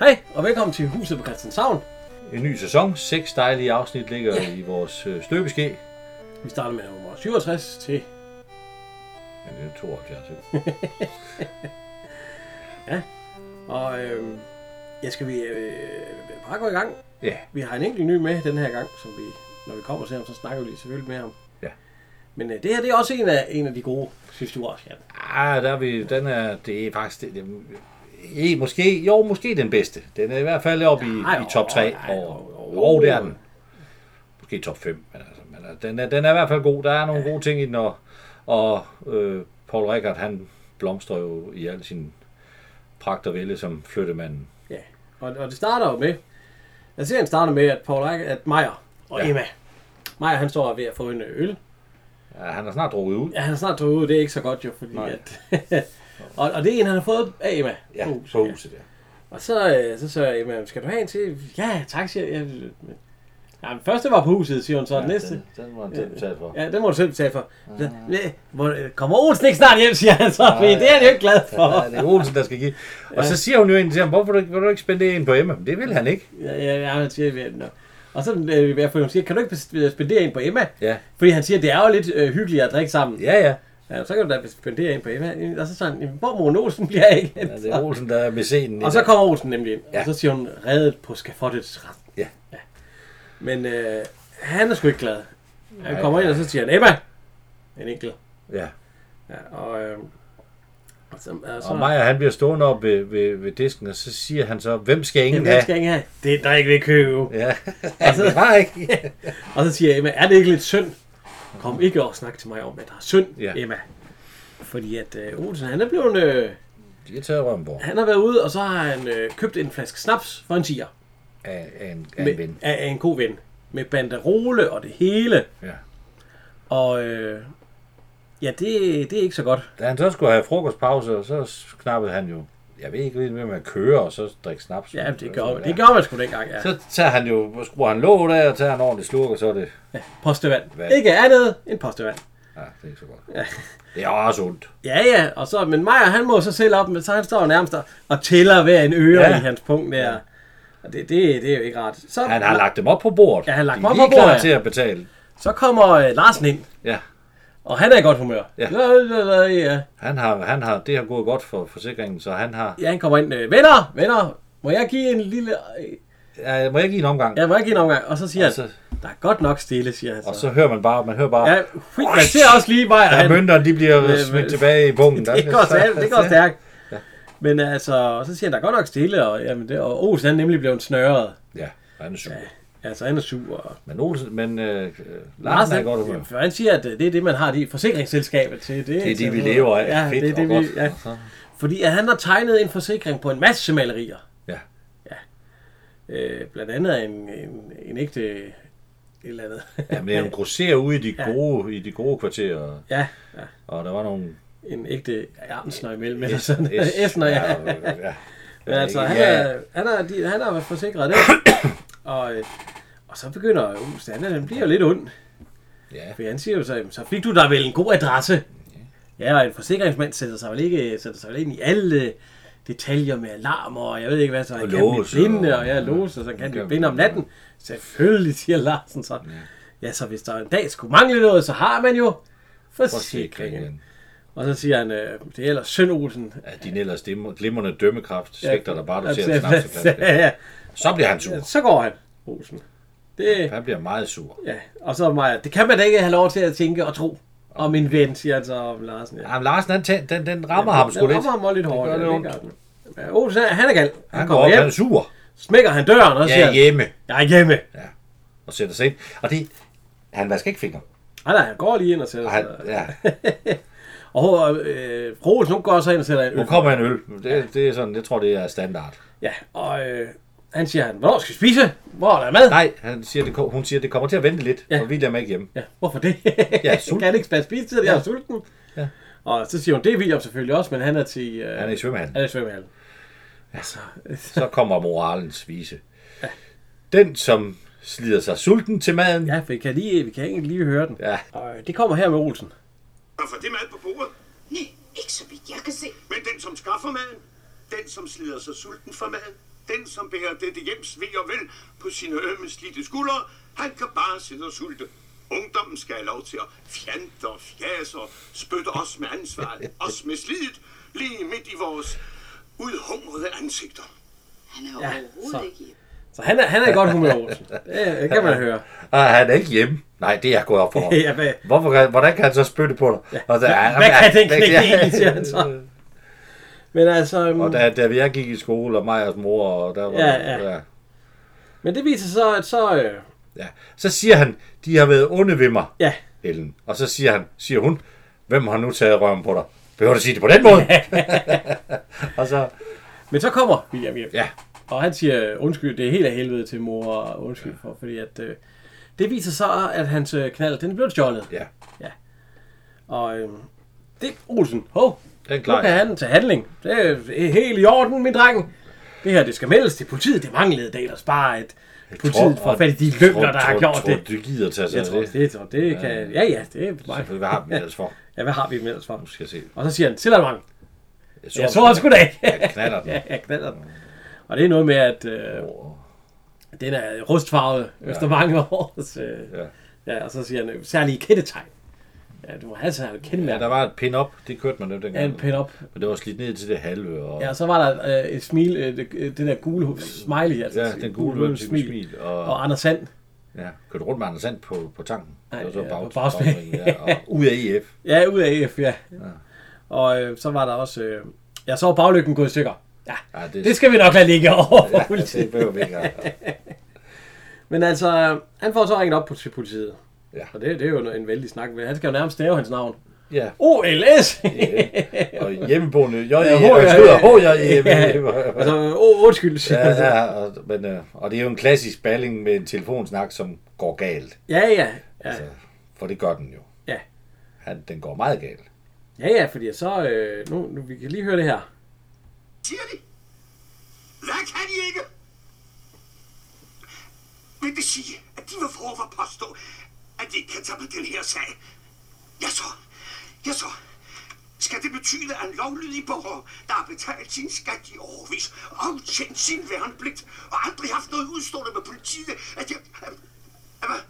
Hej, og velkommen til Huset på Christianshavn. En ny sæson. Seks dejlige afsnit ligger i vores øh, støbeske. Vi starter med nummer 67 til... Men det er 72. ikke? Og øh, jeg skal vi øh, bare gå i gang. Ja, Vi har en enkelt ny med den her gang, som vi, når vi kommer til ham, så snakker vi lige selvfølgelig med ham. Ja. Men øh, det her, det er også en af, en af de gode, synes du også, Jan. ah, der er vi, den er, det er faktisk, det, det, eh, måske, jo, måske den bedste. Den er i hvert fald oppe i, Nej, i top 3. nej, og, og- og, og, det er den. Måske top 5. Men altså, men altså, den, er, den er i hvert fald god. Der er nogle gode ting i den, og, og øh, Paul Rickard, han blomstrer jo i al sin pragt og vælde som flyttemanden. Ja. Og, og det starter jo med... Altså, serien starter med, at Paul Rikke, at Meyer og Ja. Emma... Meyer, han står ved at få en øl. Ja, han er snart drukket ud. Ja, han er snart drukket ud, det er ikke så godt jo, fordi Nej. at... og, og det er en, han har fået af Emma. på huset, ja. ja. Og så, øh, så siger jeg, "Jamen, skal du have en til? Ja, tak, siger jeg. Men- Ja, den første var på huset, siger hun så. Ja, den næste, Den, den var han selv betalt for. ja, den må du selv betale for. Mm. Så, "Næ, må- øh, Kommer Olsen ikke snart hjem, siger han så, fordi det er han jo ikke glad for. Ja, det er Olsen, der skal give. Og så siger hun jo egentlig til ham, hvorfor vil du ikke- vil du ikke spænde det ind på Emma? Men det vil han ikke. Ja, ja, ja, han siger, "Ja, nå." og så øh, jeg får, hun siger, kan du ikke bes- spendere en på Emma? Ja, Fordi han siger, det er jo lidt øh, hyggeligt at drikke sammen. ja, ja. Ja, så kan du da spendere en på Emma. Og så siger han, "Jamen, hvor Mona Olsen bliver jeg ikke? ja det er Olsen, der er med scenen. i Og så dag. kommer Olsen nemlig ind, ja. Ja. og så siger hun, reddet på skafottets rand. Ja. ja. Men øh, han er sgu ikke glad. Han Nej, kommer ind, og så siger han, Emma! En enkelt. Ja. Ja, og, øh, og så, og så, Og Maja, han bliver stående op ved, ved, ved disken, og så siger han så, hvem skal Altså- ingen Jamen, den have? skal jeg ikke have. Det er der ikke ved købe. Ja, Og så, det var ikke. og så siger Emma, er det ikke lidt synd? Kom ikke og snak til mig om, at der er synd, Ja. Emma. Fordi at øh, Olsen, han er blevet, øh, De har taget røven på han har været ude, og så har han øh, købt en flaske snaps for en tiger. af, af en, af Med- en ven. Af, af en god ven. Med banderole og det hele. Ja. Og øh, ja, det, det er ikke så godt. Da han så skulle have frokostpause, og så knappede han jo, jeg ved ikke, hvem man kører, og så drikke snaps. Ja, det Så- gjorde, det gjorde man sgu dengang, ja. Så tager han jo, skruer han låget af, og tager en ordentlig slurk, og så er det, Postevand. Vand. Ikke andet end postevand. ja, det er ikke så godt. Det er også ondt. Ja, ja, og så, men Maja, han må så selv op, men så han står nærmest og, og tæller hver en øre ja. Ja. i hans punkt der. Og det, det, det er jo ikke rart. Så, Han har lagt dem op på bordet. Ja, han har lagt De dem op er på lige klar bordet, ja. til at betale. så kommer øh, Larsen ind, Ja, og han er i godt humør. Ja. ja, ja. han har, han har, det har gået godt for forsikringen, så han har... ja han kommer ind. Øh, venner, venner, må jeg give en lille... øh, Ja, må jeg give en omgang? Ja, må jeg give en omgang? Og så siger og, han, så, der er godt nok stille, siger han så. og så hører man bare, man hører bare... ja, fint, man ser også lige Maja. Ja, han- mønterne, de bliver Øh, smidt øh, tilbage i bunken. Der det bliver går så- stærkt. Det går stærkt. Men altså, og så siger han, der er godt nok stille, og, jamen det, og Olsen han er nemlig blevet snørret. Ja, han er sur. Altså, han er sur. Og Men, Olsen, men øh, øh, Larsen er i godt humør. han, for han siger, at øh, det er det, man har de forsikringsselskabet til. Det, Det er til- det, vi lever af. Ja, Fedt det er og det, vi, godt. ja. Fordi at han har tegnet en forsikring på en masse malerier. Ja. Øh, blandt andet en, en, en ægte et eller andet. Ja, men han grosserer ude i de gode, i de gode kvarterer, ja, ja, og der var nogle... en ægte Jarmsner imellem, eller sådan. S'ner, ja. ja. ja. Men altså, han, ja, er, han, er, de, han er forsikret det. og, øh, og så begynder Olsen, han, er- han bliver jo lidt ond. ja, For han siger jo så, "Jamen, så fik du da vel en god adresse. Ja, og en forsikringsmand sætter sig vel ikke sætter sig vel ind i alle øh, detaljer med alarmer, og jeg ved ikke hvad, så han Og kan blive låse, blinde, og- og jeg låser, så han kan Ja. blive blinde om natten. Selvfølgelig, siger Larsen så. Ja, så hvis der en dag skulle mangle noget, så har man jo forsikringen. forsikringen. Og så siger han, øh, det er ellers Søn Olsen. Ja, din ellers dimmer- glimrende dømmekraft svigter dig bare, du ser en Altså, snapseplads. ja, Så bliver han sur. ja, Så går han, Olsen. Det, Han bliver meget sur. ja. Og så Maja, det kan man da ikke have lov til at tænke og tro om en ven, siger han så om Larsen. Ja. Ja, men Larsen, han tæ- den, den rammer ham sgu Den lidt. rammer ham også lidt hårdt. gør ja, lidt ondt. gør den. Men Olsen, han er gal. Han, Han går kommer op, hjem, han er sur. smækker han døren og Jeg siger, er hjemme. jeg er hjemme. Og sætter sig ind. Og det, han vasker ikke fingre. Ej, nej, han går lige ind og sætter Og han, sig. ja, Og øh, fru Olsen, hun går så ind og sætter en nu øl. kommer en øl. Det, det er sådan, jeg tror, det er standard. Ja, og øh, han siger, han, hvornår skal vi spise? Hvor er der mad? Nej, han siger, det, ko- hun siger, det kommer til at vente lidt, Ja. ja. og William er ikke hjemme. Ja, hvorfor det? Jeg er kan sulten. han ikke spise spise til, jeg er sulten. Ja. Og så siger hun, det er William selvfølgelig også, men han er til... Øh, Han er i svømmehallen. han er i svømmehallen. Altså, Så kommer moralens vise. Den, som slider sig sulten til maden, ja, vi kan, lige, vi kan egentlig lige høre den. ja, Og øh, det kommer her med Olsen. Og for det mad på bordet. Nej, ikke så vidt jeg kan se. Men den, som skaffer maden, den, som slider sig sulten for maden, den, som bærer dette hjems ved og vel på sine ømme slidte skuldre, han kan bare sidde og sulte. Ungdommen skal have lov til at fjante og fjase og spytte os med ansvaret, os med slidet, lige midt i vores udhungrede ansigter. Han er Ja, så. overhovedet ikke hjemme. Så han er, han er i godt humør, Olsen. Det øh, kan man høre. Ah, han er ikke hjemme. Nej, det er gået op for ham. Ja, hvad- Hvorfor, kan- hvordan kan han så spytte på dig? Ja. Og der, Hvad- ah, hvad ah, kan den hvad- knægt ja. egentlig, siger han så? Men altså... Og øhm, da, da jeg gik i skole, og mig og mor, og der var... Ja, ja. ja. Men det viser så, at så... øh, ja. Så siger han, de har været onde ved mig, Ja, Ellen. Og så siger, han, siger hun, hvem har nu taget røven på dig? Behøver du sige det på den måde? og så, men så kommer William hjem. ja, Og han siger, øh, undskyld, det er helt af helvede til mor, og undskyld for, fordi at... Øh, det viser så, at hans øh, knald, den blev stjålet. ja. Og øh, det Olsen. Hov, Den nu kan klar. han tage handling. Det er øh, helt i orden, min dreng. Det her, det skal meldes til politiet. Det manglede da ellers bare, at politiet får fat i de løgner, der har gjort det. Du gider tage sig Jeg af tror, det. det, tror, det kan... Ja, ja, det er mig. Selvfølgelig, hvad har vi ellers for? Ja, hvad har vi med ellers for? Nu skal jeg se. Og så siger han, Sillermang, jeg så ham. han sgu da ikke. Jeg knaller den. ja, jeg knaller den. Og det er noget med, at øh, den er rustfarvet efter mange års... Øh, Ja. ja. ja. og så siger han, øh, særlige kendetegn. Ja, du må have særlige Ja, kendemærker. der var et pin-up, det kørte man jo Ja, en dengang. pin op. Men det var slidt ned til det halve, og Ja, og så var der øh, et smil, øh, det, øh, det der gule hu- smiley, altså Ja, et den gule mund- mund- smil, og- og Anders Sand. ja, kørte rundt med Anders Sand på, på tanken. Nej, det var så ja, bag, på bagspil. bagspil, ja, og ud af EF. Ja, ud af AF, ja. ja. Og øh, så var der også, øh, ja, så var baglygten gået i stykker. Ja, Ja, det, det skal vi nok lade ligge over for ja, politiet. det behøver vi ikke. at- Men altså, øh, han får så ringet op på til politiet. Ja. Og det, det er jo en vældig snak, men han skal jo nærmest stave hans navn. Ja, OLS! og hjemmeboende JE, Ja, og H.J.E. skyder HJE. og så, øh, åh, undskyld, siger han så. Ja, ja, og, men, øh, og det er jo en klassisk balling med en telefonsnak, som går galt. Ja, ja. Ja, Altså, for det gør den jo. Ja. Han, den går meget galt. ja, ja fordi så, øh, nu, nu, vi kan lige høre det her. Siger de? Hvad kan de ikke? Vil det sige, at de var for at påstå, at de ikke kan tage på den her sag? Ja så, ja så. Skal det betyde, at en lovlydig borger, der har betalt sin skat i overvis, aftjent sin værnepligt og aldrig haft noget udstående med politiet, at jeg... at- at- Hvad,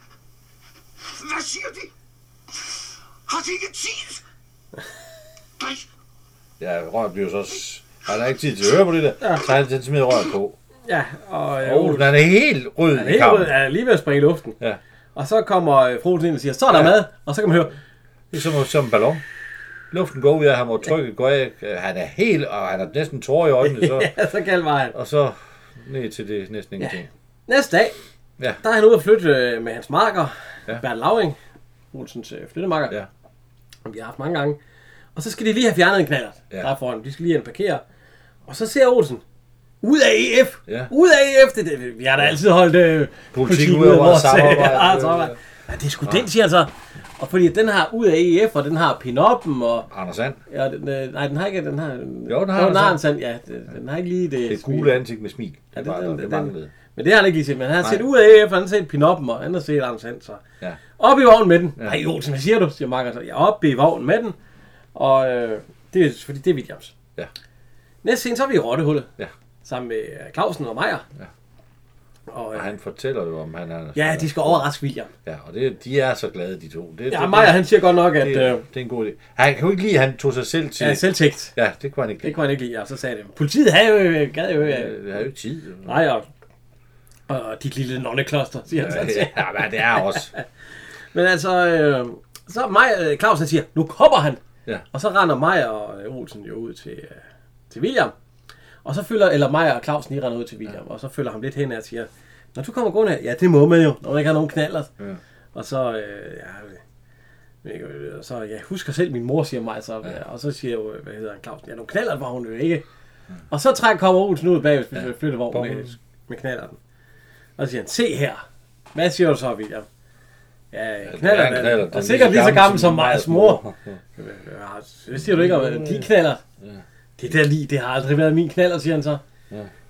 hvad siger de? Har de ikke tid? Nej, Ja, røret bliver så... s- Han har ikke tid til at høre på det der, så han den smider røret på. Ja, og øh, Og Olsen Olsen, han er helt rød er i helt kampen. rød, er lige ved at springe i luften. Ja. Og så kommer øh, frosen ind og siger, så er der mad, og så kan man høre, Det er som, som en ballon. Luften går ud af ham, og trykket går af. Han er helt, og han har næsten tårer i øjnene, så, ja, så galt var han. og så ned til det næsten ingenting. Næste dag, Ja. der er han ude at flytte øh, med hans marker, Ja. ja. Bernd Lauring, Olsens øh, flyttemarker, Ja. som vi har haft mange gange. Og så skal de lige have fjernet en knaller, Ja. ja. der er foran. De skal lige have den parkere. Og så ser Olsen, ud af EF! Ja. Ud af EF! Det, er det, vi har da altid holdt øh, ud over vores, øh, samarbejde. ja, samarbejde. Ja, det er sgu den, siger han så. Og fordi at den har ud af EF, og den har pinoppen, og Anders Sand, Ja, den, øh, nej, den har ikke, den har... Jo, den har den, den har så. en sand, ja. Den, den har ikke lige det... det smil. gule ansigt med smil. Det, Ja, ja, det- det, var, den- der, det den- manglede. Men det har han ikke lige set, men han har Nej. set ud af EF, han har set pinoppen, og han har set Anders Sand, så... Ja. Op i vognen med den. Ja. Nej, Olsen, hvad siger du? Siger Marker så. Ja, op i vognen med den. Og øh, det er fordi, det er Williams. Ja. Næste scene, så er vi i Rottehullet. Ja. Sammen med øh, Clausen og Meier. Ja. Og, Og øh, han fortæller jo, om han er... ja, de skal overraske William. Ja, og det, de er så glade, de to. Det, Ja, Meier, han siger godt nok, at... det, det, Øh, det, er en god idé. Han kan jo ikke lide, at han tog sig selv til... ja, selvtægt. ja det kunne han ikke Det lide. kunne han ikke lide, og så sagde det. Politiet havde jo, øh, gad jo, øh, Øh, Det har jo ikke tid. jo. Nej, og, og dit lille nonnekloster, siger han så. Ja, ja, men det er også. Men altså, øh, så mig, øh, Clausen siger, nu kommer han. Ja. Og så render mig og øh, Olsen jo ud til, øh, til William. Og så følger, eller mig og Clausen, de render ud til William. Ja. Og så følger ham lidt hen og siger, når du kommer gående her, ja, det må man jo, når man ikke har nogen knaller. Ja. Og så, øh, ja, men ikke, øh, så jeg husker selv, min mor siger mig, så, ja. og så siger jo, øh, hvad hedder han, Clausen, ja, nogle knaller var hun jo ikke. Og så træk kommer Olsen ud bag, hvis vi flytter vognen med, Bommen. med knallerten. Og så siger han, se her, hvad siger du så, William? Ja, det er knaller, en ja, knallert, knaller den er og sikkert lige så gammel som Majas mor. Ja. Ja, det siger du ikke om, at de knaller. Det der lige, det har aldrig været min knaller, siger han så.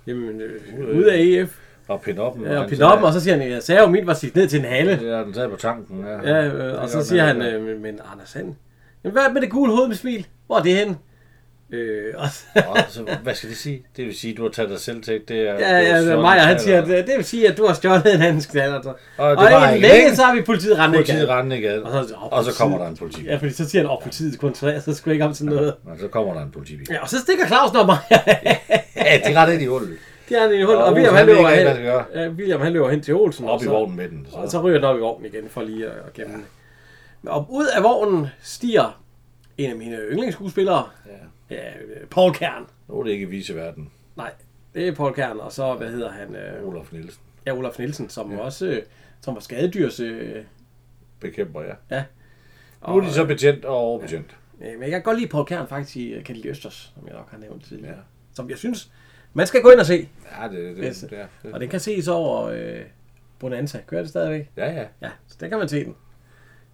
Jamen, øh, ud af EF. Og pinoppen. Ja, og han pinoppen, sagde- og så siger han, jeg sagde jo, mit var sit ned til en hale. Ja, den sad på tanken. Ja, Ja, øh, og så siger han, øh, men, men Anders Sand, jamen, hvad er med det gule hoved med smil? Hvor er det henne? Øh, og, Og så, hvad skal det sige? Det vil sige, at du har taget dig selv til. Det er, ja, det er ja, sådan, Maja, han eller- siger, at øh, det vil sige, at du har stjålet en andens knaller. Og, Og og, det var inden ikke længe, længe. så har vi politiet rendt Politiet rendende i gaden, Og så- og så kommer der en politi. Ja, fordi så siger han, at politiet koncentrerer sig sgu ikke om sådan noget. Og så kommer der en politibil. Ja, og så stikker Clausen og mig. Ja, de retter ind i hullet. De har en hul, Og og William Olsen, han han ved løber ikke rigtig, hen. hvad Ja, han William han løber hen til Olsen. Op og i så- vognen med den. Så. Og så ryger den op i vognen igen, for lige at at gemme den. Og ud af vognen stiger en af mine yndlingsskuespillere. Ja. Ja, øh, Paul Kern. Nu er det ikke vise verden. Nej, det er Paul Kern. Og så, hvad hedder han? Øh, Olaf Nielsen ja, Olaf Nielsen, som ja. også øh, som var skadedyrs... Øh, bekæmper jer. ja. Nu er de så betjent og overbetjent. Øh, men jeg kan godt lide Paul Kern faktisk i øh, Kennedy Østers, som jeg nok har nævnt tidligere. Ja. Ja. Som jeg synes, man skal gå ind og se. Ja, det, det, Yes. det, det, er- Og det. den kan ses over øh, Bonanza. Kører det stadigvæk? Ja, ja. Ja, så der kan man se den.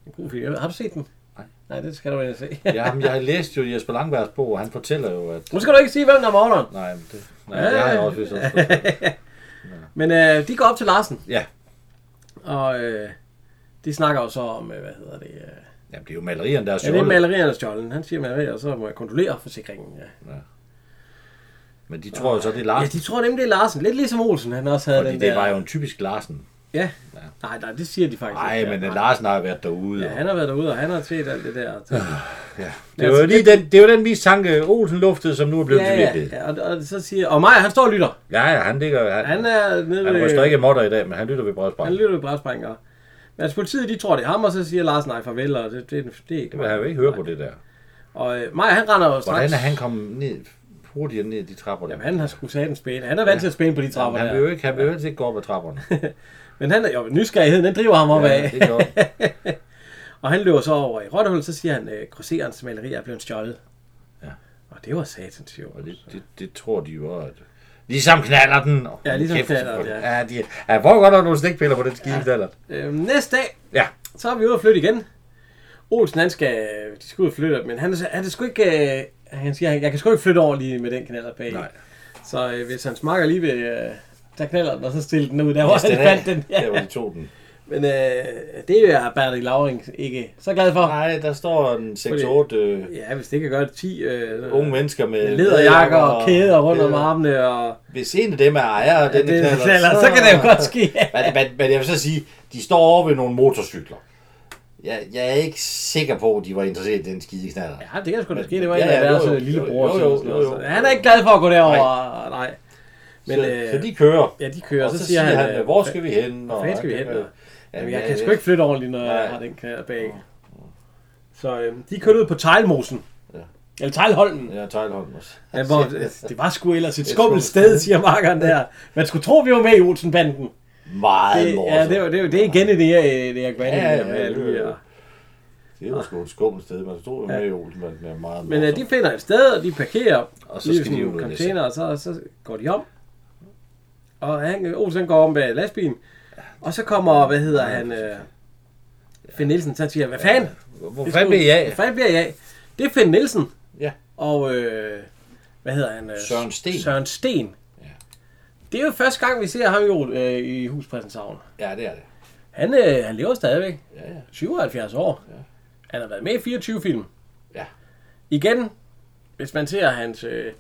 En god film. Har du set den? Nej. Nej, det skal du ikke se. ja men jeg har læst jo Jesper Langbergs bog, og han fortæller jo, at... Nu skal du ikke sige, hvem der er morderen. Nej, men det, nej, det har jeg også vist også. Men øh, de går op til Larsen, Ja, og øh, de snakker jo så om, øh, hvad hedder det? Øh, Jamen, det er jo malerierne, der er ja, det er stjålet. maleriernes stjålen. Han siger malerier, og så må jeg kontrollere forsikringen. Ja. Men de tror jo så, det er ja, Larsen. de tror nemlig, det er Larsen. Lidt ligesom Olsen, han også havde Fordi den det der. var jo en typisk Larsen. Ja. Ja. Nej, nej, det siger de faktisk Nej, ikke. men ja. Larsen har jo været derude. Ja, han har været derude, og han har set alt det der. Så- Det var jo lige den, det var den mistanke, Olsen luftede, som nu er blevet til Altså, Ja, ja, virkelighed. ja. Og, og, så siger, og Maja, han står og lytter. Ja, ja, han ligger... Han, Han er nede han ved- ryster ikke modder i dag, men han lytter ved Han brødsbrændet. lytter ved brætsprængere. Men altså, politiet, de tror, det er ham, og så siger Lars, nej, farvel, og det, det, det er ikke Det vil han jo ikke høre på det der. Og øh, Maja, han render jo straks. Hvordan er han kommet ned, hurtigere ned de trapper der? Jamen, han har sgu sat en spæne. Han er vant til at spæne på de trapper han der. vil jo ikke, han vil jo ikke gå op ad trapperne. Men han er, jo, nysgerrigheden, den driver ham opad. ja, det gjorde han. Og han løber så over i Rottehul, så siger han, at grosserens maleri er blevet stjålet. Ja. Og det var satans sjovt. Og det, det, det, tror de jo også, at... Ligesom knaller den. Åh, Ja, ligesom kæft, knallerten, hvor- ja. Ja, de, ja, hvor godt er nogle stikpiller på den skive, ja. Øhm, næste dag, ja. så er vi ude at flytte igen. Olsen, han skal, de skal ud og flytte, men han, er så- han er sgu ikke, øh, han siger, jeg kan sgu ikke flytte over lige med den knaller bag. Nej. Så øh, hvis han smakker lige ved, øh, der knaller den, og så stille den ud, der hvor Yes, han den er- fandt den. Der, Ja. hvor de tog den. Men øh, det er Bertel Lauring ikke så glad for. Nej, der står en 6-8 øh, Ja, hvis det kan gøre det 10 øh, unge mennesker med lederjakker og kæder rundt om kæder. armene. Og, Hvis en af dem er ejer af ja, denne det, knallert, så, så kan det jo godt ske. men, men, men jeg vil så sige, de står over ved nogle motorcykler. Jeg, jeg er ikke sikker på, at de var interesseret i den skide knaller. Ja, det kan sgu da ske. Det var Ja, en af ja, jo, deres jo. øh, lillebror. Jo, og jo, sådan noget. jo, jo. Så Han er ikke glad for at gå derover. Nej. nej. Men, så, øh, så de kører. ja, de kører, Og så så, siger han, øh, hvor skal vi hen? Hvor fanden skal vi hen, og- Jamen, jeg kan ja, sgu ikke flytte ordentligt, når jeg Nej. har den knald bag. Så øh, de kørte ud på Tejlmosen. Eller Tejlholmen. Ja, Tejlholm også. Ja, hvor, det var sgu ellers et Et skummelt skummelt sted, siger markeren der. Man skulle tro, vi var med i Olsenbanden. Meget Det, ja, morsomt. det, var, det, var, det er igen det, jeg, det jeg går ind i. Ja, ja, der med ja, alle det er de jo- her. Det var sgu et skummelt sted. Man stod jo med i Olsen, men det er meget Men øh, de finder et sted, og de parkerer. Og så lige skal sådan de en ud og læse. container, og så, så går de om. Og han, Olsen går om bag lastbilen. Og så kommer, hvad hedder han, øh, Finn Nielsen, så siger, hvad fanden? Hvor fanden blev jeg Hvad fanden bliver jeg af? Det er Finn Nielsen. Ja. Og, øh, hvad hedder han? Øh, Søren Sten. Søren Sten. Ja. Det er jo første gang, vi ser ham i, Ol- øh, i Huspræsenshavn. Ja, det er det. Han, øh, han lever stadigvæk. Ja, ja. 77 år. Ja. Han har været med i 24 film. Ja. Igen, hvis man ser hans... Øh,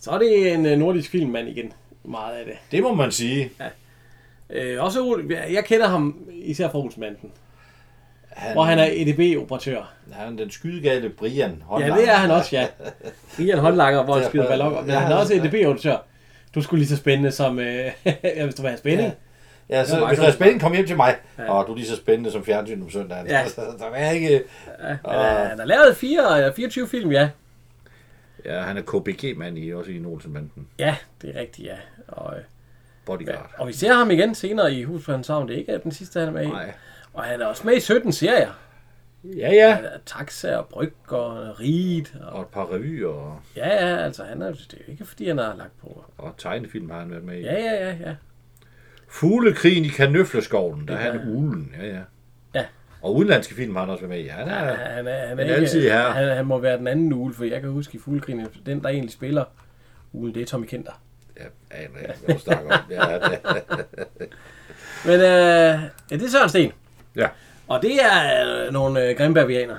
så er det en øh, nordisk filmmand igen. Meget af det. Det må man sige. Øh, også, Ol- jeg kender ham især fra Olsenbanden, Han, hvor han er E EDB-operatør. han den skydegale Brian. Ja, det er han også, ja. Ian Håndlanger, hvor han skyder ballonger. Men Ja, han er også ja. EDB-operatør. Du skulle lige så spændende som... Øh, ja, hvis du vil have spænding. Ja, Det så var meget hvis du er sjovt. spændende, kom hjem til mig. Ja. Og du er lige så spændende som fjernsyn om søndagen. Ja. Så der er ikke... Han, er, han har lavet fire, øh, 24 film, ja. Ja, han er KBG-mand i, også i Nolsen-banden. Ja, det er rigtigt, ja. Og, øh, Bodyguard. og vi ser ham igen senere i Hus på Hans Havn. Det er ikke den sidste, han er med i. Nej. Og han er også med i 17 serier. Ja, ja. Han er Taxa og Bryg og Riget. Og, Og et par revyer og, ja, ja, altså han er, det er jo ikke, fordi han har lagt på. og tegnefilm har han været med i. Ja, ja, ja, ja. Fuglekrigen i Kanøfleskoven, der er han ulen. Ja, ja. Ja. Og udenlandske film har han også været med i. Ja, han er, ja, Han, er, han, En er alsidig ikke, herre. han, han må være den anden ule, for jeg kan huske i Fuglekrigen, den der egentlig spiller ulen, det er Tommy Kenter. jeg aner ikke, hvad du snakker om. Ja, det, Men øh, ja, det er Søren Sten. ja. Og det er øh, nogle øh, grimme bavianer.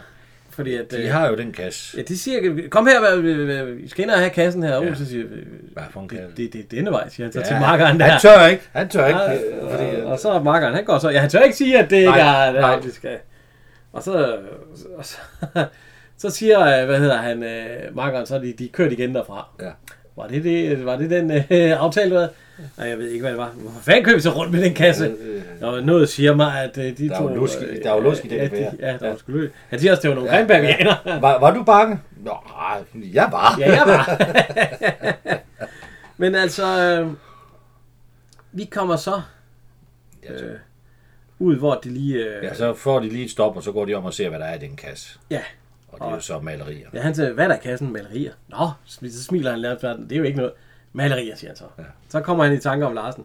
fordi at... De øh, har jo den kasse. Ja, de siger, kom her, hvad- hvad- hvad- I skal ind og have kassen her. Og Ja. Olsen siger, øh, Hvad for en kasse? det, det, det er denne vej, siger han så Ja, ja, til makkeren der. Han tør ikke. Han tør ikke. Ja, øh, Fordi, og, og så makkeren, han går så... Ja, han tør ikke sige, at det ikke Nej, er... det er nej. ham, de skal. Og så... Og så, så siger, øh, hvad hedder han, øh, makkeren, så er de, de er kørt igen derfra. ja. Var det, det, var det den øh, aftale, du havde? Nej, jeg ved ikke, hvad det var. Hvor fanden køb så rundt med den kasse? Nå, noget siger mig, at øh, de øh, Der er to... jo lusk i- øh, der er jo lusk i den ja, affære. de, ja, der var sgu løs. Han siger også, det var nogle ja, grænbergianer. Ja. Var, var du bange? Nå, nej, jeg var. ja, jeg var. Men altså, øh, vi kommer så øh, ud, hvor de lige... Øh, Ja, så får de lige et stop, og så går de om og ser, hvad der er i den kasse. ja, Og det er jo så malerier. ja, han siger, hvad er der i kassen? Malerier. Nå, sm- så smiler han lidt, det er jo ikke noget. Malerier, siger han så. Ja. Så kommer han i tanke om Larsen.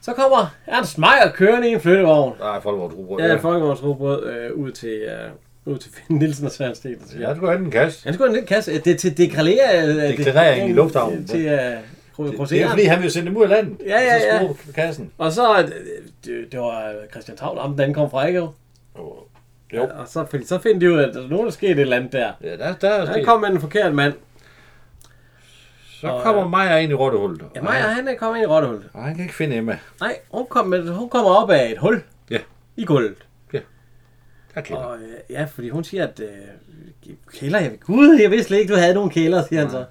Så kommer Ernst Meier kørende i en flyttevogn. Nej, folk var drubrød. Ja, Folkevogns Rugbrød øh, ud til, øh, ud til Finn Nielsen og Søren Sten. Ja, du går ind i en kasse. Han skulle en lille kasse. øh, Det er til deklarere... Øh, Deklarering i lufthavnen. Til øh, kru- Det er kruseren. fordi, han vil sende dem ud af landet. Ja, ja, Og Så ja. skrue kassen. Og så... øh, Det, det var Christian Tavl, om den kom fra, ikke? jo? Jo. Og så, fordi så finder de ud af, at der er nogen, der skete et eller andet der. Ja, der, der er Han sket. kom med en forkert mand. Så kommer Maja ind i rottehullet. Ja, Maja, han er kommet ind i rottehullet. Og han kan ikke finde Emma. Nej, hun, kom med, hun kommer op af et hul Ja, i gulvet. der kender. Og øh, ja, fordi hun siger, at øh, kælder, jeg gud, jeg vidste slet ikke, du havde nogen kælder, siger han så.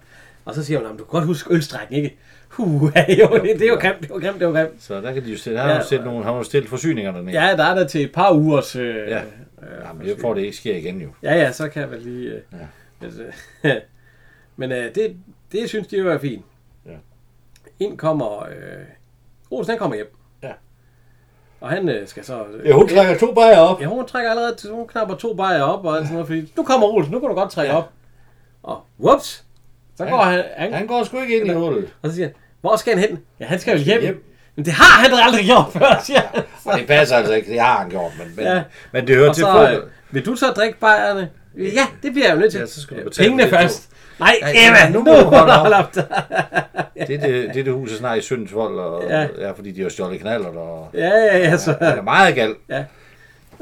Og så siger hun, "Jamen, du kan godt huske ølstrækken, ikke? Huh, jo, det, det var grimt, det var grimt, det var grimt. Så der kan de jo stille. Der har Ja, jo stillet nogle, har jo stillet forsyninger dernede. Ja, der er der til et par ugers... Øh, Ja. ja. Jamen, det får det ikke sker igen jo. ja, ja, så kan jeg vel lige... Øh, ja. altså, men øh, det, det synes de jo er fint. Ja. Ind kommer... Øh, Olsen, han kommer hjem. Ja. Og han øh, skal så... Øh, Ja, hun trækker to bajer op. Ja, hun trækker allerede, til- hun knapper to bajer op og alt sådan noget, fordi nu kommer Olsen, nu kan du godt trække Ja. ja. op. Og whoops, så går han, han, Han går sgu ikke ind i hullet. og så siger han, hvor skal han hen? Ja, han skal jo hjem. hjem. hjem. Men det har han da aldrig gjort før, siger han. Og det passer altså ikke, det har han gjort, men, men, ja. Ja. men det hører Og til så, fodbold. øh, vil du så drikke bajerne? Ja, det bliver jeg jo nødt til. Ja, så skal du Øh, betale Pengene for det, først. Nej, Nej, Emma, nu må du holde op. Det er det, det, er det hus, der snart i Søndsvold, og, ja. Ja. ja. fordi de har stjålet knaller, og Ja, ja, ja, så. øh, det er meget galt.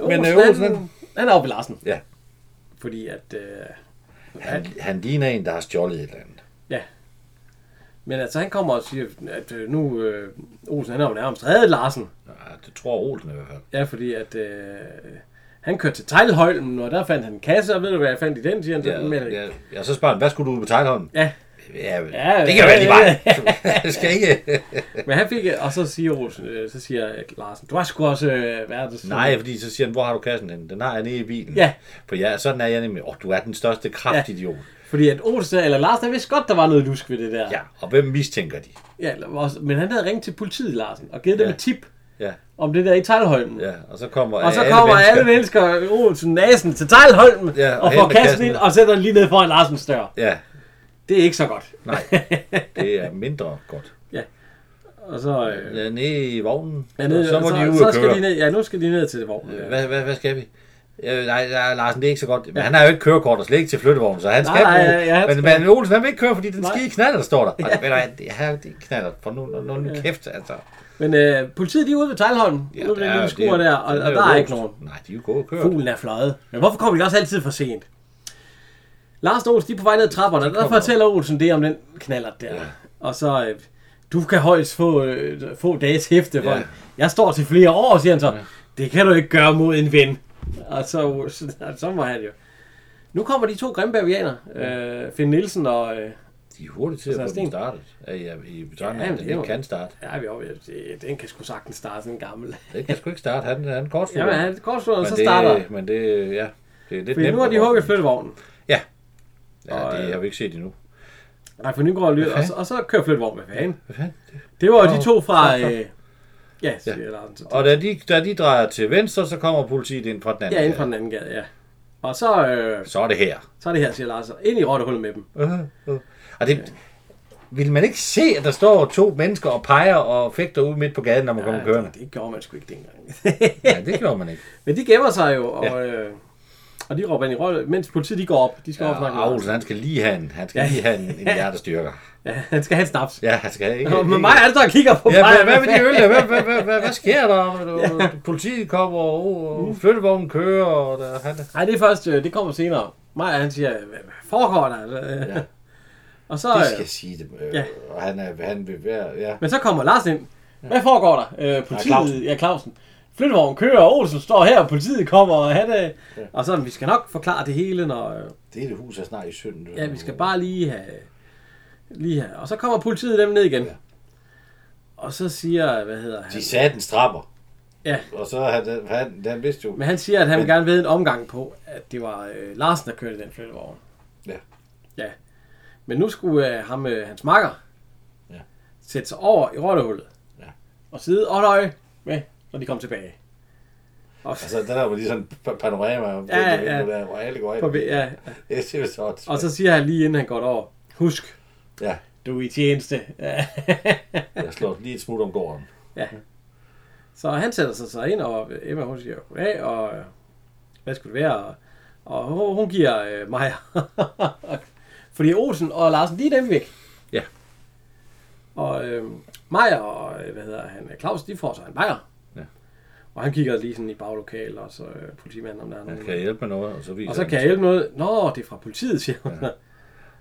Men, øh, Olsen, han- han, han er oppe i Larsen. Ja. Fordi at, øh, Han, han ligner en, der har stjålet et eller andet. men altså, han kommer og siger, at øh, nu, øh, Olsen, han har jo nærmest reddet Larsen. Ja, det tror Olsen i hvert fald. Ja, fordi at øh, han kørte til Tejlholmen, og der fandt han en kasse, og ved du hvad, jeg fandt i den, siger han. Ja, Ja, men, øh, ja, ja, så spørger han, hvad skulle du ud på Tegnholm? ja. Ja, Ja, det kan jo ja, være lige ja, mig. Det skal ikke. men han fik, og så siger Olsen, øh, så siger øh, Larsen, du har sgu også øh, verdens... Nej, fordi så siger han, hvor har du kassen henne? Den har jeg nede i bilen. Ja. For ja, sådan er jeg nemlig. Åh, oh, du er den største kraftidiot. Fordi at Olsen, eller Larsen, han vidste godt, der var noget lusk ved det der. Ja. og hvem mistænker de? ja eller også- men han havde ringet til politiet, Larsen, og givet dem Ja. et tip Ja, om det der i Tejlholmen. ja, og så kommer Og så kommer alle mennesker, Olsen, Nasen til Tejlholmen, Ja, ja, og og, og hen får med kassen. kassen ind og sætter den lige ned foran Larsens dør. Ja, Det er ikke så godt. nej, det er mindre godt. Og så, øh, Ja, nede i vognen, ja, ned, og så må så, de ud så og skal køre. de ned, ja, nu skal de ned til vognen. Ja. Hvad, hvad, hvad skal vi? Øh, nej, nej, Larsen, det er ikke så godt. Men han har jo ikke kørekort og slet ikke til flyttevognen, så han Nej, skal nej, bruge. ja, ja, han men, skal. men Olsen, han vil ikke køre, fordi den Nej. skide knaller, der står der. Ja. Altså, ved du, jeg det knaller, for nu, nu, nu, nu kæft, altså. Men øh, politiet, de er ude ved Tejlholmen, ja, ude ved den lille skur der, og, og der er ikke nogen. Nej, de er jo gået og kørt. Fuglen er fløjet. Men hvorfor kommer de også altid for sent? Lars og Olsen, de er på vej ned ad trapperne, og der kommer. fortæller Olsen det om den knallert der. Ja. Ja. Og så, øh, du kan højst få øh, få dages hæfte for Ja. ja. Jeg står til flere år, siger han så. Ja. Det kan du ikke gøre mod en ven. Og så, Olsen, så må han jo. Nu kommer de to grimbergianer, øh, Finn Nielsen og... Øh, De er hurtigt til at Så er få Altså, Sten. den startet. Ja, ja, i betragtning, Ja, ja, men det den er ikke jo- kan starte. ja, vi er oppe, det, den kan sgu sagtens starte sådan en gammel. Den kan sgu ikke starte, han, han er kort Ja, men han går så, og så starter. det, Men det, ja, det er lidt Fordi nemt. nu har de hugget flyttevognen. Ja, og, det øh, har vi ikke set endnu. Nej, for Nygaard lyder, og, fanden? så- og så kører flyttevognen med fanden. Hvad fanden? Det var jo de to fra... så- Øh, ja, siger ja. Larsen. Så det, Og da de, da de drejer til venstre, så kommer politiet ind fra den ja, anden. inden gade. for den anden gade, ja. Og så, øh, Så er det her. så er det her, siger Larsen. Ind i rottehullet med dem. Uh, uh. Og det, vil man ikke se, at der står to mennesker og peger og fægter ud midt på gaden, når man kommer kørende? det, det gjorde man sgu ikke dengang. Ja, det gjorde man ikke. Men de gemmer sig jo, og, øh, og og de råber ind i Rønne, mens politiet de går op. De skal ja, Ja, op og snakke og med Olsen, han skal lige have en, han skal Ja. lige have en, en hjertestyrker. Ja, han skal have en snaps. Ja, han skal ikke... Nå, men mig er det, der kigger på Ja, mig. hvad, hvad med de øl? der? Hvad, hvad, hvad, hvad, hvad sker der? Du- Politiet kommer, og, Mm. og flyttevognen kører, og der, han, Nej, det er først, øh, det kommer senere. Maja, han siger, hvad hvad foregår der? Ja. Ja. Og så, de øh, skal sige det. Øh, Ja. Og han, er, han vil være... Ja. men så kommer Lars ind. Hvad foregår der? Øh, politiet, ja, Clausen. Clausen. Ja, Clausen. Flyttevognen kører, og Olsen står her, og politiet kommer, og han, øh, ja. og så, vi skal nok forklare det hele, når, øh, Det er det hus, er snart i synd. øh, ja, vi skal bare lige have, lige have, og så kommer politiet dem ned igen. Ja. Ja. Og så siger, hvad hedder han? De satte en strapper. Ja. Og så han, han, han vidste jo... Men han siger, at han vil Men- gerne vide en omgang på, at det var øh, Larsen, der kørte den flyttevogn. Ja. Ja. Men nu skulle øh, ham, øh, hans makker, ja. Ja. sætte sig over i rottehullet. Ja. Og sidde og nøje med, når de kom tilbage. Og, Altså, den der var lige sådan pa- panorama, Ja, ja, ja. ja. Der, hvor alle går ind. på, ja, Det er simpelthen så og så siger han lige inden han går over, husk, Ja, du er i tjeneste. Ja. jeg slår lige et smut om gården. ja. Så han sætter sig så ind, og Emma hun siger, goddag, og øh, hvad skulle det være? Og, og hun- hun giver øh, mig. Fordi Olsen og Larsen, de er dem væk. Ja. Og øh, Maja og, øh, hvad hedder han, Claus, de får sig en bajer. Ja. Og han kigger lige sådan i baglokalet, og så øh, politimanden, om der er Han nogen. kan hjælpe med noget, og så viser Mm. Og så han- kan jeg hjælpe noget. Nå, det er fra politiet, siger hun. Ja.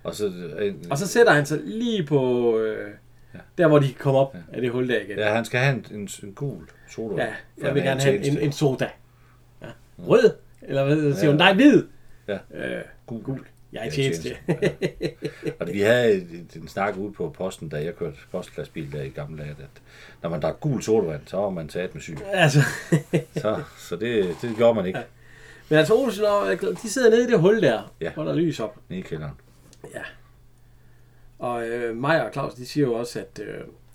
Og så, øh, en, Og så sætter han sig lige på, øh, der hvor de kommer op af det hul der igen. Ja, han skal have en, en, en gul solo. Ja, jeg vil gerne have en, en en... soda. Ja. Rød? Eller hvad siger hun? Nej, hvid! Ja. Øh, Gul. gul. Jeg er i Ja, tjeneste. Og vi havde en, en snak ude på posten, da jeg kørte postklassebil der i gamle dage, at når man drak gul sodavand, så var man taget med syg. altså, Så, så det, det gjorde man ikke ja. men altså Olsen og de sidder nede i det hul der, Ja. hvor der er lys op. nede i kælderen. Ja. Og øh, Maja og Claus, de siger jo også, at... Øh,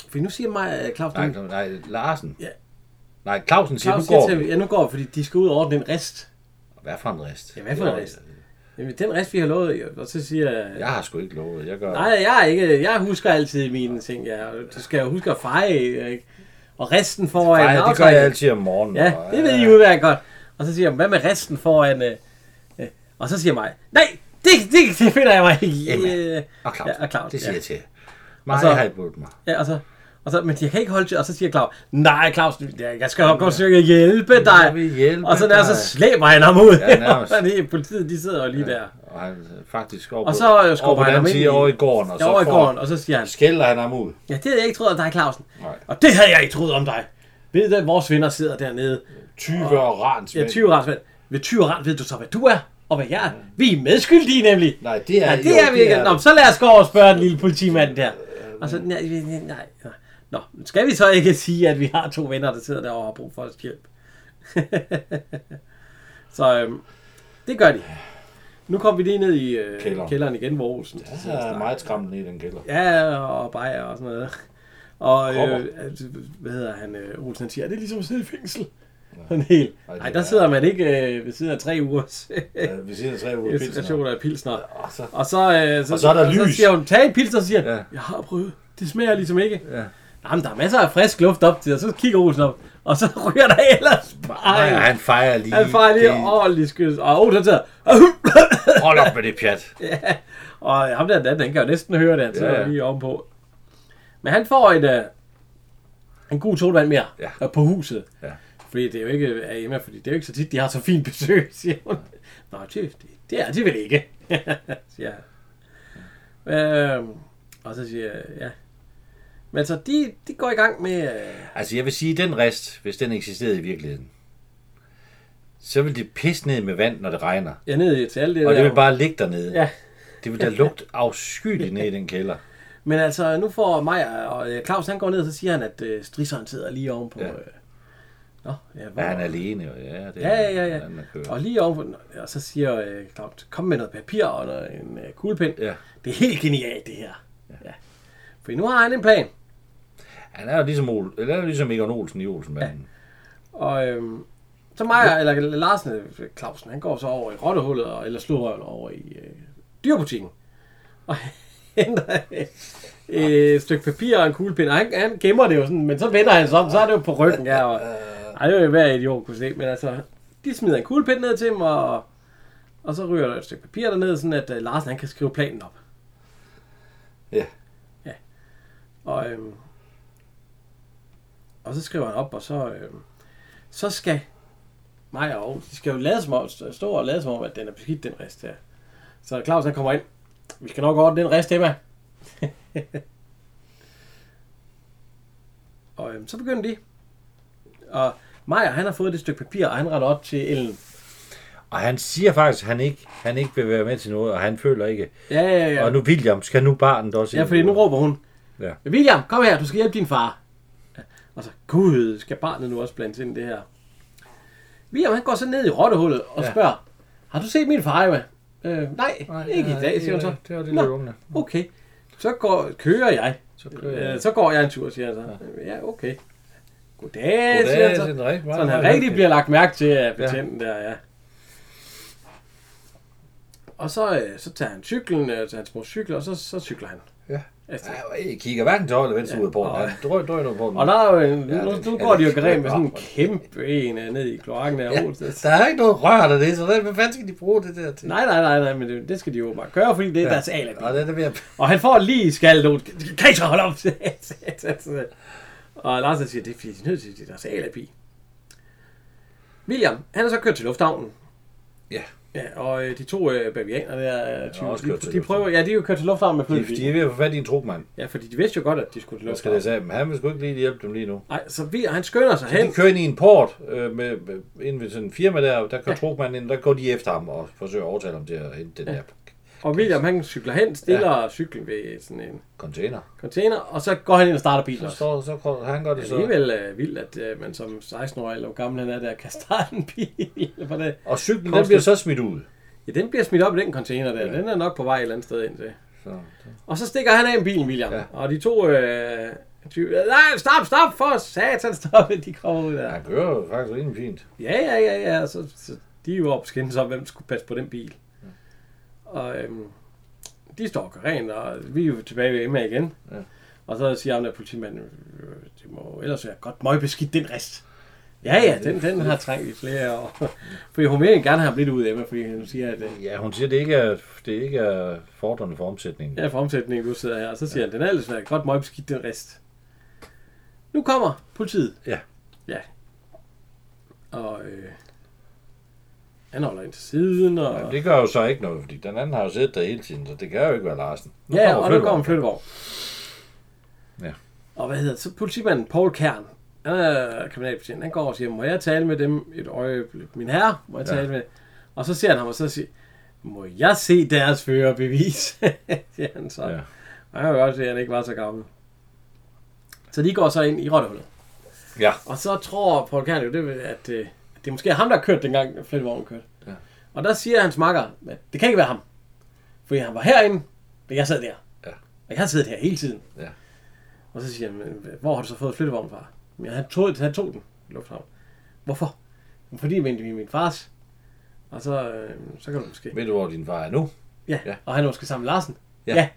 for nu siger Maja og Claus... Nej, de- Cla- nej Larsen. Ja. Nej, Clausen siger, Claus Claus nu siger går til, vi. ja, nu går vi, fordi de skal ud og ordne en rest. Hvad for en rest? Ja, hvad for en Det var- rest? Jamen, den rest, vi har lovet, og så siger jeg... Jeg har sgu ikke lovet. Jeg gør... Nej, jeg er ikke. Jeg husker altid mine ting. Ja. Du skal jo huske at feje, ikke? Og resten foran. nej det gør aftrækket. jeg altid om morgenen. Ja, og- det ved I udmærket godt. Og så siger jeg, hvad med resten foran? Øh, øh, og så siger mig, nej, det, det, det finder jeg mig ikke i. Emma. Øh, Og Claus, Ja, og Claus, det siger ja. jeg til. Mig så- har I budt mig. Ja, og så, og så, men jeg kan ikke holde til, og så siger Claus, nej Claus, du- jeg jeg skal nok godt søge at hjælpe dig. Jeg vil hjælpe og så der, dig. så slæber han ham ud. Ja, nærmest. Fordi politiet, de sidder jo lige der. Og han øh, faktisk over Og på- så, øh, skubber over på han den ham ind anden side i- over i gården. Og Jeg så er over i får- gården, og så siger han, skælder han ham ud. ja, det havde jeg ikke troet om dig, Clausen. Nej. Og det havde jeg ikke troet om dig. Ved du, at vores venner sidder dernede? 20 og rans. Ja, tyverensmand. Ved tyverens ved du så, hvad du er, og hvad jeg er. Vi er medskyldige nemlig. Nej, det er, Ja, det jo, er vi ikke. Nå, men så lad os gå over og spørge den lille politimand der. Og så, nej, nej, nej. nej. Nå, skal vi så ikke sige, at vi har to venner, der sidder derovre og har brug for vores hjælp? så øhm, det gør de. Nu kom vi lige ned i øh, kælderen. Kælderen. kælderen igen, hvor Olsen. Så er jeg meget skræmmende i den kælder. Ja, og bajer og sådan noget. Og Kropper. øh, hvad hedder han, øh, Olsen, han siger, er det ligesom at sidde i fængsel? Sådan helt. Ej, det Nej, der er- sidder man ikke øh, ved siden af tre ugers Ja, vi sidder tre uger i pilsen. installationer af pilsner. Og så, Og så, øh, Og så er der og så lys. siger hun, tag en pilsner, siger han, Ja. jeg har prøvet. Det smager ligesom ikke. Ja. Nej, men der er masser af frisk luft op til, og så kigger Olsen op, og så ryger der ellers bare. nej, Nej, han fejrer lige. han fejrer lige det. ordentligt skys. Og Olsen sidder, Hold op med det pjat. Og ham der den anden, han kan jo næsten høre det, han sidder Ja, ja, ja. ja. lige ovenpå. Men han får en, øh, en god solvand mere Ja. øh, på huset. Ja. Fordi det er jo ikke af Emma, fordi det er jo ikke så tit, de har så fint besøg, siger hun. Nå, det, det, det er de vel ikke, siger han. Øhm, og så siger jeg, ja. Men så de, de går i gang med... Øh, Altså, jeg vil sige, den rest, hvis den eksisterede i virkeligheden, så vil det pisse ned med vand, når det regner. ja, ned til alt det Og der. det vil bare ligge dernede. Ja. Det vil da lugte afskyeligt ned i den kælder. Men altså, nu får Maja og øh, Claus, han går ned, og så siger han, at øh, strisseren sidder lige ovenpå... Ja. Øh, Nå, ja, hvor, Ja, han er alene. jo. Ja, det er, Ja, ja, ja. ja. Han, der kører. Og lige ovenpå, og så siger øh, Claus, kom med noget papir og noget- en øh, kuglepind. Ja. Det er helt genialt, det her. Ja. ja. For nu har han en plan. han er jo ligesom, Ol- eller han er jo ligesom Egon Olsen i Olsenmanden. Og øhm, så mig, ja. eller Larsen, øh, Clausen, han går så over i rottehullet, og, eller slurøven over i øh, dyrbutikken. Og henter øh, et stykke papir og en kuglepind. Og han, han gemmer det jo sådan, men så vender han sig om, så er det jo på ryggen. Ja, og, ej, det er jo hver idiot kunne se, men altså, de smider en kuglepind ned til ham, og Og så ryger der et stykke papir derned, sådan at øh, Larsen han kan skrive planen op. Ja. Og, øhm, og så skriver han op, og så, øhm, så skal mig og Aarhus, de skal jo lade som om, stå og lade som om, at den er beskidt, den rest her. Så Claus han kommer ind. Vi skal nok ordne den rest, Emma. og øhm, så begynder de. Og Maja, han har fået det stykke papir, og han retter op til Ellen. Og han siger faktisk, at han ikke, han ikke vil være med til noget, og han føler ikke. Ja, ja, Ja. ja. Og nu William, skal nu barnet også ja, ind? fordi nu råber hun. Ja. William, kom her, du skal hjælpe din far. Ja, Og så, gud, skal barnet nu også blandes ind i det her? William, han går så ned i rottehullet og Ja. ja. spørger, har du set min far, Emma? Øh, nej, nej, ikke i dag, siger hun så. Det var det Nå. lidt unge. Okay, så går, kører jeg. Så kører jeg. Øh, så går jeg en tur, siger han så. Ja, okay. Goddag, Goddag, siger han det er så. en rigtig- meget, Så han meget rigtig hyggelig. bliver lagt mærke til af betjenten der, ja. Og så, øh, så tager han cyklen, øh, tager hans mors cykel, og så, så cykler han. Ja. Afsted. Ja, I kigger hverken til højre eller venstre ud af porten. og- Han drøg, drøg noget på den. Og der er jo en, Ja, ja, nu, det- nu ja, går de jo det- grim med sådan en det- kæmpe en øh, ned i kloakken af Ja, Olsted. der er ikke noget rør der det, så hvad fanden skal de bruge det der til? Nej, nej, nej, nej, men det, det skal de jo bare gøre, fordi det er ja. deres alibi. Og den er ved at... Og han får lige skaldet ud. Kan I så holde op? og Lars han siger, det er fordi, de er nødt til det er deres alibi. William, han er så kørt til lufthavnen. Ja. Ja, og øh, de to øh, bavianer der, øh, typer, også kørt til de, de, prøver, ja, de er jo kørt til lufthavnen med De, de flyet. er ved at få fat i en trukmand. Ja, fordi de vidste jo godt, at de skulle til Hvad skal jeg lufthavnen. sige? Men han vil sgu ikke lige hjælpe dem lige nu. Nej, så vi, han skynder sig hen. De kører ind i en port øh, med, med, ind ved sådan en firma der, der kører ja. trukmanden ind, der går de efter ham og forsøger at overtale ham til at hente den ja. der Og William, han cykler hen, stiller ja. cyklen ved sådan en container. container, og så går han ind og starter bilen Så, også. så, så går- han gør det Det er så. alligevel øh, vildt, at øh, man som 16-årig, eller hvor gammel han er, der kan starte en bil. For det. Og cyklen, den Kostet. bliver så smidt ud. Ja, den bliver smidt op i den container der. Den er nok på vej et eller andet sted ind til. Så, Og så stikker han af en bilen, William. Ja. Ja. Og de to... Øh, ty- Nej, stop, stop, for satan, stop, de kommer ud der. han kører jo faktisk rimelig fint. Ja, ja, ja, ja. Så, så de er jo oppe skændes om, hvem skulle passe på den bil. Og øhm, de står og gør rent, og vi er jo tilbage ved Emma igen. Ja. Ja. Og så siger ham der politimanden, "Øh, det må ellers være godt møgbeskidt, den rest. Ja, ja, den, den har trængt i flere år. Fordi hun vil egentlig gerne have ham lidt ud af Emma, fordi hun siger, at øh, Ja, hun siger, det ikke er, det ikke er fordrende for omsætningen. Ja, for omsætningen, du sidder her. Og så siger ja. han, den er ellers været godt møgbeskidt, den rest. Nu kommer politiet. Ja. Ja. Og øh, han holder ind til siden, og... Ja, det gør jo så ikke noget, fordi den anden har jo siddet der hele tiden, så det kan jo ikke være Larsen. Nu ja, kommer og nu kommer flyttevognen. flyttevogn. Ja. Og hvad hedder det? så politimanden Paul Kern, han er kriminalbetjent, han går og siger, må jeg tale med dem et øjeblik? Min herre, må jeg Ja. ja. tale med? Og så ser han ham, og så siger, må jeg se deres førerbevis? siger han så. Ja. Ja. Og jeg kan godt se, at han ikke var så gammel. Så de går så ind i rottehullet. Ja. Og så tror Paul Kern jo, det, vil- at, øh, at det er måske ham, der har kørt dengang flyttevognen kørte. Ja. Ja. Og der siger hans makker, at det kan ikke være ham. Fordi han var herinde, og jeg sad der. Ja. Og jeg har siddet her hele tiden. Ja. Og så siger han, "Men hvor har du så fået flyttevognen fra? Ja, han tog, han tog den i lufthavn. Hvorfor? "Jamen, Fordi men det er min fars. Og så, øh, så kan du måske... Ved du, hvor din far er nu? Ja. Ja. ja. Og han er måske sammen med Larsen. Ja.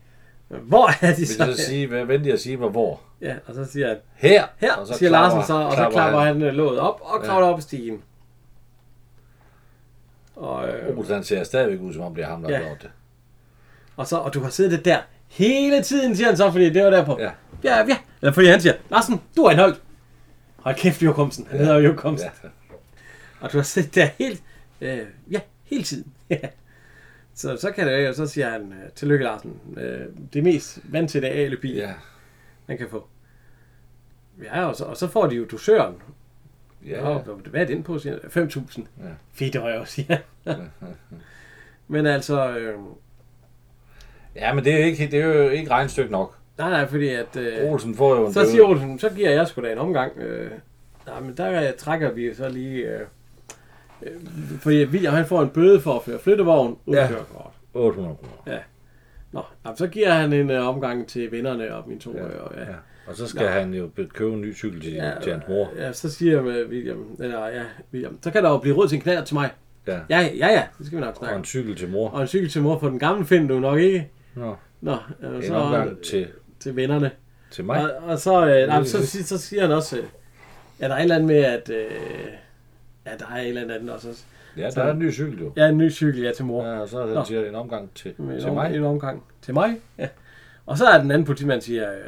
Men Hvor er de Vil så? du så sige, hvad venter jeg at sige, hvor hvor? Ja, og så siger han, Her! her, Og så siger klapper- Larsen så, og så klapper han, han låget op og kravler ja. op ad stigen. Og, øh, Olsen han ser stadigvæk ud, som om det er ham, der har Ja. gjort det. og, så, og du har siddet der hele tiden, siger han så, fordi det var derpå. Ja. ja, ja. Eller fordi han siger, Larsen, du er anholdt. Hold kæft, Jo Komsen. Han ja. hedder jo Komsen. Ja. Og du har siddet der helt, øh, ja, hele tiden. så, så kan det jo, så siger han, øh, tillykke Larsen, øh, det mest vant til det alibi, Ja. man kan få. Ja, og så, og så får de jo dusøren. ja. Ja. Og, hvad er den på, siger han? 5.000. Ja. Ja. Fedt røv, siger han. Men altså, øh, ja, men det er, jo ikke, det er jo ikke regnstykke nok. nej, nej, fordi at... Øh, Olsen får jo en så siger Olsen, så giver jeg sgu da en omgang. Øh, nej, men der øh, trækker vi jo så lige... Øh, øh, fordi William, han får en bøde for at føre flyttevogn uden Ja. ja. kørekort. 800 kroner. Nå, jamen, så giver han en øh, omgang til vennerne og mine to. Ja. Øh, og, ja. Ja. Og så skal han jo be- købe en ny cykel til, ja, til hans mor. Ja, så siger øh, William, eller ja, William, så kan der jo blive råd til en knald til mig. Ja. Ja, ja, ja, det skal vi nok Og snakke. en om. cykel til mor. Og en cykel til mor på den gamle finder du nok ikke. Nå. Nå, øh, En så omgang til, til vennerne. til mig. Og, og så, øh, nej, men så, sig- så siger han også, øh, ja, der er et eller andet med, at øh, ja, der er et eller andet andet også. Ja, der er en ny cykel jo. Ja, en ny cykel, ja, til mor. Ja, og så Nå. han siger en omgang til, Med en til om- mig, En omgang. Til mig? Ja. Og så er den anden politimand, siger, øh,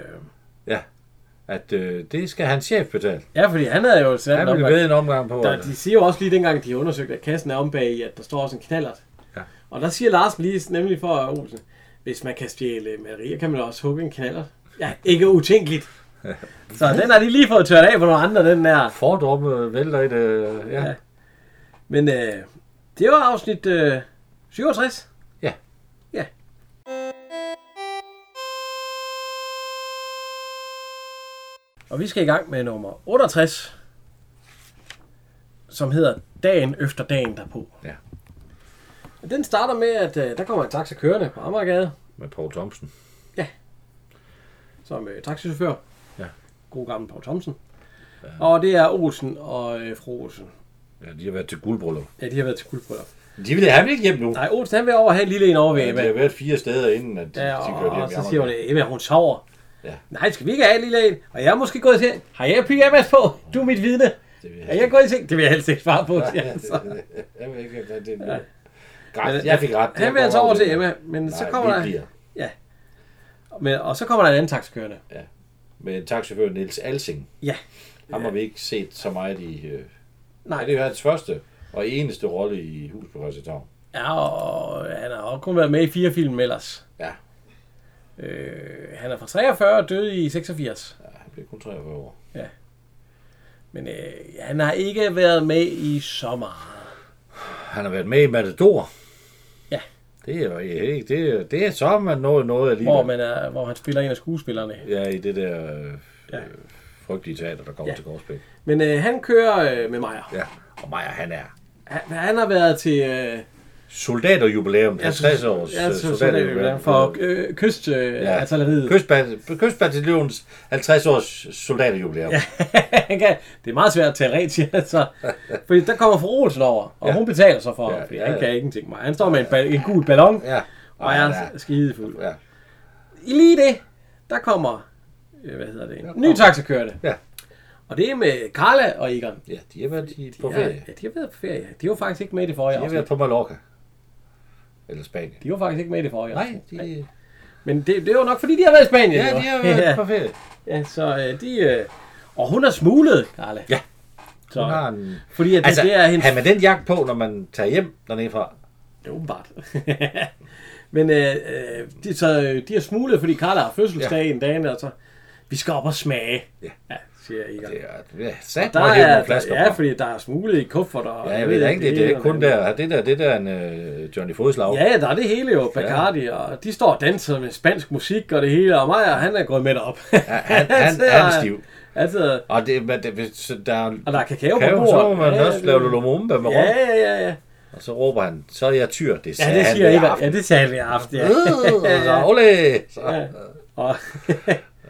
at øh, det skal hans chef betale. ja, fordi han havde jo sat Han en ville omgang. ved en omgang på. Der, at- de siger jo også lige dengang, de undersøgte, at kassen er om bag i, at der står også en knallert. Ja. Og der siger Larsen lige nemlig for Olsen, hvis man kan stjæle malerier, kan man også hugge en knallert. Ja, ikke utænkeligt. Så den har de lige fået tørt af på nogle andre, den der. Fordomme øh, vælter et... Øh, ja. Ja. Men øh, det var afsnit øh, 67. Ja. Ja. Og vi skal i gang med nummer 68, som hedder Dagen efter dagen derpå. Ja. Og Den starter med, at øh, der kommer en taxa kørende på Amagergade, Med Paul Thomsen. som øh, taxichauffør. Ja. God gammel Paul Thomsen. Ja. Og det er Olsen og øh, fru Olsen. Ja, de har været til guldbryllup. Ja, de har været til guldbryllup. De vil have ikke hjem nu. Nej, Olsen han vil over have en lille en over ved Ja, Emma. de har været fire steder inden, at de, Ja, de og, kørte hjem. og i så Amager. siger hun, Emma, hun sover. Ja. Nej, skal vi ikke have en lille en? Og jeg er måske gået i seng. Har jeg pyjamas på? Du er mit vidne. Det vil jeg Er jeg gået i seng? Det vil jeg helst ikke svare på. siger han så. Jeg ved ikke, hvad det er. Men, Græt, jeg fik ret. Han vil altså over til Emma, men så kommer Nej, vi der, bliver. men, og så kommer der en anden taxakørende. Med taxichauffør Niels Alsing. Ja. Ham har vi ikke set så meget i... Øh... Nej, Nej, det er jo hans første og eneste rolle i Hus på Christianshavn. Ja, og han har også kun været med i fire film ellers. Ja. Øh, han er fra 43 og døde i 86. Ja, han blev kun 43 år. Men øh, han har ikke været med i så meget. Han har været med i Matador. Ja. Det er jo ikke... Det, er- det er så, man nåede noget alligevel. Hvor, man er, hvor han spiller en af skuespillerne. Ja, i det der øh, Ja. ja. frygtelige teater, der kommer Ja. ja. til Gårdsbæk. Men øh, han kører øh, med Meyer. Ja. Og Maja, han er Han, han har været til... Øh, soldaterjubilæum, ja, 50 års ja, øh, til soldaterjubilæum for øh, Ja. kystartilleriet. Øh, Kystbat- Kystbataljonens 50 års soldaterjubilæum. Ja. ja. det er meget svært at tale rent, siger han så. Fordi der kommer fru Olsen over, og ja. Ja. hun betaler så for ja, ham, Ja, fordi ja, ja, ja. han ja. kan ingenting med. Han står med en, bal- en gul ballon, ja. ja. og han er skidefuld. ja. I lige det, der kommer, øh, hvad hedder det, en ny kommer- taxakørende. Ja. Og det er med Carla og Egon. ja, de har været i, på Ja, ferie. ja, de har været på ferie. De var faktisk ikke med i det forrige De har været afsnit. på Mallorca. Eller Spanien. De var faktisk ikke med i det forrige Nej, afsnit. de, Men det, det var nok, fordi de har været i Spanien. ja, jo. de har været ja. på ferie. ja, så øh, de... Øh, og hun har smuglet, Carla. Ja. Så, Hun har en... Fordi at det, Altså, altså, det er hendes... have med den jakke på, når man tager hjem dernede fra. Ja, åbenbart. Men øh, øh, de, så, øh, de har smuglet, fordi Carla har fødselsdag ja. en dag, og så... Vi skal op og smage. Ja. ja siger Egon. Det er, det er sat Der mig hjem er, nogle flasker. ja, fra. fordi der er smuglet i kufferter. og Ja, jeg ved da ikke, det, det er ene og kun det andet. der, det der, det der er en øh, Johnny Fodslag. Ja, ja, der er det hele jo. Bacardi, og de står og danser med spansk musik og det hele, og Maja, han er gået med derop. Ja, han, han, sidder- han er stiv. Han sidder, Og det, men det, hvis der er og der er kakao på kakao, bordet. så må man Ja, også det- lave lolomumba med Ja, rom. ja, ja, ja. Og så råber han, så er jeg tyr, det Ja, sagde det han siger hver Eva. aften. Ja, det sagde vi i aften, ja. Øh, så, ole! Så, Ja. Og,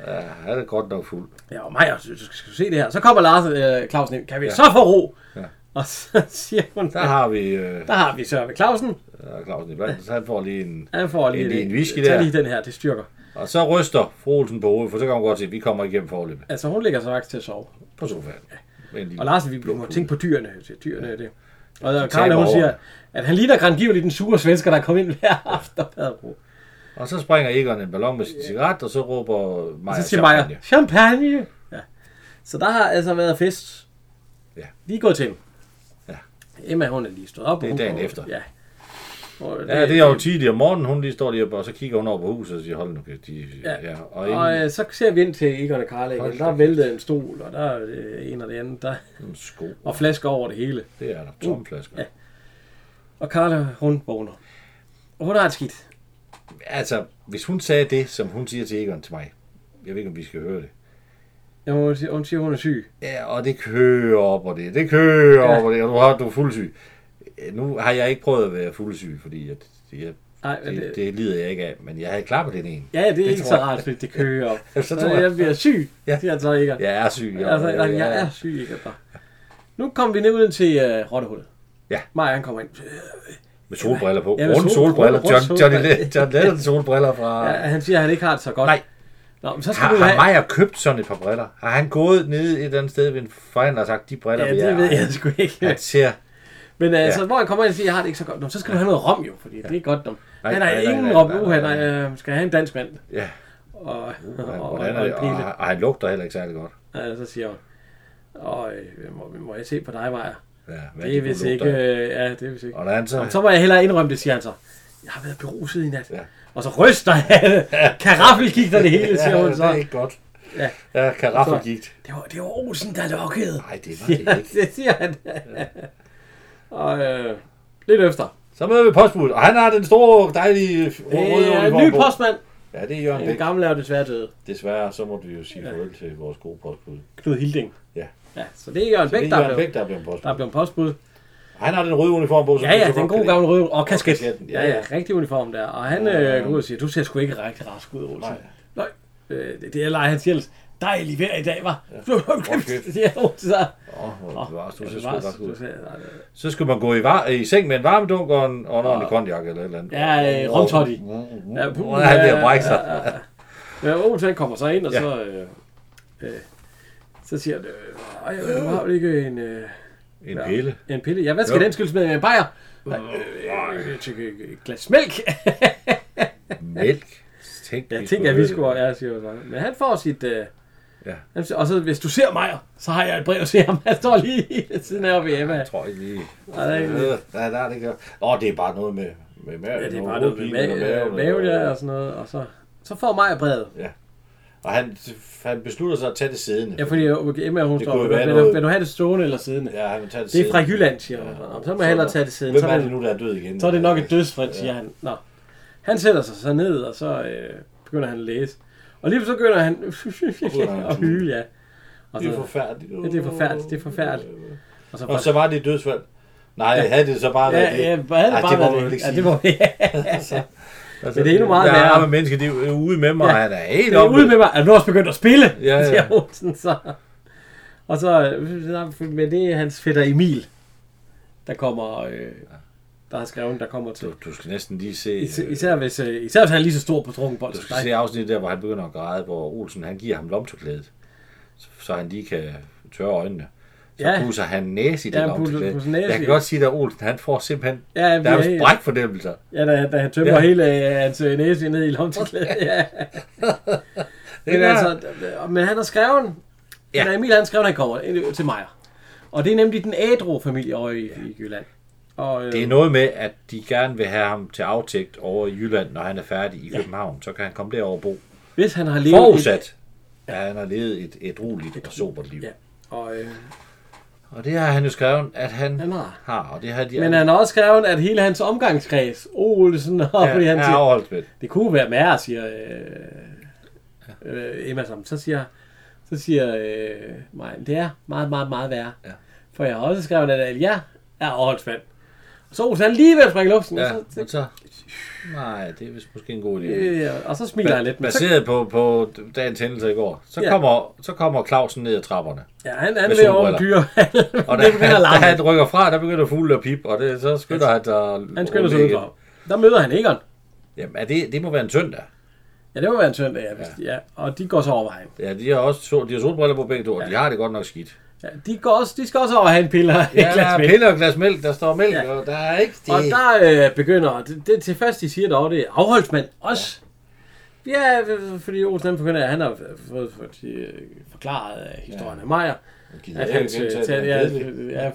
ja, han er godt nok fuld. ja, og Maja, du skal, skal du se det her. Så kommer Lars øh, Clausen ind. Kan vi så få ro? Ja. Og så siger hun, Der har vi øh, der har vi Søren Clausen. øh, Clausen i blandt, så han får lige en... Han får Det er lige lige en whisky Tag der. lige den her, det styrker. Og så ryster fru Olsen på hovedet, for så kan hun godt se, at vi kommer igennem forløbet Altså, hun ligger så faktisk til at sove. på sofaen. Med en lille- Og Larsen, vi må tænke på dyrene. Så dyrene er det. Og de Karla, taber hun over. siger, at han ligner grangivligt den sure svensker, der kom ind hver aften. Og og så springer Egon en ballon med sin cigaret, og så råber Maja så siger Maja, champagne. champagne! Ja. Så der har altså været fest. Ja. Lige gået til. Ja. Emma, hun er lige stået op. Det og er hun dagen går- efter. Ja. Og Ja, det er øh." jo tidligt om morgenen, hun lige står lige oppe, og så kigger hun over på huset og siger, hold nu, kæft, de, Ja. ja. ja. Og, inden, Og øh, så ser vi ind til Egon og Karla igen. Hold Der er da væltet en stol, og der er øh, en og det andet. Der, en sko, og flasker over det hele. det er der tomme flasker. øh, Mm. Ja. Og Karla, hun vågner. Og hun har et skidt. Altså, hvis hun sagde det, som hun siger til Egon til mig, jeg ved ikke, om vi skal høre det. Jeg må sige, hun siger, hun er syg. Ja, og det kører op og det, det kører Ja. ja. op og det, og du, har, du er fuldsyg. Øh, Nu har jeg ikke prøvet at være fuldsyg, fordi at, jeg, Nej, men det, det, lider jeg ikke af, men jeg havde klappet den ene. Ja, det er det ikke tror så jeg. rart, fordi det kører op. Ja, så tror jeg. jeg bliver syg, ja. Ja. siger han så ikke. Ja, Jeg er syg. og- altså, og- jeg, jeg er syg, ikke? Altså. Nu kommer vi ned ud til uh, Rottehullet. Ja. Maja, han kommer ind. Med solbriller på. Ja, Ja, med Runde sol- solbriller. runde John, Johnny solbriller. Le- John Lennon solbriller fra... Ja, han siger, at han ikke har det så godt. Nej. Nå, men så skal Har, du have... har Maja købt sådan et par briller? Har han gået nede et eller andet sted ved en forhandler og sagt, de briller Ja, vil jeg det ved eje? jeg sgu ikke. Han ser Men altså, Ja. hvor jeg kommer ind og siger, jeg har det ikke så godt. Nå, så skal du have noget rom jo, fordi det er godt. Nå. Nej, han har nej, nej, ingen nej, rom. nej, Uha, nej, nej, øh, skal jeg have en dansk mand. Ja, Og, og, og, hvordan er og en det? Og, pille. han- og han lugter heller ikke særlig godt. Og så siger hun, og øh, må, må jeg se på dig, Maja? Ja, hvad Det er de vist lugter ikke... af. Øh, ja, det er vist ikke. Og når han så... Nå, Så må jeg hellere indrømme det, siger han så. Jeg har været beruset i nat. Ja. Og så ryster han. Karaffelgik der det hele, siger hun det er så. ikke godt. Ja. Ja, karaffelgigt. Det var, det var Olsen, der lukkede. Nej, det var det Ja, ikke. det siger han. og øh, lidt efter. Så møder vi postbud, og han har den store, dejlige røde Øh, uniform ny på. postmand. Ja, det er Jørgen Den Bæk. gamle er jo desværre død. Desværre, så må vi jo sige farvel til vores gode postbud. Knud Hilding. Ja. Ja, så det er Jørgen Det Bæk, er der er Jørgen blevet, Bæk, der er blevet postbud. der er blevet postbud. Han har den røde uniform på. som Ja, du ja, så den gode godt kan lide. gamle røde og kasket. kasketten, ja, Ja, ja, ja. rigtig uniform der. Og han Ja. øh, går ud og siger, du ser sgu ikke rigtig rask ud, Olsen. Nej. Nej. Øh, det det er Leif Hans Jels. Dejlig vejr i dag, var. Ja. Hold kæft. kæft, siger Olsen så. Åh, hvor Åh, bevares, du ja, ser sgu bevares, godt ud. du ser- nej, nej. Så skulle man gå i, var- i seng med en varmedunk og en, og en ordentlig konjak eller et eller andet. Ah. Ja, øh, romtotti. Mm, Ja, puh, Ja, han bliver brækket sig. ja, ja, ja. Ja, Olsen han kommer så ind, og Ja. så... Øh, øh, så siger han, øh, "Ej, øh, har du ikke en... Øh, En pille. En pille? Ja, hvad skal Jo. den skyldes med med en bajer? Øh, øh, til et glas mælk. Mælk. Tænk, Jeg tænkte, at vi skulle... Ja, siger jeg så. Men han får sit... Øh, Ja. han siger, Og så, hvis du ser mig, så har jeg et brev til ham. Han står lige ved siden af oppe i Emma. Jeg tror ikke lige. Nej, der er ikke Øh, der, der er det ikke. Åh, det er bare noget med, med maven. Ja, det er og bare noget med hovedpine og mave, maven, øh, mave ja, og- og sådan noget. Og så, så får mig brevet. Og han, han beslutter sig at tage det siddende. Ja, fordi øh, okay, Emma, hun Det står, kunne jo vil, være vil, noget- du, vil du have det stående eller siddende? Ja, han vil tage det Det er fra siddende. Jylland, siger hun. Nå, Så må jeg hellere tage det siden. Hvem Så er er det det, nu, der er død igen? så er det nok et dødsfrit, siger han. Nå. Han sætter sig så ned, og så øh, begynder han at læse. Og lige så begynder han han at at hyle, ja. Og Det er så, forfærdeligt. ja, det er forfærdeligt, det er forfærdeligt. og så, Og så var det et dødsfald. Nej, ja. havde det så bare været ja, ja, det. bare, havde det Ej, bare det må været man ikke Ja, det sige. må altså, altså, det er endnu meget der værre. Der er mennesker, de er ude med mig, Ja. ja. han er helt Det er oppe. ude med mig. Er du nu også begyndt at spille? Ja, ja. Siger Olsen så. Og så, øh, men det er hans fætter Emil, der kommer, øh, der har skrevet, der kommer til. Du, du skal næsten lige se... Især, især, hvis, øh, især hvis han er lige så stor på trunken bold Du som skal dig. se afsnittet der, hvor han begynder at græde, hvor Olsen han giver ham lomtørklædet, så, så han lige kan tørre øjnene. Så Ja. ja. pusser han næse i det Ja, ja, han pusser- pusser lomtørklæde. næse Jeg i. kan godt sige, at Olsen han får simpelthen Ja, han der bliver er helt- jo sprækfornemmelser. Ja, da, da han tømmer ja. Ja. hele øh, hans øh, næse ned i lomteklædet. Ja. er men, der. altså, øh, men han har skrevet, ja. Ja. når Emil han har skrevet, han kommer ind til mig. Og det er nemlig den ædru familie over i, i Jylland. Og, øh, Det er noget med, at de gerne vil have ham til aftægt over i Jylland, når han er færdig i København. Så kan han komme derover og bo. hvis han har levet... Forudsat, at han har levet et, et roligt og sobert liv. Ja. Og, øh, Og det har han jo skrevet, at han, Han han har. har. har. Og det har de men han har også skrevet, at hele hans omgangskreds, Olsen, og er, fordi han er siger, afholdt med. Det kunne være mere, siger øh, øh, Emma sammen. Så siger, så siger øh, mig, det er meget, meget, meget værre. Ja. Ja. For jeg har også skrevet, at jeg er overholdsmand. Og så Olsen han lige ved at springe i luften, Ja, og, så, men så... Nej, det er vist måske en god idé. øh, og så smiler han lidt. Men så, Baseret på, på dagens hændelser i går, så, Ja. ja. kommer, så kommer Clausen ned ad trapperne. ja, han, han med vil over solbriller. dyr. Og da, det begynder at da larme. han rykker fra, der begynder fugle og pip, og det, så skynder han sig Han skynder sig ud udenfor. Der møder han Egon. Jamen, er det, det må være en søndag. Ja, det må være en søndag, ja, hvis ja. De, ja. Og de går så over vejen. Ja, de har også sol, de har solbriller på begge to, og de har det godt nok skidt. Ja, de, går også, de skal også over og have en pille og Ja, et glas mælk. piller og et glas mælk, der står mælk, Ja. ja. og der er ikke det. Og der øh, begynder, det, det, til først de siger dog, det er afholdsmand også. Ja, ja fordi Olsen han begynder, at han har fået for, de, øh, forklaret øh, historien af Majer. Gider At jeg han ikke til, gentage til, den? ja, Kedeligt. ja,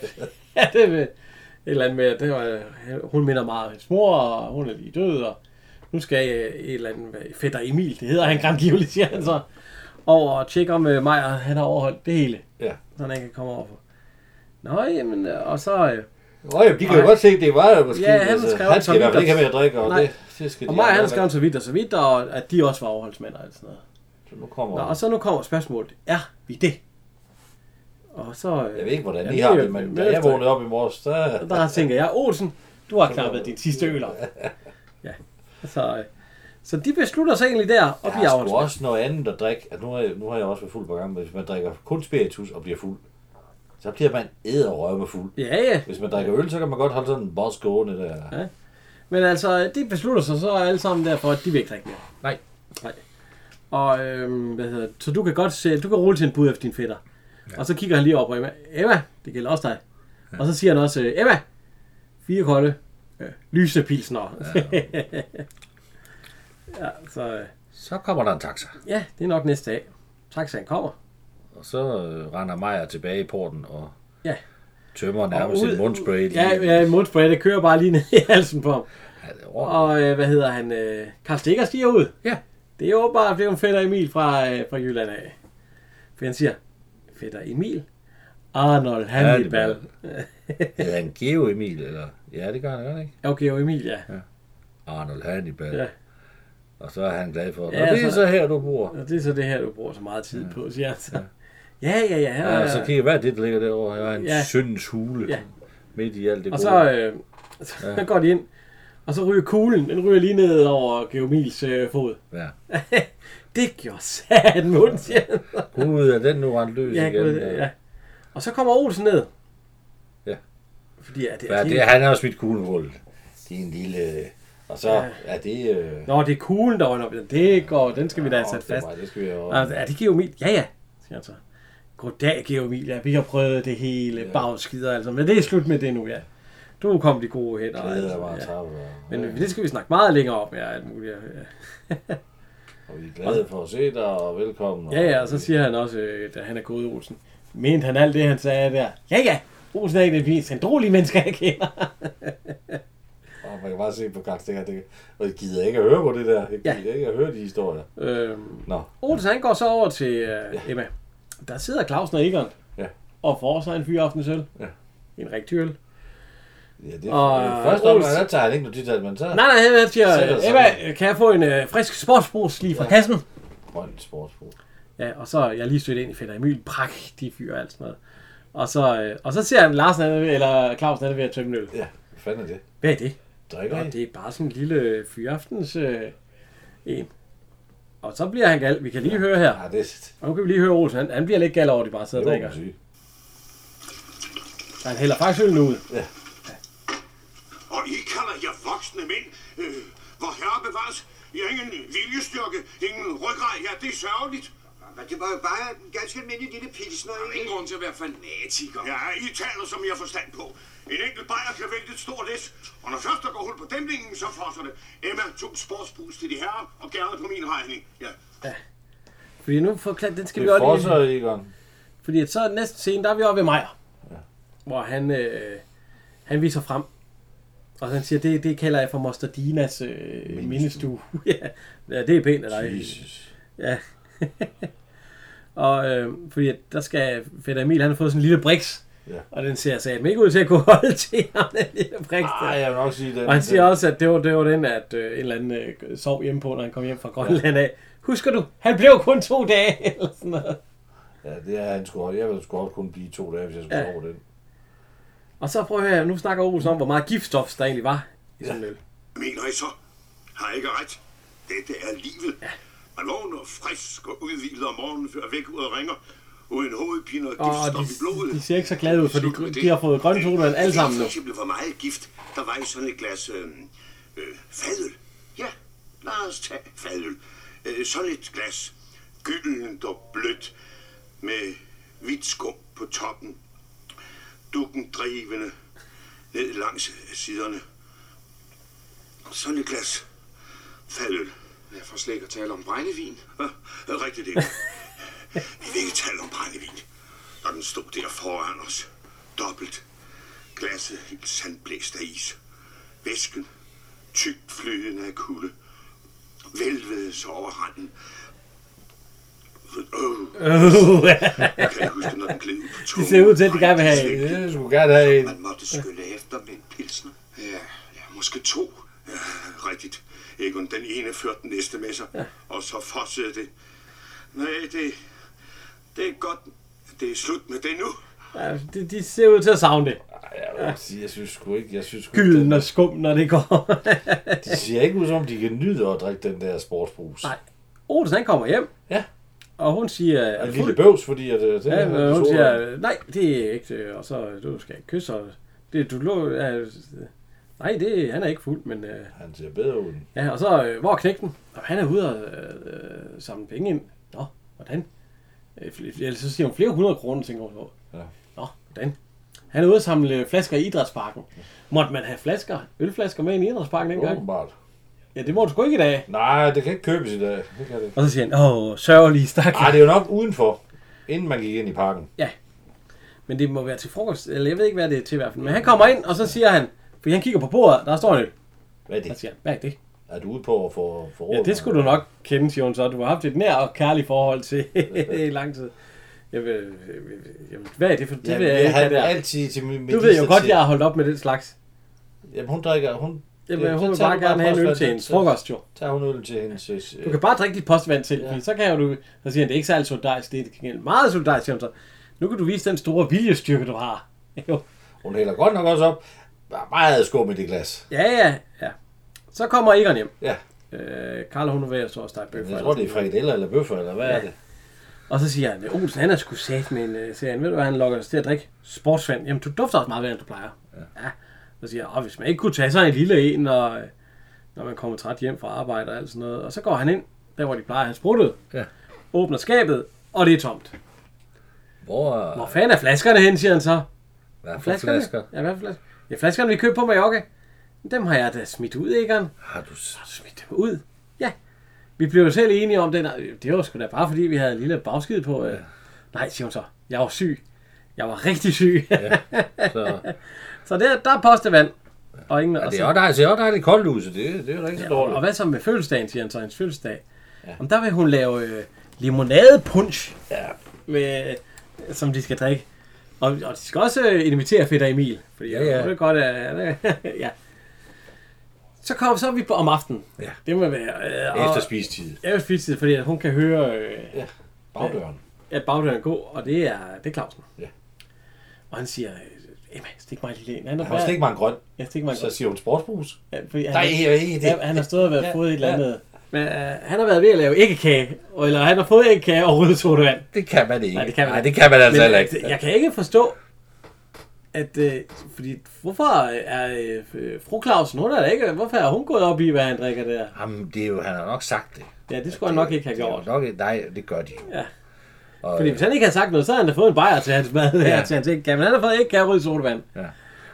ja, det med, et eller andet med, at det var, øh, hun minder meget om hendes mor, og hun er lige død, og nu skal øh, et eller andet med fætter Emil, det hedder han grangivligt, siger han så, over og tjekke om øh, Majer, han har overholdt det hele, Ja. så han ikke kan komme over for. Nå, jamen, øh, og så... Øh, Nå, jamen, de kan jo Nej. godt se, det var jo måske. altså. Ja, han skrev han skal i Tom hvert fald ikke Middels- have mere at drikke, og Nej. det, det skal Og de mig han andre skrev så vidt og så vidt, og at de også var overholdsmænd og alt sådan noget. ikke. Nu kommer Nå, og så nu kommer spørgsmålet, er vi det? Og så... øh, Jeg ved ikke, hvordan Ja, de det har er jo- det, men det da er jeg efter- vågnede op i morges, der... Der tænker jeg, Olsen, du har knappet din sidste øl op. Ja, så, øh, så de beslutter sig egentlig der, og Der bliver er sgu afholdsmænd. også noget andet at drikke. Altså, nu, har jeg, nu har jeg også været fuld på gang, men hvis man drikker kun spiritus og bliver fuld, så bliver man æderrøve med fuld. Ja, ja. Hvis man drikker øl, så kan man godt holde sådan en boss gående der. Ja. Men altså, de beslutter sig så alle sammen derfor, at de vil ikke drikke mere. Nej. Nej. Og øhm, hvad hedder det? Så du kan godt se, du kan rulle til en bud efter din fætter. Ja. Og så kigger han lige over på Emma. Emma, det gælder også dig. Ja. Og så siger han også, øh, Emma, Fire kolde. Øh, lysende pilsner. Ja. ja, så øh, Så kommer der en taxa, ja, det er nok næste dag. Taxaen kommer. og så øh, render Maja tilbage i porten og Ja. tømmer nærmest ud- sin mundspray. lige- Ja, ja en mundspray, der kører bare lige ned i halsen på ham. Ja, det er ordentligt. Og øh, hvad hedder han? Øh, Karl Stikker stiger ud. ja. Det er åbenbart blevet en fætter Emil fra, øh, fra Jylland af. For han siger, fætter Emil? Arnold Hannibal. Hedder han Geo Emil, eller? Ja, det gør han godt, ikke? Okay, og Emil, ja. Arnold Hannibal. Ja. Ja. Og så er han glad for, Ja, ja, det er så- så her, du bor. Og det er så det her, du bruger så meget tid på, siger han så. Ja, ja, ja. Ja, Her, og så kigger jeg, hvad er det, der ligger derovre? Her er en Ja. ja. syndens hule. Ja. Ja. Midt i alt det og gode. så, øh, så ja. går de ind. Og så ryger kuglen. Den ryger lige ned over Geomils øh, fod. ja. Det gjorde satan mundt, siger han. Gud, er den nu rent løs Ja, ja, igen? gud, ja. Og så kommer Olsen ned. Ja. Fordi ja, det, Hvad er det? Han har jo smidt kuglenhullet. Det er en lille... Og så ja. er det... Øh... Nå, det er kuglen, der var oppe. Det går, den skal vi da have sat det er fast. Meget, det skal vi jo... Og, er det Geomil? Ja, ja, siger han så. Goddag, Geomil. Ja, vi har prøvet det hele ja. bagskider, altså. Men det er slut med det nu, ja. Du er kommet i gode hænder. altså. Det hedder bare ja. trappe, og, Men det skal vi snakke meget længere om, ja, alt muligt. Ja. og vi er glade for at se dig, og velkommen. Ja, ja, og så siger han også, øh, da han er gået Olsen. Mente han alt det, han sagde der? Ja, ja, Olsen er ikke det mest androlige menneske, jeg kender. Og man kan bare se på Karl Stikker, det, og jeg gider ikke at høre på det der. Jeg Ja. gider ikke at høre de historier. øhm, Nå, Olsen, han går så over til øh, ja. Emma. Der sidder Clausen og Egon ja. og får sig en fyraftensøl. Ja. En rigtig øl. ja det, Og- øh, først om, Olsen- der tager han ikke notitat, men så er Nej, nej, han siger, Sætter sig Emma, kan jeg få en øh, frisk sportsbrus lige fra ja. kassen? grøn sportsbrug. Ja, og så er jeg lige stødt ind i Fætter Emil. Prægtig fyr og alt sådan noget. Og så, øh, og så ser han, Larsen han er ved, eller Clausen han er ved at tømme en øl. Ja, hvad fanden er det? Hvad er det? Drikker Og I? det er bare sådan en lille fyraftens øh, en. Og så bliver han gal. Vi kan lige ja. høre her. Ja, Ah, det er Og nu kan vi lige høre Olsen. Han, han bliver lidt gal over, at de bare sidder og det, drikker. må man sige. Han hælder faktisk øllen ud. Og I kalder jer voksne mænd. Øh, hvor herre bevares. I har ingen viljestyrke, ingen ryggrad. Ja, det er sørgeligt. Men det var jo bare en ganske almindelig lille pilsner, Der er ikke? ingen grund til at være fanatiker. Ja, I taler, som jeg har forstand på. En enkelt bajer kan vælte et stort læs, og når først der går hul på dæmningen, så flosser det. Emma, to sportsbrus til de herrer, og gerne på min regning. Ja, Fordi nu forklarer, den skal Det vi er også lige... forser, Egon. Fordi at så er næste scene, der er vi oppe ved Meyer. Ja. Hvor han, øh, han viser frem. Og han siger, det, det kalder jeg for Moster Dinas øh, mindestue. ja, Ja, det er pænt af dig. Jesus. Ja. og øh, fordi at der skal Fætter Emil, han har fået sådan en lille briks. Ja. Og den ser sig ikke ud til at kunne holde til ham, den lille briks. Ej, der. Ah, jeg vil nok sige det. Og han siger også, at det var, det var den, at øh, en eller anden øh, sov hjemme på, når han kom hjem fra Grønland af. Husker du, han blev kun to dage, eller sådan noget. Ja, det er han sgu Jeg ville sgu også kun blive to dage, hvis jeg skulle Ja. ja. over den. Og så prøv at høre, nu snakker Olsen om, hvor meget giftstof der egentlig var i sådan en øl. mener I så? Har jeg ikke ret? Dette er livet. Man vågner frisk og udvildet om morgenen, før væk ud og ringer, uden hovedpine og Og giftstop i de, blodet. de ser ikke så glade ud, for Slut med de, det. de har fået grønne sodavand alle sammen nu. Det er for eksempel for meget gift. Der var i sådan et glas øh, øh, fadøl. Ja, lad os tage fadøl. Øh, sådan et glas. Gyldent og blødt. Med hvidt skum på toppen. Dukken drivende. Ned langs siderne. Sådan et glas. Fadøl. Jeg får slet ikke at tale om brændevin. Ja, rigtigt det. Vi vil ikke tale om brændevin. Når den stod der foran os. Dobbelt. Glasset helt sandblæst af is. Væsken. Tykt flydende af kulde. Vælvede sig over randen. Åh, Øh, jeg kan ikke huske, når den gled ud på tungen. de ser ud til, at de gerne vil have en. Det skulle gerne have en. Man måtte skylle efter med en pilsner. Ja, ja måske to. Ja, rigtigt. Egon, den ene førte den næste med sig, ja. og så fossede det. Nej, det, det er godt. Det er slut med det nu. Ja, de, de ser ud til at savne det. Ej, jeg vil ikke sige, jeg synes sgu ikke. Jeg synes sgu, Gylden den, og skum, når det går. de ser ikke ud som, om de kan nyde at drikke den der sportsbrus. Nej. Olsen, han kommer hjem, Ja, og hun siger... Er en du lille fuld? bøvs, fordi at, øh, det Ja, men hun så- siger, nej, det er ikke, øh, og så, øh, du skal ikke kysse, og det, du lå, ja, øh, nej, det, han er ikke fuld, men, øh, Han ser bedre ud. ja, og så, øh, hvor er knægten? Og han er ude og øh, øh, samle penge ind. Nå, hvordan? Øh, fl- Eller så siger hun flere hundrede kroner, tænker hun på. Ja. Nå, hvordan? Han er ude at samle øh, flasker i idrætsparken. Måtte man have flasker, ølflasker med i en idrætspark dengang? Åbenbart. Ja, det må du sgu ikke i dag. Nej, det kan ikke købes i dag. Det kan det. ikke. Og så siger han, åh, sørgelig stak. Ej, det er jo nok udenfor, inden man gik ind i parken. Men det må være til frokost, eller jeg ved ikke, hvad det er til i hvert fald. Men han kommer ind, og så siger han, for han kigger på bordet, der står en øl. Hvad er Så det? siger han, hvad er det? Er du ude på at få, få Ja, det skulle du nok kende, siger hun så. Du har haft et nær og kærligt forhold til i lang tid. Jeg vil, jeg vil, jeg vil, hvad er det for det? Det Ja, ja, ved jeg ikke, han det er. altid til min Du ved jo godt, jeg har holdt op med den slags. Jamen, hun drikker... Hun, Jeg Ja, vil, hun så vil tager bare du bare gerne have en øl postvand til til- en frokost, jo. tager hun øl til hendes... Øh, Du kan bare drikke dit postvand til, ja. Ja. så kan jo du... Så siger han, det er ikke særlig solidarisk, det er til gengæld meget solidarisk, siger hun så. Nu kan du vise den store viljestyrke, du har. Jo. Hun hælder godt nok også op. Der er meget skum i det glas. Ja, ja, ja. Så kommer Egon hjem. Ja, Øh, Karl, hun er ved at stå og stege bøffer. jeg tror, det er frikadeller eller bøffer, eller hvad ja. er det? Og så siger han, Olsen, han er sgu sat med en øh, serien. Ved du hvad, han lokker os til at drikke sportsvand. Jamen, du dufter også meget bedre, end du plejer. Ja. ja. Så siger han, "Åh, hvis man ikke kunne tage sig en lille en, og, øh, når man kommer træt hjem fra arbejde og alt sådan noget. Og så går han ind, der hvor de plejer, han spruttede. Ja. Åbner skabet, og det er tomt. Hvor er, Hvor fanden er flaskerne hen, siger han så. hvad er for Flaskerne? flasker? Ja, hvad for flasker? Ja, flaskerne, vi købte på Mallorca. Dem har jeg da smidt ud, Egon. Har du... s- Smidt dem ud? Ja. Vi blev jo selv enige om det. Nej, Det var sgu da bare fordi, vi havde en lille bagskid på. Ja. Nej, siger hun så. Jeg var syg. Jeg var rigtig syg. Ja. Så, så der, der er postevand. Og ingen, ja, og, det så, er også dejligt, det er også dejligt koldt huset. Det, det er jo ikke så og, og dårligt. hvad så med fødselsdagen, siger han så, hendes fødselsdag. Ja. Om der vil hun lave øh, limonadepunch, Ja, med, som de skal drikke. Og, og de skal også øh, invitere Fætter Emil. Fordi Ja, ja, ja. ja. Jeg ved godt, at... ja. Så kommer så er vi på, om aftenen. Ja. Det må være... Øh, og- efter spisetid. Jeg vil spise det, fordi at hun kan høre, øh, Bagdøren. at bagdøren går, og det er, det er Clausen. Ja. Og han siger, øh, Emma, stik mig lige en. Han er Han var slet ikke meget grøn. Ja, stik mig en. Så siger hun sportsbrus. Ja, fordi han, Nej, har- ikke det. ja, han har stået og været Ja, fået et eller ja. andet. Men øh, han har været ved at lave æggekage, og- eller han har fået æggekage og røde sodavand. Det kan man ikke. Nej, det kan man Nej, ikke. det kan man altså Men øh, heller at, ikke. jeg kan ikke forstå, at, øh, fordi, hvorfor er øh, fru Clausen, hun er da ikke, hvorfor er hun gået op i, hvad han drikker der? Jamen, det er jo, han har nok sagt det. Ja, det skulle han nok ikke have Det er jo gjort. nok, ikke- nej, det gør de jo. Ja. Og, Fordi Fordi... hvis han ikke havde sagt noget, så havde han da fået en bajer til hans mad. Ja. Ja. til hans æggekage, men han har fået æggekage og rød sodavand. Ja.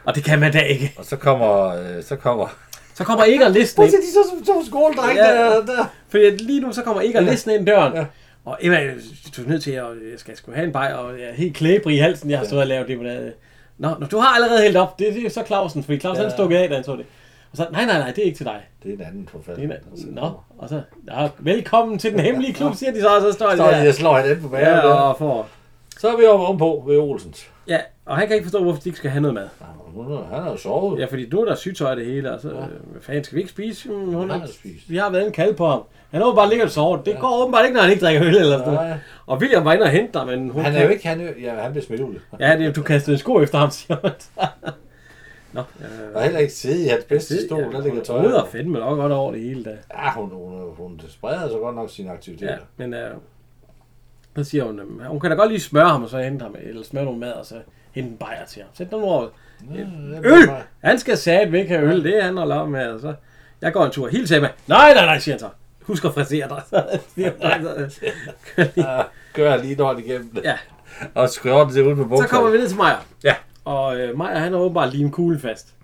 Og det kan man da ikke. og så kommer... Øh, så kommer... Så kommer Egon listen ind. de så som to skoledrenge Ja. der- der. Fordi at lige nu, så kommer Egon listen ind døren. Ja. Og Emma, du er nødt til at, jeg skal sgu have en bajer, og jeg er helt klæbrig i halsen, jeg har stået og lavet det. med det. Nå, nå, du har allerede hældt op. Det, det er så Clausen, fordi Clausen ja. Ja. han stukket af, da han så det. Og så, nej, nej, nej, det er ikke til dig. Det er en anden forfatter. Altså. Det er, nå, og så, nå, velkommen til den hemmelige klub, siger de så, og så står de Så er det, der. jeg slår han ind på bagen. Ja, Ja, og får. Så er vi oppe ovenpå ved Olsens. Ja, og han kan ikke forstå, hvorfor de ikke skal have noget mad. Hun er, han har jo sovet. Ja, fordi nu er der sygtøj af det hele, og så, øh, hvad fanden, skal vi ikke spise? Mm, hun Han har, har spist. vi har været en kald på ham. Han har åbenbart ligget og sovet. Det ja. går åbenbart ikke, når han ikke drikker øl eller sådan noget. Nej. Og William var inde og hente dig, men hun Han kan- er jo ikke... Han, er, jo- ja, han bliver smidt ud. Ja, det, er- du kastede en sko efter ham, siger hun. Nå, øh, Og heller ikke sidde i hans bedste stol. Der ligger tøj. Hun ruder fandme nok godt over det hele, da. Ja, hun, hun, hun spreder så godt nok sine Ja, aktiviteter. men øh, så siger hun, øh, hun kan da godt lige smøre ham, og så hente ham, eller smøre nogle mad, og så hente en bajer til ham. Sæt den over. Ja. Øl! Han skal sætte væk have øl, det er han, der laver med. Og så, jeg går en tur. Hils Emma. Nej, nej, nej, siger han så. Husk at frisere dig. Så siger hun, så, øh, Gør lige når igennem det. ja, Og skjorten ser ud på bukserne. så kommer vi ned til Maja. Ja. Og øh, Maja, han har åbenbart lige en kugle fast.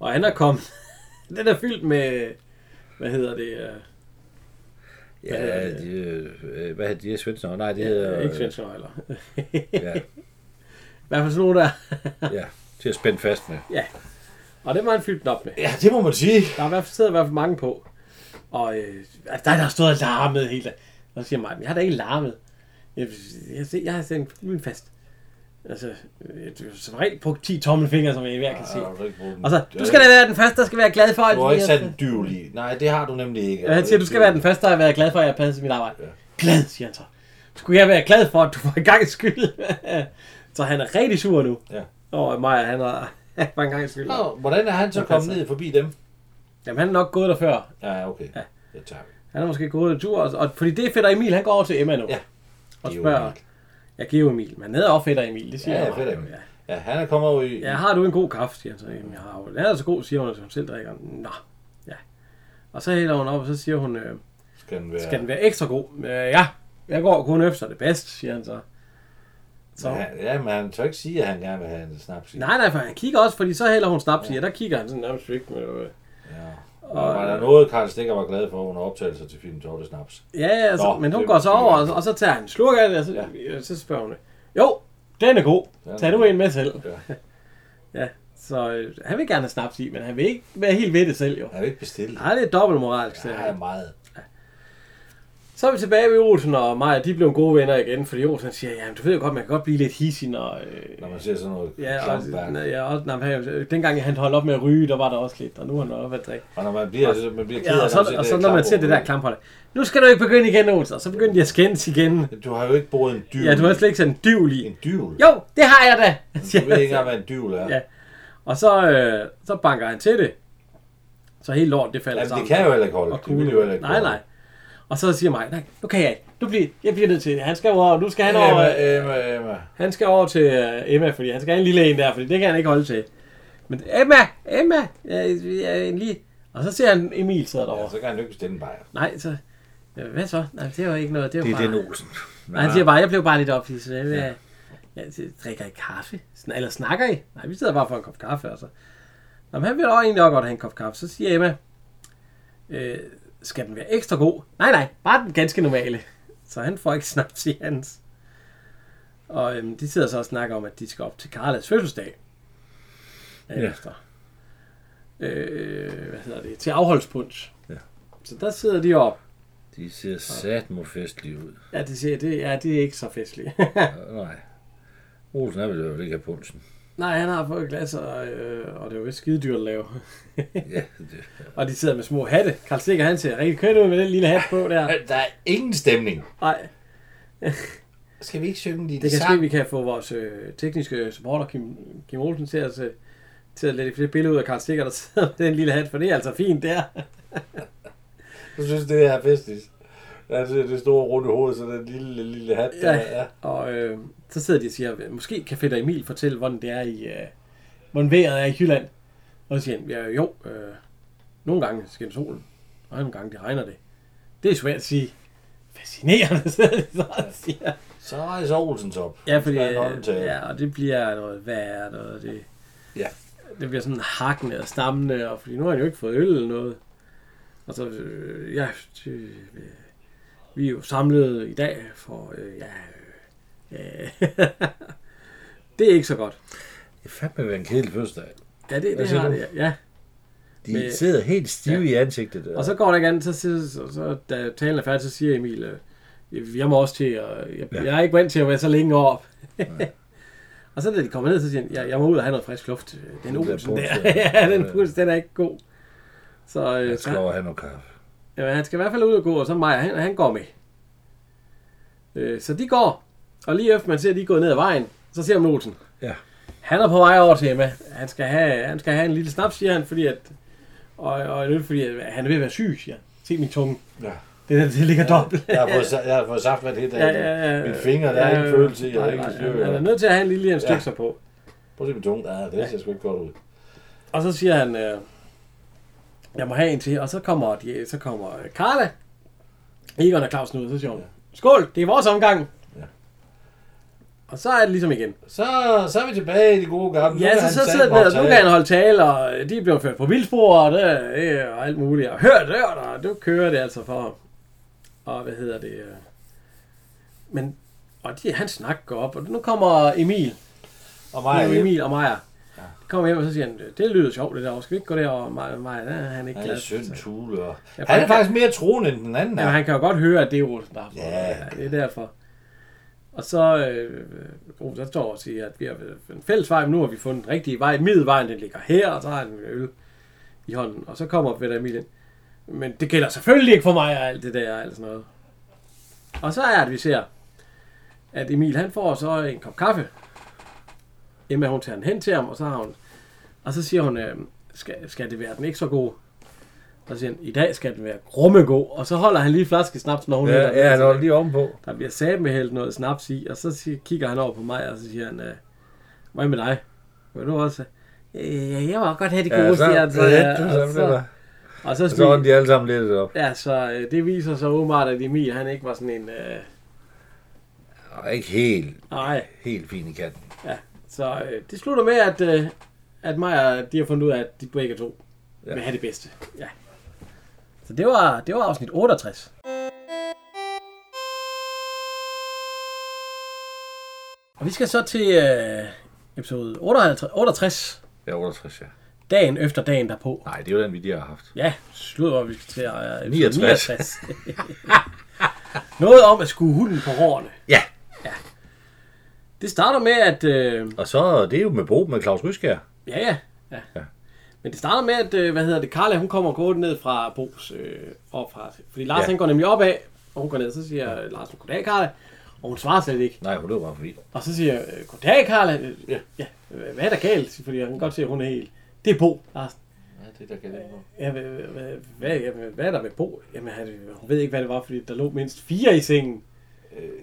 Og han er kommet... den er fyldt med... Hvad hedder det? Øh, Ja, de, øh, hvad hedder de? Svendsen? Nej, det hedder... ja, øh, ikke svensker eller. Ja, I hvert fald sådan nogle der. ja. Til at spænde fast med. Og det var han fyldt den op med. Ja, det må man sige. Der er i hvert fald, sidder i hvert fald mange på. Og øh, altså, der er der stået og larmet hele dagen. Og så siger Maja, "Men jeg har da ikke larmet. Jeg, jeg, jeg, jeg har sendt kuglen fast. Altså, øh, du har som regel brugt 10 tommelfingre, som jeg i hver kan se. Og så, du skal da være den første, der skal være glad for, at Du har vi ikke har- sat en dyvel i. Nej, det har du nemlig ikke. Ja, han siger, du skal være den første, der har været glad for, at jeg har passet mit arbejde. Ja. Glad, siger han så. Skulle jeg være glad for, at du var i gang skyld? så han er rigtig sur nu. Ja. Og Maja, han er for en gang skyld. Nå, hvordan er han så Ja, kommet altså. ned forbi dem? Jamen, han er nok gået der før. Ja, okay. Ja. Det tager vi. Han er måske gået en tur. Og, og fordi det er fætter Emil, han går over til Emma nu. Ja. Og Geo spørger, Emil. ja, Geo Emil. Men han hedder også fætter Emil, det siger Ja, han ja, jo. fedt af ham. Ja, han er kommet over i... Ja, har du en god kaffe, siger han så. Jamen, jeg har jo. Den er så god, siger hun, at hun selv drikker. den. Nå, ja. Og så hælder hun op, og så siger hun, øh, Skal den være... Skal den være ekstra god? Øh, ja, jeg går kun efter det bedste, siger han så. Så. Men han- Ja, men han tør ikke sige, at han gerne vil have en snaps i. Nej, nej, for han kigger også, fordi så hælder hun snaps i, og der kigger han sådan nærmest væk med... øh, Ja. Og var der noget, Karl Stikker var glad for under optagelser til filmen, så var det snaps. Ja, ja, altså, Nå, Nå, men hun det- går så det- over, og, og så tager han en slurk af det, og så, ja. så spørger hun, jo, den er god, Den er tag nu god." en med selv. Ja. Ja, så øh, han vil gerne have snaps i, men han vil ikke være helt ved det selv, jo. Han vil ikke bestille. Nej, det er dobbeltmoralsk. det Ja, er meget. Så er vi tilbage ved Olsen og Maja, de blev gode venner igen, fordi Olsen siger, ja, du ved jo godt, man kan godt blive lidt hissig, når... Øh, Når man ser sådan noget ja, og, klamværk. ja, og, nej, men han- dengang han holdt op med at ryge, der var der også lidt, og nu er han oppe at drikke. Og når man bliver, altså, man bliver ked af, Ja, og man så, ser og det så her når man ser det der klamrummeri. klamphold, nu skal du ikke begynde igen, Olsen, og så begyndte de at skændes igen. Du har jo ikke boet en dyvel. Ja, du har slet ikke sendt en dyvel i. En dyvel? Jo, det har jeg da! Du han ved ikke så. engang, hvad en dyvel er. Ja. Og så, øh, så banker han til det. Så helt lort, det falder Jamen, sammen. det kan jo heller ikke holde. altså- og Det vil jo heller kugle. ikke Nej, holde. nej. Og så siger mig, nej, nu kan jeg ikke. Nu bliver, jeg bliver nødt til det. Han skal over, nu skal han over, Emma, øh, Emma, Emma. han skal over til øh, Emma, fordi han skal have en lille en der, fordi det kan han ikke holde til. Men Emma, Emma, øh, øh, lige. Og så ser han Emil sidder Ja, derovre. øh, så kan han jo ikke bestille en bajer. Nej, så... Ja, hvad så? Nej, det var ikke noget. Det var bare... Olsen. Nej, han siger bare, jeg blev bare lidt ophidset. Jeg, ja. jeg, jeg drikker I kaffe? Sn- eller snakker I? Nej, vi sidder bare for en kop kaffe, altså. Nå, men han vil også egentlig også godt have en kop kaffe. Så siger Emma, øh, skal den være ekstra god? Nej, nej, bare den ganske normale. Så han får ikke snaps i hans. Og øhm, de sidder så og snakker om, at de skal op til Karlas fødselsdag. Ja. Efter. Øh, hvad hedder det? Til afholdspunds. Ja. Så der sidder de op. De ser sat mod festlige ud. Ja, de siger, det, ja, det er ikke så festligt. Øh, Nej. Olsen er vel jo ikke af punsen. Nej, han har fået glas, og, øh, og det er jo ikke skide dyrt at lave. Ja, det. og de sidder med små hatte. Karl Stikker, han ser rigtig kønt ud med den lille hat på der. Der er ingen stemning. Nej, Skal vi ikke synge de det kan ske, vi kan få vores øh, tekniske supporter, Kim, Kim Olsen, til at, øh, til at lægge flere billeder ud af Karl Stikker, der sidder med den lille hat, for det er altså fint der. Jeg synes, det er festligt. Altså, det store runde hoved, så den lille, lille hat der. Ja. Ja. og øh, så sidder de og siger, måske kan Fætter Emil fortælle, hvordan det er i, øh, hvordan vejret er i Jylland. Og så siger han, ja, jo, øh, nogle gange skinner solen, og nogle gange det regner det. Det er svært at sige. Fascinerende, sidder de så og siger. Så rejser Olsens op. Ja, fordi, øh, Så er han håndtaget. ja, og det bliver noget værre, noget det, Ja. det bliver sådan hakkende og stammende, og fordi nu har han jo ikke fået øl eller noget. Og så, øh, ja, det, øh, vi er jo samlet i dag for, øh, ja, øh, det er ikke så godt. Det er fandme været en kedelig fødselsdag. Ja, det, Hvad det siger har du? det, ja. De Men- sidder helt stive ja. i ansigtet. Øh. Og så går der ikke andet, så, så, så, så da talen er færdig, så siger Emil, øh, jeg må også til, og jeg, Ja. ja. jeg er ikke vant til at være så længe op. og så da de kommer ned, så siger han, jeg, jeg må ud og have noget frisk luft. Øh, Den Den der olsen puls, der, ja. ja, den puls, den er ikke god. Så øh, Jeg så- skal over og have noget kaffe. jamen, han skal i hvert fald ud og gå, og så Maja, han, han går med. Øh, så de går, og lige efter man ser, at de er gået ned ad vejen, så ser man Olsen. Ja. Han er på vej over til Emma. Han skal have, han skal have en lille snaps, siger han, fordi at, og, og en øl, fordi at han er ved at være syg, siger han. Se min tunge. Ja. Det, der, det ligger dobbelt. Jeg har fået, sa- jeg har fået saftlat helt af Ja, ja, ja. mine fingre. Der er Ja, ikke en følelse i. Jeg nej, er ikke nej, en han- Han er styr. nødt til at have en lille en stykke Ja. sig på. Prøv at se min tunge. Ja, det ser sgu ikke godt ud. Og så siger han, øh, jeg må have en til, og så kommer, de, så kommer øh, Carla, Egon og Clausen ud, og så siger hun, skål, det er vores omgang. Ja. Og så er det ligesom igen. Så, så er vi tilbage i de gode gamle. Nu Ja, kan så, han så satme sidder den der, nu optage. kan han holde tale, og øh, de er blevet ført på vildspor, og, det, det, og alt muligt. Og hør, hør, og nu kører det altså for ham. Og hvad hedder det? øh, Men, og de, han snakker går op, og nu kommer Emil. Og Maja mig nu er er Emil og Maja. De kommer hjem, og så siger han, det lyder sjovt det der, skal vi ikke gå derover? Og Maja, Maja der er han ikke Han glad. for. er synd tule. Og... Ja, for Han er han kan- faktisk mere troende end den Jamen, anden. her. han kan jo godt høre, at det er Olsen, der har fået Ja. ja. Det er derfor. Og så, øh, oh, der står og siger, at vi har en fælles vej, men nu har vi fundet den rigtige vej. Middelvejen, den ligger her, og så har han en øl i hånden. Og så kommer Peter Emil ind. Men det gælder selvfølgelig ikke for mig, og alt det der, og alt sådan noget. Og så er det, vi ser, at Emil, han får så en kop kaffe. Emma, hun tager den hen til ham, og så har hun... Og så siger hun, øh, skal, skal det være den ikke så god? Og så siger han, i dag skal den være grummegod. Og så holder han lige flaske snaps, når hun Ja, hælder den ja, ned han til var lige ovenpå. der bliver sat med hældt noget snaps i, og så siger, kigger han over på mig, og så siger han, øh, hvad med dig? Vil du også? Øh, ja, jeg må godt have de gode, ja, så, siger han. Så, ja, ja, du, og så, blev så, der- og så, og så så, åndte de alle sammen lidt op. ja, så øh, det viser sig åbenbart, at Emil, han ikke var sådan en, øh, Der er ikke helt, Nej, helt fin i kanten. ja. Så øh, det slutter med, at, øh, at Maja, de har fundet ud af, at de begge to ja. vil have det bedste. Ja. Så det var, det var afsnit 68. Og vi skal så til øh, episode 58, 68, Ja, 68, ja. dagen efter dagen derpå. Nej, det er jo den, vi lige har haft. Ja, slut hvor vi skal til øh, episode 69. 69. Noget om at skue hunden på hårene. Ja, Det starter med, at... Øh, og så det er jo med Bo med Claus Ryskær. Ja, ja. ja. Ja. Men det starter med, at, øh, hvad hedder det, Carla, hun kommer gående ned fra Bos øh, op fra, fordi Lars Ja. ja. han går nemlig opad, og hun går ned, så siger øh, Lars, goddag Carla, og hun svarer slet ikke. Nej, hun løb bare forbi. Og så siger jeg, øh, goddag Carla, Øh, ja. ja, øh, hvad er der galt? Fordi han kan godt se, at hun er helt, det er Bo, Lars. Ja, det der kan det Ja, hvad, hvad, hvad, jamen, hvad er der med Bo? Jamen, han, hun ved ikke, hvad det var, fordi der lå mindst fire i sengen.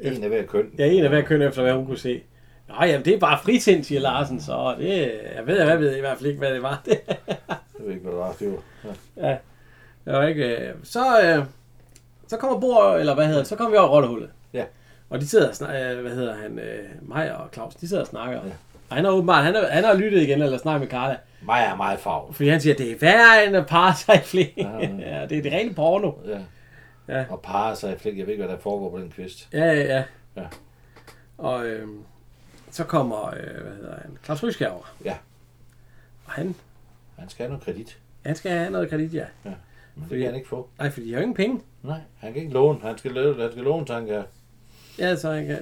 En af hver køn. Ja, en af hver køn efter, hvad hun kunne se. Nej, jamen, det er bare fritind, siger Larsen, så det, jeg ved, jeg ved i hvert fald ikke, hvad det var. Jeg ved ikke, hvad det var. Det var. Ja. Det var ikke... Øh, så, øh, så kommer Bor, eller hvad hedder det, så kommer vi over i rollehullet. Ja. Og de sidder og snakker, øh, hvad hedder han, øh, Maja og Claus, de sidder og snakker. Ja. Og han har åbenbart, han har, han har lyttet igen, eller snakket med Carla. Maja er meget farvet. Fordi han siger, det er værre end at parre sig i flere. Ja, ja. Ja, det er det rene porno. Ja. Ja. Og parer sig flink. Jeg ved ikke, hvad der foregår på den kvist. Ja, ja, ja. Ja. Og øh, så kommer, øh, hvad hedder han, Claus Ryskjær over. Ja. Og han, Han skal have noget kredit. han skal have noget kredit, ja. Men det kan han ikke få. Nej, fordi de har jo ingen penge. Nej, han kan ikke låne. Han skal låne, han skal låne så han kan... Ja, så han kan...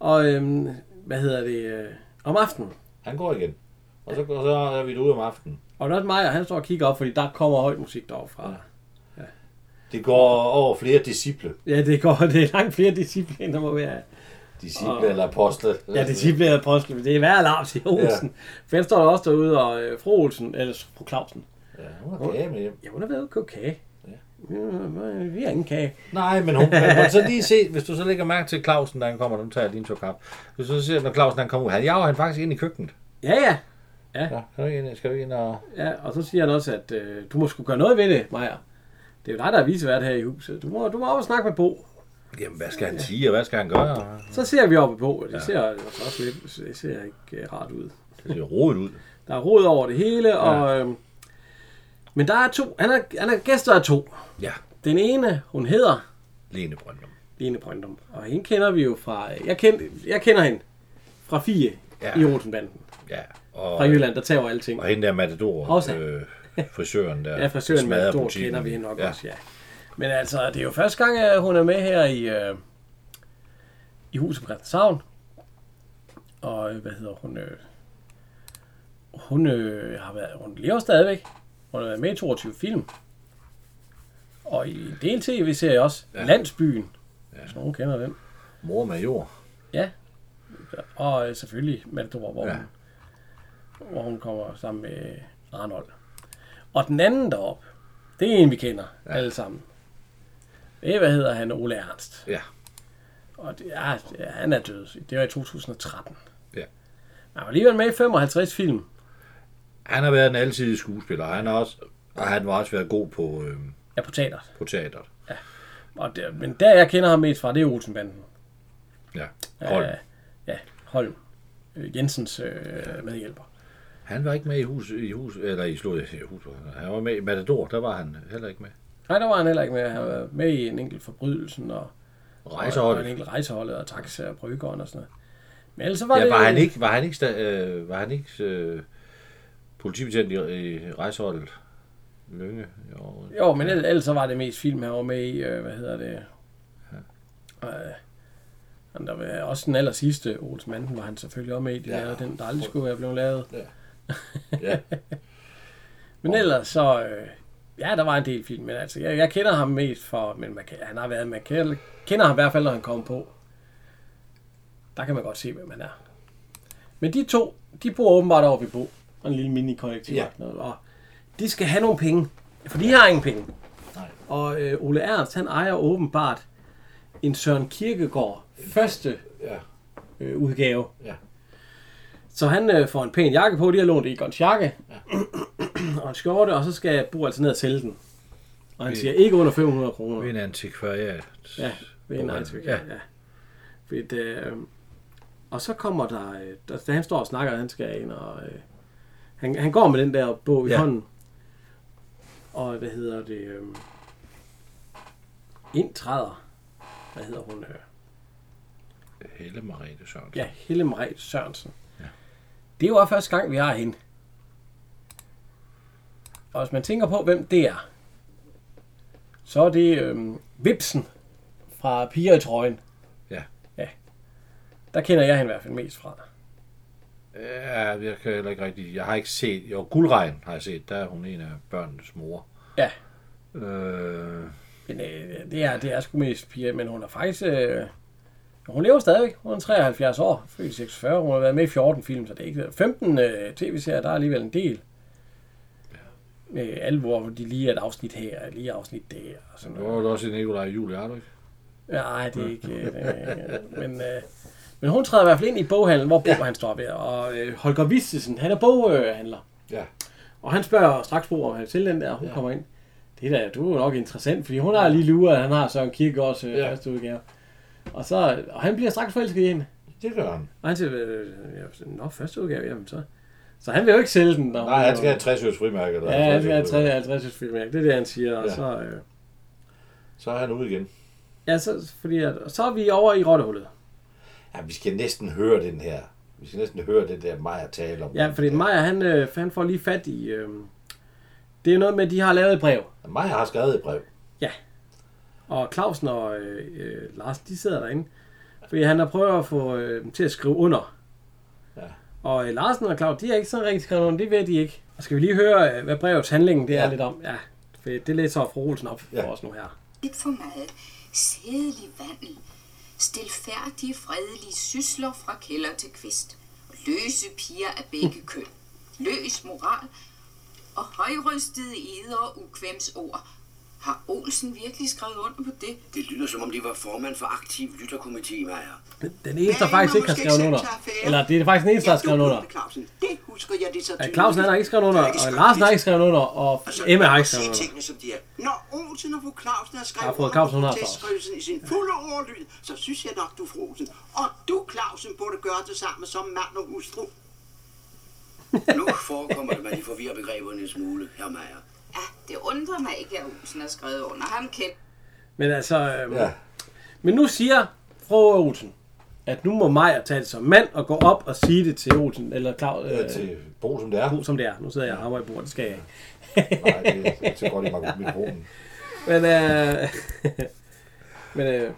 Og øh, hvad hedder det, øh, om aftenen, Han går igen. Og så, går, så er vi ude om aftenen. Og der er Maja, han står og kigger op, fordi der kommer høj musik derovre fra. Det går over flere disciple. Ja, det går, det er langt flere discipliner, der må være. Disciple eller apostle. Ah. Ja, discipliner er postle, men det er værre alarm til Olsen. Ja. For han står der også derude, og øh, fru Olsen, eller fru Clausen. Ja, hun har kage med hjem. Ja, hun har været ude at købe kage. Ja. Vi har ingen kage. Nej, men hun, men, men så lige se, hvis du så lægger mærke til Clausen, da han kommer, nu tager jeg lige en tur kaffe. Hvis du så ser, når Clausen han kommer ud, han jager han faktisk ind i køkkenet. Ja, ja. Ja, skal vi ind, skal vi ind og... ja og så siger han også, at øh, du må sgu gøre noget ved det, Maja. Det er jo dig, der er visevært her i huset. Du må, du må op og snakke med Bo. Jamen, hvad skal han sige, og hvad skal han gøre? Så ser vi oppe på, og det ser, altså også lidt, det ser ikke øh, rart ud. Det ser rodet ud. Der er rod over det hele, ja. og... Øhm, men der er to. Han er, han er gæster af to. Ja, Den ene, hun hedder Lene Brøndum. Lene Brøndum. Og hende kender vi jo fra... Jeg, kend, jeg kender hende fra Fie Ja. ja. i Rosenbanden. Ja, og, Fra Jylland, der tager alting. og hende der Matador, Rosa. øh, frisøren der. Ja, frisøren med smadrer Dor butikken. kender vi hende nok ja. ja. også, ja. Men altså, det er jo første gang, at hun er med her i, øh, i huset på Christianshavn. Og øh, hvad hedder hun? Øh, hun, øh, har været, hun lever stadigvæk. Hun har været med i 22 film. Og i en del tv-serie også. Ja. Landsbyen. Ja. Hvis nogen kender den. Mor major. Ja. Og øh, selvfølgelig Matador, hvor, Ja. ja. hun, hvor hun kommer sammen med Arnold. Og den anden deroppe, det er en, vi kender ja. alle sammen. Det er, hvad hedder han? Ole Ernst. Ja. Og det er, ja, han er død. Det var i 2013. Ja. Han var alligevel med i 55 film. Han har været en alsidig skuespiller. Han har også, og han har også været god på, øh, Ja, på teater. på teateret. Og det, men der, jeg kender ham mest fra, det er Olsenbanden. Ja. Holm. Ja, ja, Holm. Øh, Jensens øh, medhjælper. Han var ikke med i hus, i hus eller i slået i hus. Han var med i Matador, der var han heller ikke med. Nej, der var han heller ikke med. Han var med i en enkelt forbrydelsen og Og en Rejseholdet. enkelt rejseholdet og taxa og brygeren og sådan noget. Men ellers så var Ja, det... var han ikke, var han ikke, sta- øh, var han ikke øh, politibetjent i, i rejseholdet? Lønge. Jo. Jo, men ellers, ellers så var det mest film, han var med i, øh, hvad hedder det... Ja. Øh, der var også den aller sidste, Ols Manden, var han selvfølgelig også med i, de Ja. ja. lavede den, der aldrig skulle være blevet lavet. Ja. Men ellers så... Øh, ja, der var en del film, men altså, jeg, jeg kender ham mest for... Men man, kan- han har været... Man kan, kender ham i hvert fald, når han kom på. Der kan man godt se, hvem han er. Men de to, de bor åbenbart oppe i Bo. Og en lille mini-kollektiv. Ja. Ja. Og de skal have nogle penge. For de har ingen penge. Nej. Og øh, Ole Ernst, han ejer åbenbart en Søren Kirkegaard første Ja. øh, udgave. Ja. Så han øh, får en pæn jakke på, de har lånt Egons jakke, ja. og en skjorte, og så skal Bo altså ned og sælge den. Og han siger ikke under 500 kroner. Ved en antikvariat. Ja, ved en Boghandel. antikvariat, ja. Fordi det, øh, og så kommer der, øh, der, da han står og snakker, han skal ind, og øh, han, han går med den der bog i Ja. ja. hånden. Og hvad hedder det? Øh, ind træder, hvad hedder hun? Øh, Helle Marete Sørensen. ja, Helle Marie Sørensen. Ja. Det er jo også første gang, vi har hende. Og hvis man tænker på, hvem det er, så er det øh, Vipsen fra Piger i trøjen. Ja. ja. Der kender jeg hende i hvert fald mest fra. Ja, jeg kan heller ikke rigtig... Jeg har ikke set... Jo, Guldregn har jeg set. Der er hun en af børnenes mor. Ja. Øh, Men øh, det, er, det er sgu mest piger, men hun er faktisk... Øh, hun lever stadigvæk. Hun er 73 år, født i 46. Hun har været med i 14 film, så det er ikke... 15 øh, tv-serier, der er alligevel en del. Øh, alle, hvor de lige er et afsnit her, og lige et afsnit der. Og sådan der noget. var jo også en Nikolaj Juhl, er du ikke? Nej, det er ikke... Øh, men, øh, men hun træder i hvert fald ind i boghandlen, hvor Bo ja. han står ved. Og øh, Holger Vistesen, han er boghandler. Ja. Og han spørger straks Bo, om han til den der, og hun ja. kommer ind. Det der, du er jo nok interessant, fordi hun har lige luret, at han har Søren Kierkegaards øh, Ja. ja. første udgave. Og, så, og han bliver straks forelsket i hende. Det gør han. Og han siger, øh, ja, nå, første udgave, jamen så. Så han vil jo ikke sælge den. Når Nej, hun- han skal have 60 års frimærke. Eller Ja, han skal have 50 tre- 50 års filmmærke. Det er det, han siger. Og Ja. ja. så, øh, Så er han ude igen. ja, så, fordi, at, og så er vi over i rottehullet. Ja, vi skal næsten høre den her. Vi skal næsten høre det der Maja tale om. Ja, fordi Maja, han, øh, han får lige fat i... Øh, det er noget med, at de har lavet et brev. Maja har skrevet et brev. Og Clausen og øh, øh, Larsen, de sidder derinde. Fordi han har prøvet at få øh, dem til at skrive under. Ja. Ja. Og øh, Larsen og Claus, de har ikke sådan rigtig skrevet under, det ved de ikke. Og skal vi lige høre, øh, hvad brevets handling det ja. Ja. er lidt om? Ja, for det læser fru Olsen op for Ja. ja. os nu her. lidt for meget. Sædelig vandel. Stilfærdige, fredelige sysler fra kælder til kvist. Løse piger af begge køn. Løs moral. Og højrystede eder og ukvemsord. Har Olsen virkelig skrevet under på det? Det lyder som om de var formand for aktiv lytterkomité, Maja. Den eneste, der Ja, faktisk man ikke har måske skrevet ikke under. selv tage affære. Eller det er faktisk den eneste, der har skrevet under. Clausen. Det husker jeg det så Ja, Clausen han har ikke skrevet under, Det er ikke og Larsen har ikke skrevet under, og Og så Emma kan har man ikke se skrevet under. tingene, som de er. Når Olsen og fru Clausen har skrevet Ja, fru Clausen, hun har protestskrivelsen i sin fulde ordlyd, så synes jeg nok, du, fru Olsen, og du, Clausen, burde gøre det samme som mand og hustru. nu forekommer det, at man lige forvirrer begreberne en smule, herr Meier. Ja, det undrer mig ikke, at Olsen har skrevet under. Ham kendt. Men altså... Øhm, Ja. Men nu siger fru Olsen, at nu må Maja tage det som mand og gå op og sige det til Olsen, eller Claus, Øh, øh, til Bo, som det er. som det er. Nu sidder jeg og hammer i bordet, det skal jeg ikke. Nej, det, det er så godt, at man mikrofonen. Men, øh, men øh,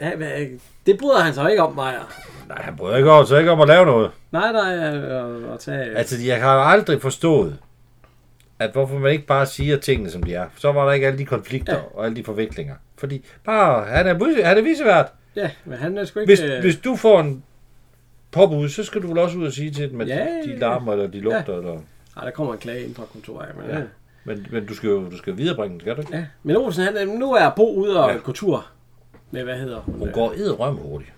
ja, hvad- det bryder han sig ikke om, Maja. Nej, han bryder ikke over, så ikke om at lave noget. Nej, nej, øh, at tage... Øh, Altså, jeg har jo aldrig forstået, at hvorfor man ikke bare siger tingene, som de er. Så var der ikke alle de konflikter ja. og alle de forviklinger. Fordi bare, han er, vis- han er visevært. ja, men han er sgu ikke... Hvis, øh, hvis du får en påbud, så skal du vel også ud og sige til dem, at Ja, ja, ja, de ja. larmer, eller de lugter, ja. eller... Ej, der kommer en klage ind fra kontoret, men... Ja. Ja. Men, men du skal jo du skal viderebringe den, skal du ikke? ja. Men Olsen, han, øh, nu er Bo ude og Ja. ja. gå tur med, hvad hedder hun? Hun øh, går edderrøm hurtigt.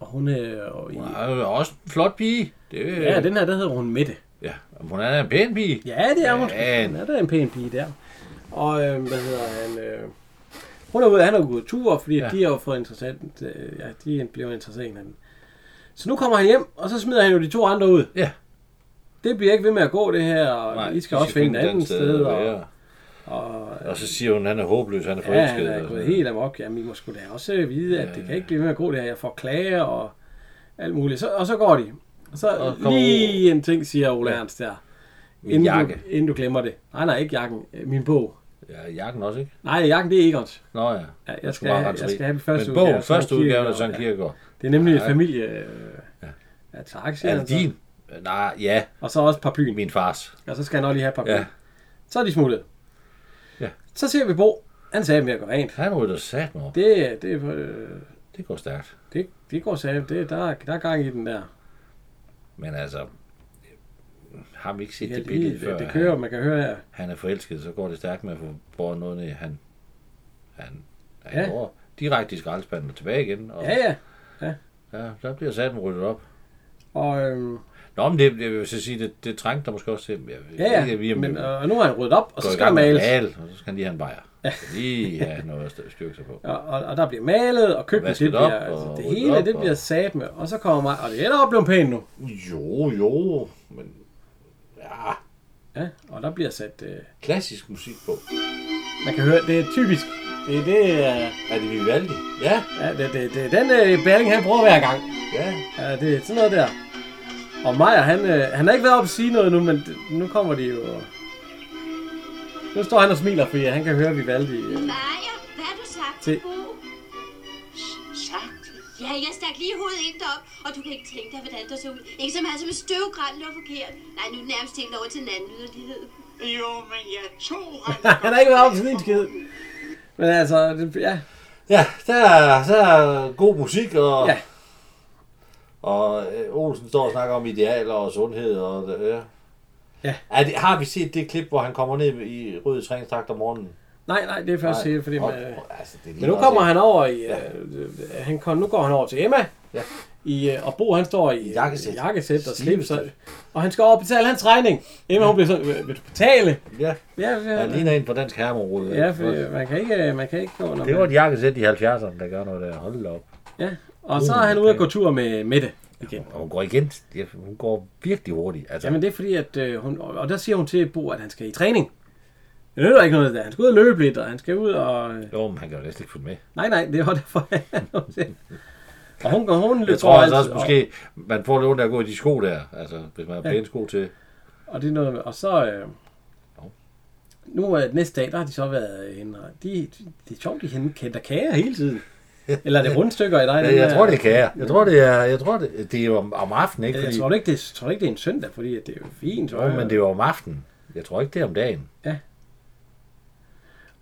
Og hun er... Øh, Hun wow. er jo også en flot pige. Det, Ja, den her, der hedder hun Mette. ja. Hun er en pæn pige. Ja, det er hun. Ja. Hun er da en pæn pige der. Og øh, hvad hedder han? Øh, hun er ude, han er jo gået tur, fordi Ja. ja. de har jo fået interessant, øh, ja, de bliver interesseret i hinanden. Så nu kommer han hjem, og så smider han jo de to andre ud. Ja. Det bliver ikke ved med at gå, det her, og Nej, I skal de også finde et et andet sted. at Og, være. og så siger hun, at han er håbløs, han er ja, forelsket. han Altså, er og gået sådan helt amok. Jamen, I må sgu da også øh, vide, at det kan ikke blive ved med at gå, det her. Jeg får klager og alt muligt. Så, og så går de. Og så Og og kommer- lige en ting, siger Ole Ja. Ernst der. Min Inden jakke. du, inden du glemmer det. Nej, nej, ikke jakken. Øh, Min bog. Ja, jakken også, ikke? Nej, jakken det er Egons. Nå ja. Ja, jeg Den skal bare have- rette jeg sig i. skal have den første Men udgave bogen, af Søren første udgave af Kierkegaard, Søren ja. Kierkegaard. Det er nemlig Ja. ja. familie... Øh, ja. tak, siger Er han det så. din? Nej, ja. Og så også paraplyen. Min fars. Og så skal han også lige have paraplyen. Ja. Ja. Så er de smuttet. Ja. Så ser vi Bo. Han sagde, at vi har gået rent. Han rydder sat mig. Det, det, øh, Det går stærkt. det, det går sagde, det, der, der er gang i den der. Men altså, har vi ikke set Ja, det det, billede det, før? det at kører, man kan høre her. Han, han er forelsket, så går det stærkt med at få båret noget ned. Han, han, Ja. han ja. går direkte i skraldespanden og tilbage igen. Og Ja, ja. ja. der bliver sat ryddet op. Og, øhm, Nå, men det, jeg vil så sige, det, det trængte der måske også til. Jeg, ja, ja, Ikke, vi, men, øh, og nu har han ryddet op, og så skal der der males. Male, og så skal han lige have en bajer. Ja. Lige have noget at styrke sig på. Og, og, og der bliver malet, og køkkenet, vasket det bliver, op, og altså, det ryddet hele, op, det og- bliver sat med. Og så kommer mig, og det er da blevet pænt nu. Jo, jo, men ja, Ja, og der bliver sat, øh, klassisk musik på. man kan høre, det er typisk. Det er det, øh, Er det Vivaldi? Ja, ja, det, det, det er den øh, Balling, han bruger hver gang. ja. Ja, det er sådan noget der. Og Maja, han, øh, han har ikke været oppe og sige noget nu, men det, nu kommer de jo... Nu står han og smiler, fordi han kan høre Vivaldi. Øh. Maja, hvad har du sagt Se. til Bo? Ja, jeg stak lige hovedet ind derop, og du kan ikke tænke dig, hvordan der så ud. Ikke så meget som en støvgræn, det var forkert. Nej, nu er det nærmest tænkt over til en anden yderlighed. Jo, men jeg tog Han har ikke været oppe og sige en skid. Men altså, det, ja, Ja, der er, der er god musik, og, Ja. ja. og øh, Olsen står og snakker om idealer og sundhed. Og, ja. Ja. Er det, har vi set det klip, hvor han kommer ned i røde træningsdragt om morgenen? nej, nej, det er først set, fordi man, øh, altså, det er lige Men nu meget kommer set. han over i, øh, øh, han kom, nu går han over til Emma, Ja. i, øh, og Bo han står i øh, jakkesæt. jakkesæt og Slips. slips, og, og han skal over og betale hans regning. Emma hun bliver sådan, "Vil- vil du betale? Ja, Ja, ja, han ligner en på dansk herreområde. ja for øh, man kan ikke, øh, man kan ikke gå, når Det var et man, jakkesæt i 70'erne, der gør noget der. Hold da op. ja. Og Uh, så er han ude at gå tur med Mette igen. Og hun går igen. ja, Hun går virkelig hurtigt. Altså, Jamen det er fordi, at øh, hun, og og der siger hun til Bo, at han skal i træning. Det nytter ikke noget der. Han skal ud og løbe lidt, og han skal ud og... øh, Jo, men han kan jo næsten ikke følge med. Nej, nej, det var derfor. og hun, hun, hun Jeg går tror altså altid også op. måske, man får lidt ondt af at gå i de sko der. Altså, hvis man har pæne sko til. Og det er noget med, og så... Øh, Nå. nu er øh, næste dag, der har de så været øh, henne, og de, det er sjovt, de hende kender kager hele tiden. Eller er det rundstykker i dig? Ja, den jeg der- tror, det kan jeg. Jeg tror, det er, jeg tror, det, det er jo om, om aftenen, ikke? Jeg Fordi, tror ikke, det, tror ikke, det er en søndag, fordi at det er jo fint. jo, men det er jo om aftenen. Jeg tror ikke, det er om dagen.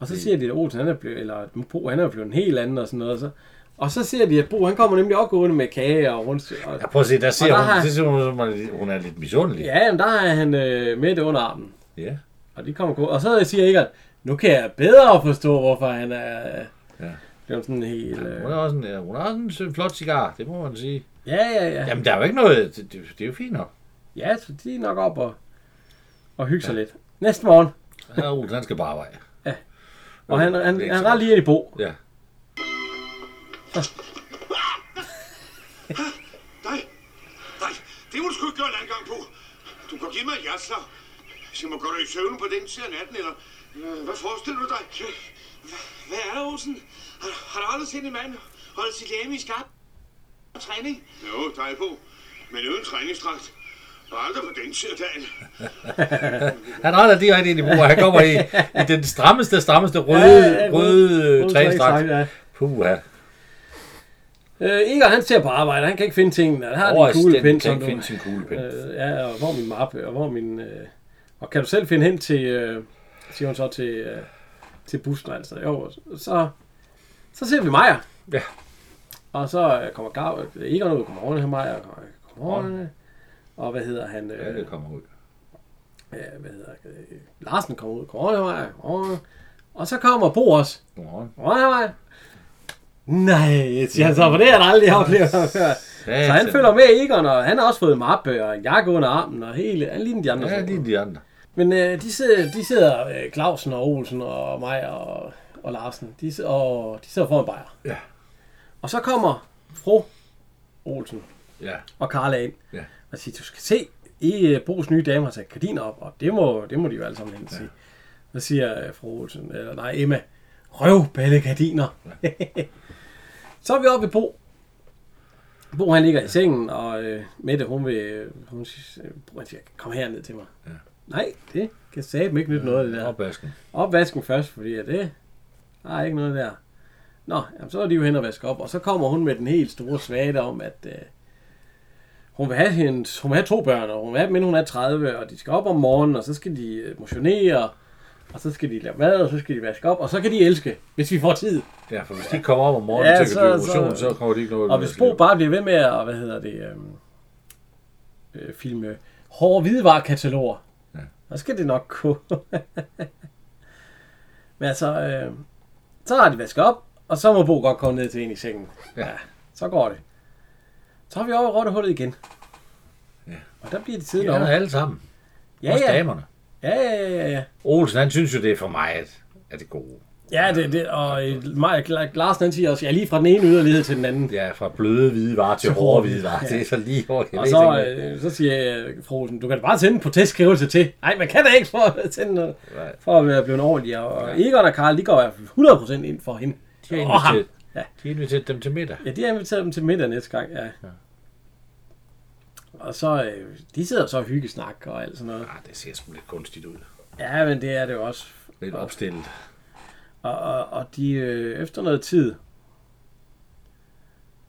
Og så siger de, at Olsen, han er blevet, eller at Bo, han er blevet en helt anden og sådan noget. Og så, og så ser de, at Bo, han kommer nemlig også gående med kager og rundstykker. Og, Ja, prøv at se, der ser der hun, har- det ser hun, som om, hun er lidt misundelig. ja, men der er han øh, midt under armen. ja. Og de kommer gå. Og så siger Egon, nu kan jeg bedre forstå, hvorfor han er... Ja. Blevet sådan helt... Øh, Hun er også en, ja, hun er også en sød, flot cigar, det må man sige. ja, ja, ja. Jamen, der er jo ikke noget, det, det, det er jo fint nok. Ja, så de er nok op og, og hygge sig lidt. Næste morgen. Ja, Ole, han skal bare arbejde. Og han, han, det er han, ikke så han ret lige ind i bo. Ja. Nej, nej, det må du sgu ikke gøre en anden gang på. Du kan give mig et jasler. Hvis jeg må gå dig i søvn på den side af natten, eller... øh, Hvad forestiller du dig? Hvad er der, Olsen? Har, har du aldrig set en mand holde sit læme i skarp træning? Jo, dig på. Men uden træningsdragt. Og aldrig på den side af dagen. Han render direkte ind i bordet. Han kommer i, i den strammeste, strammeste røde, Ja, ja, ja, røde- røde, røde røde træningsdragt, træningsdragt. ja. Puh, ja. Øh, Igor, han ser på arbejde. Han kan ikke finde tingene. Han har din kuglepind, Overstændig kan som ikke du... finde sin kuglepind. Øh, ja, og hvor er min mappe, og hvor er min... Øh, og kan du selv finde hen til... Øh, siger hun så til, øh, til bussen, altså. Jo, og så, så ser vi Maja. Ja. Og så øh, kommer Gav, øh, Egon ud, kommer over her, Maja, og kommer over og hvad hedder han? Øh, Ja, det kommer ud. øh, hvad hedder, øh, Larsen kommer ud, kommer over, her, kommer over. og så kommer Bo også. Godmorgen. Hvor er han? Nej, siger han så, for det har jeg aldrig oplevet før. Så Altså- han følger med Egon, og han har også fået mappe og en jakke under armen, og hele, han ligner de andre. Ja, lige de andre. Men øh, de sidder, de sidder øh, Clausen og Olsen og mig og, og Larsen, de, sidder- og de sidder foran bajer. Ja. Og så kommer fru Olsen Ja. og Karla ind Ja. og siger, du skal se, I øh, Bos nye dame har sat gardiner op, og det må, det må de jo alle sammen hen sige. Så siger øh, fru Olsen, eller nej, Emma, røv gardiner. så er vi oppe i Bo. Bo han ligger i sengen, og øh, Mette, hun vil, øh, hun siger, øh, Bo, han siger, kom her ned til mig. Ja. Nej, det kan satme ikke nytte noget af det der. Opvasken. Opvasken først, fordi at det der er ikke noget der. Nå, jamen, så er de jo hen og vaske op, og så kommer hun med den helt store svage om, at øh, hun, vil have hendes, hun vil have to børn, og hun vil have dem, inden hun er 30, og de skal op om morgenen, og så skal de øh, motionere, og så skal de lave mad, og så skal de vaske op, og så kan de elske, hvis vi får tid. Ja, for hvis de ikke kommer op om morgenen Ja, ja, til at så- dyrke motion, så- så, kommer de ikke noget. Og hvis Bo bare bliver ved med at, hvad hedder det, øh, øh, filme hårde hvidevarekataloger, ja. Ja. så skal det nok gå. Men altså, øh, så har de vasket op, og så må Bo godt komme ned til en i sengen. Ja. Så går det. Så har vi over i rottehullet igen. Og der bliver de tiden Ja, over. alle sammen. Ja, Også ja. damerne. Ja, ja, ja, ja. Olsen, han synes jo, det er for mig, at, at det gode. Ja, det, det, og øh, Maja, Larsen han siger også, ja, lige fra den ene yderlighed til den anden. Ja, fra bløde hvide varer til hårde hårde hvide hvide, varer. ja. Det er så lige hårdt. Og så, øh, så siger øh, fru Olsen, du kan da bare sende en protestskrivelse til. Nej, man kan da ikke for at sende noget, Nej. for at være blevet ordentlig. Og Egon og Karl, de går i hvert fald 100% ind for hende. de har Og ham. inviteret, Ja. de har inviteret dem til middag. Ja, de har inviteret dem til middag næste gang, ja. Og så, øh, de sidder så og hyggesnak og alt sådan noget. Ah, det ser sgu lidt kunstigt ud. Ja, men det er det jo også. Lidt opstillet. Og, og, og de, øh, efter noget tid,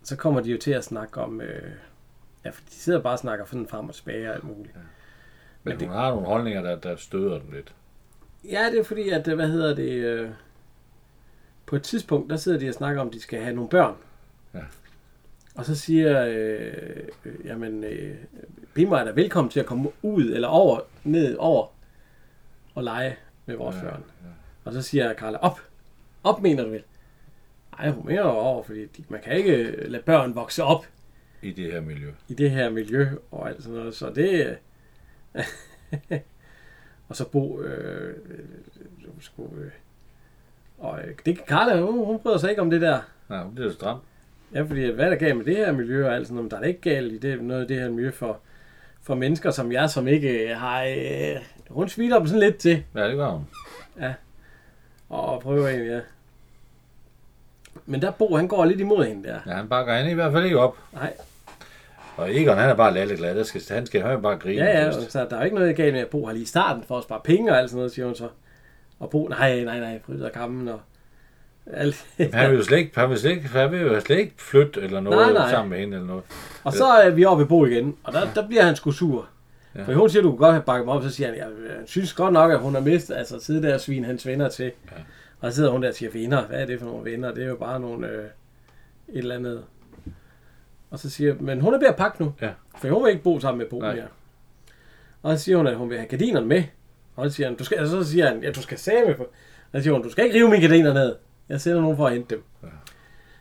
så kommer de jo til at snakke om, øh, ja, for de sidder bare og snakker sådan frem og tilbage og alt muligt. Men hun har nogle holdninger, der, der støder dem lidt. Ja, det er fordi, at, øh, hvad hedder det, øh, på et tidspunkt, der sidder de og snakker om, at de skal have nogle børn. Ja. Og så siger, øh, øh, jamen, øh, Bimmer er da velkommen til at komme ud eller over, ned over og lege med vores ja, børn. Ja. Og så siger Karla, op, op mener du vel? Nej, hun mener jo over, fordi de, man kan ikke øh, lade børn vokse op I det her miljø. i det her miljø og alt sådan noget. Så det... øh, og så Bo... Øh, øh, øh, skulle, øh, og øh, det kan Carla, hun, hun bryder sig ikke om det der. Nej, hun bliver så stram. Ja, fordi hvad er der galt med det her miljø og alt sådan noget? Men der er da ikke galt i det, noget af det her miljø for, for mennesker som jeg, som ikke øh, har... Øh, hun smiler dem sådan lidt til. Ja, det gør hun. Og prøver en, ja. Men der Bo, han går lidt imod hende der. Ja, han bakker hende i hvert fald ikke op. Nej, Og Egon, han er bare lalleglad. Der skal, han skal han bare grine. Ja, ja, først. så der er jo ikke noget galt med, at Bo har lige i starten for at spare penge og alt sådan noget, siger hun så. Og Bo, nej, nej, nej, bryder kampen og alt. Han vil jo slet ikke, han vil slet ikke, han vil jo slet ikke flytte eller noget Nej, nej, nej. nej. sammen med hende eller noget. og så er vi oppe ved Bo igen, og der, der bliver han sgu sur. Ja. For hun siger, du kunne godt have bakket mig op, så siger han, jeg, jeg synes godt nok, at hun har mistet, altså sidde der og svine hans venner til. Ja. Og så sidder hun der og siger, venner, hvad er det for nogle venner? Det er jo bare nogle, øh, et eller andet. Og så siger men hun er ved at pakke nu. Ja. For hun vil ikke bo sammen med Bo Nej. mere. Og så siger hun, at hun vil have gardinerne med. Og så siger han, du skal, og så siger han, ja, du skal sæve på. Og så siger hun, du skal ikke rive mine gardiner ned. Jeg sender nogen for at hente dem. Ja.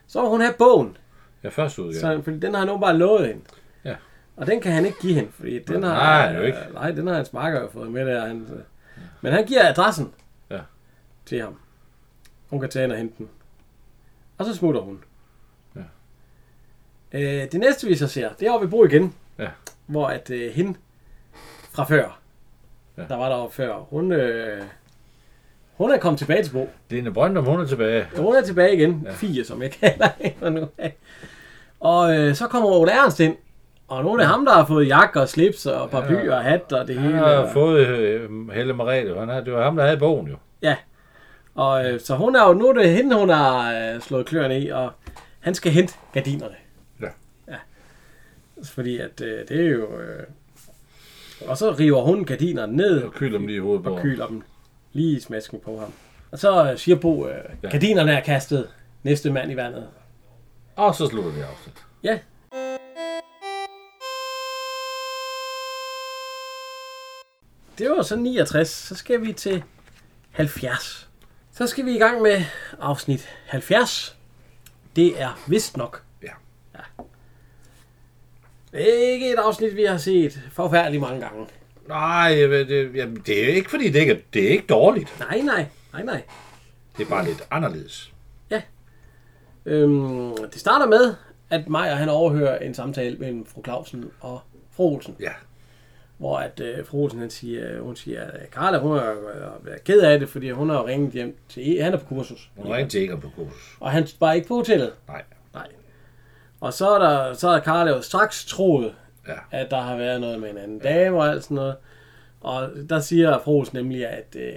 Så vil hun have bogen. Ja, første udgave. Så, fordi den har han jo bare lovet hende. Ja. Og den kan han ikke give hende, fordi den Nej, har... jo ikke. Nej, den har hans marker jo fået med der. Han, men han giver adressen Ja. til ham. Hun kan tage ind og hente den. Og så smutter hun. Ja. Øh, det næste vi så ser, det er oppe i Bro igen. Ja. Hvor at øh, hende fra før, Ja. der var deroppe før, hun, øh, hun er kommet tilbage til Bo. Lene Brøndum, hun er tilbage. Hun er tilbage igen. Ja. Fie, som jeg kalder hende nu. Og øh, så kommer Ole Ernst ind. Og nu er det ham, der har fået jakke og slips og paraply og hat og det Han hele. har Og, fået øh, Helle Merete. Han er, det var ham, der havde bogen jo. og øh, så hun er jo, nu er det hende, hun har øh, slået kløerne i, og han skal hente gardinerne. Ja. ja. Fordi at øh, det er jo... Øh, og så river hun gardinerne ned Og kyler dem lige i hovedet på. og ham. kyler dem lige i smasken på ham. Og så øh, siger Bo, øh, gardinerne er kastet. Næste mand i vandet. Og så slutter det afsnit. Ja, Det var så 69. Så skal vi til 70. Så skal vi i gang med afsnit 70. Det er vist nok. Ja. ja. Ikke et afsnit, vi har set forfærdeligt mange gange. Nej, jeg ved det, jamen, det er ikke fordi, det ikke er, det er ikke dårligt. Nej, nej. Nej, nej. Det er bare lidt anderledes. Øhm, det starter med, at Maja han overhører en samtale mellem fru Clausen og fru Olsen. Ja. Hvor at øh, fru Olsen, han siger, hun siger, at Carla, hun er, er ked af det, fordi hun har ringet hjem til, E-, han er på kursus. Hun er rigtig ikke på kursus. Og han var ikke på hotellet. Nej. Nej. Og så er der, så er Carla jo straks troet, Ja. at der har været noget med en anden dame og alt sådan noget. Og der siger Fros nemlig, at øh,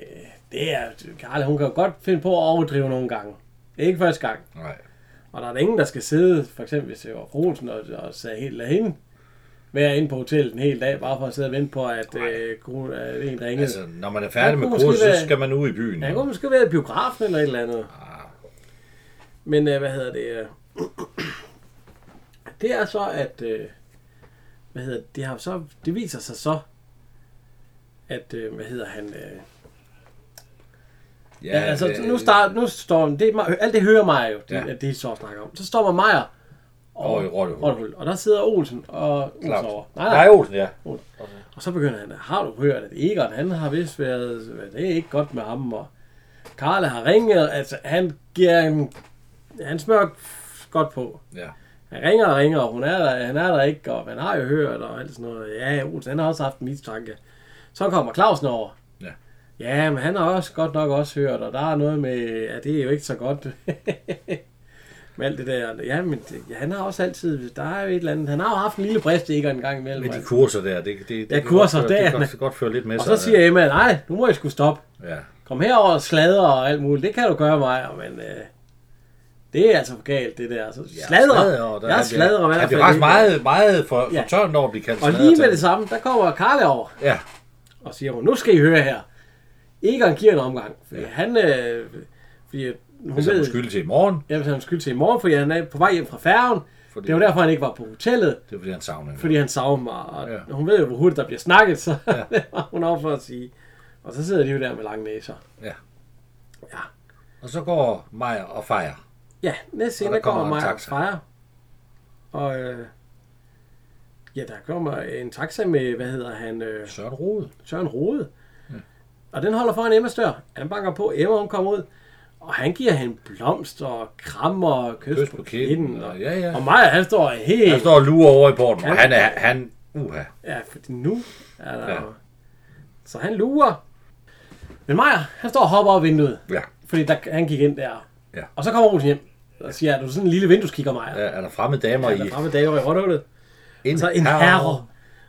det er, Carla, hun kan jo godt finde på at overdrive nogle gange. Det er ikke første gang. Nej. Og der er da ingen, der skal sidde, for eksempel hvis det var Frosen og, og sagde helt af hende, være inde på hotellet en hel dag, bare for at sidde og vente på, at, øh, kone- at en ringede. Altså, Altså, når man er Han færdig med kunne måske kursus, så være- skal man ud i byen. ja, det kunne måske være i biografen eller et eller andet. Ah, Men øh, hvad hedder det? Øh, det er så, at... Øh, hvad hedder det? Det, har så, det viser sig så, at... Øh, hvad hedder han? Øh, ja, altså, øh, nu, start, nu står... Det er, Ma- alt det hører mig jo, det, Ja. ja. det, de står og snakker om. Så står man Maja Over i Rottehul. Rottehul. Og der sidder Olsen og Olsen Claus. over. Nej, nej. Olsen, ja. Og så begynder han, har du hørt, at Egon, han har vist været, hvad, det er ikke godt med ham, og Karla har ringet, altså han giver en, han smører godt på. ja. Han ringer og ringer, og hun er der, han er der ikke, og man har jo hørt, og alt sådan noget. Ja, Olsen, han har også haft en mistanke. Så kommer Clausen over. Ja. Ja, men han har også godt nok også hørt, og der er noget med, at det er jo ikke så godt med alt det der. Ja, men det, ja, han har også altid, der er jo et eller andet, han har jo haft en lille brist, ikke en gang imellem. Med de altså. kurser der, det, det, det Ja, kan kurser godt, føre- der. Det kan godt, godt føre lidt med Og sig. så siger Emma, nej, nu må jeg skulle stoppe. Ja, Kom herover og sladre og alt muligt. Det kan du gøre mig, men øh, det er altså for galt, det der. Så ja, sladre. og der- jeg han bliver- sladrer i hvert Han fald. bliver faktisk ikke. meget, meget for, Ja. for tørt over at blive kaldt Og sladder lige til. med det samme, der kommer Karl over Ja, og siger hun, nu skal I høre her. Egon giver en omgang. Fordi ja. han, øh, fordi hun hvis han ved, må skylde til i morgen, ja, hvis han skyld til i morgen, fordi han er på vej hjem fra færgen. Fordi- Det var derfor, han ikke var på hotellet, det er fordi han savner hende. fordi han savner mig. Og Ja. ja. hun ved jo, hvor hurtigt der bliver snakket, så ja. hun er op for at sige. Og så sidder de jo der med lange næser. Og så går Maja og fejrer. Ja, næste Og scene der der kommer, kommer en kommer mig og taxa. Freja. Og øh, ja, der kommer en taxa med, hvad hedder han, øh, Søren Rode. Søren Rode. Og den holder foran Emma Stør. Han banker på, Emma hun kommer ud. Og han giver hende blomst og krammer og kys, Kys på på kinden, kinden. og ja, ja. og Maja, han står helt... Han står og lurer over i porten, og Ja. han er, han, uha. Ja, fordi nu er der... Ja. Ja. Så han lurer. Men Maja, han står og hopper over vinduet. Ja. Fordi der, han gik ind der. Ja. Og så kommer Olsen hjem og siger, er du sådan en lille vindueskigger, Maja? Ja, Er der fremmede damer Ja, i? der fremme damer i rottehullet. En, Så en herre.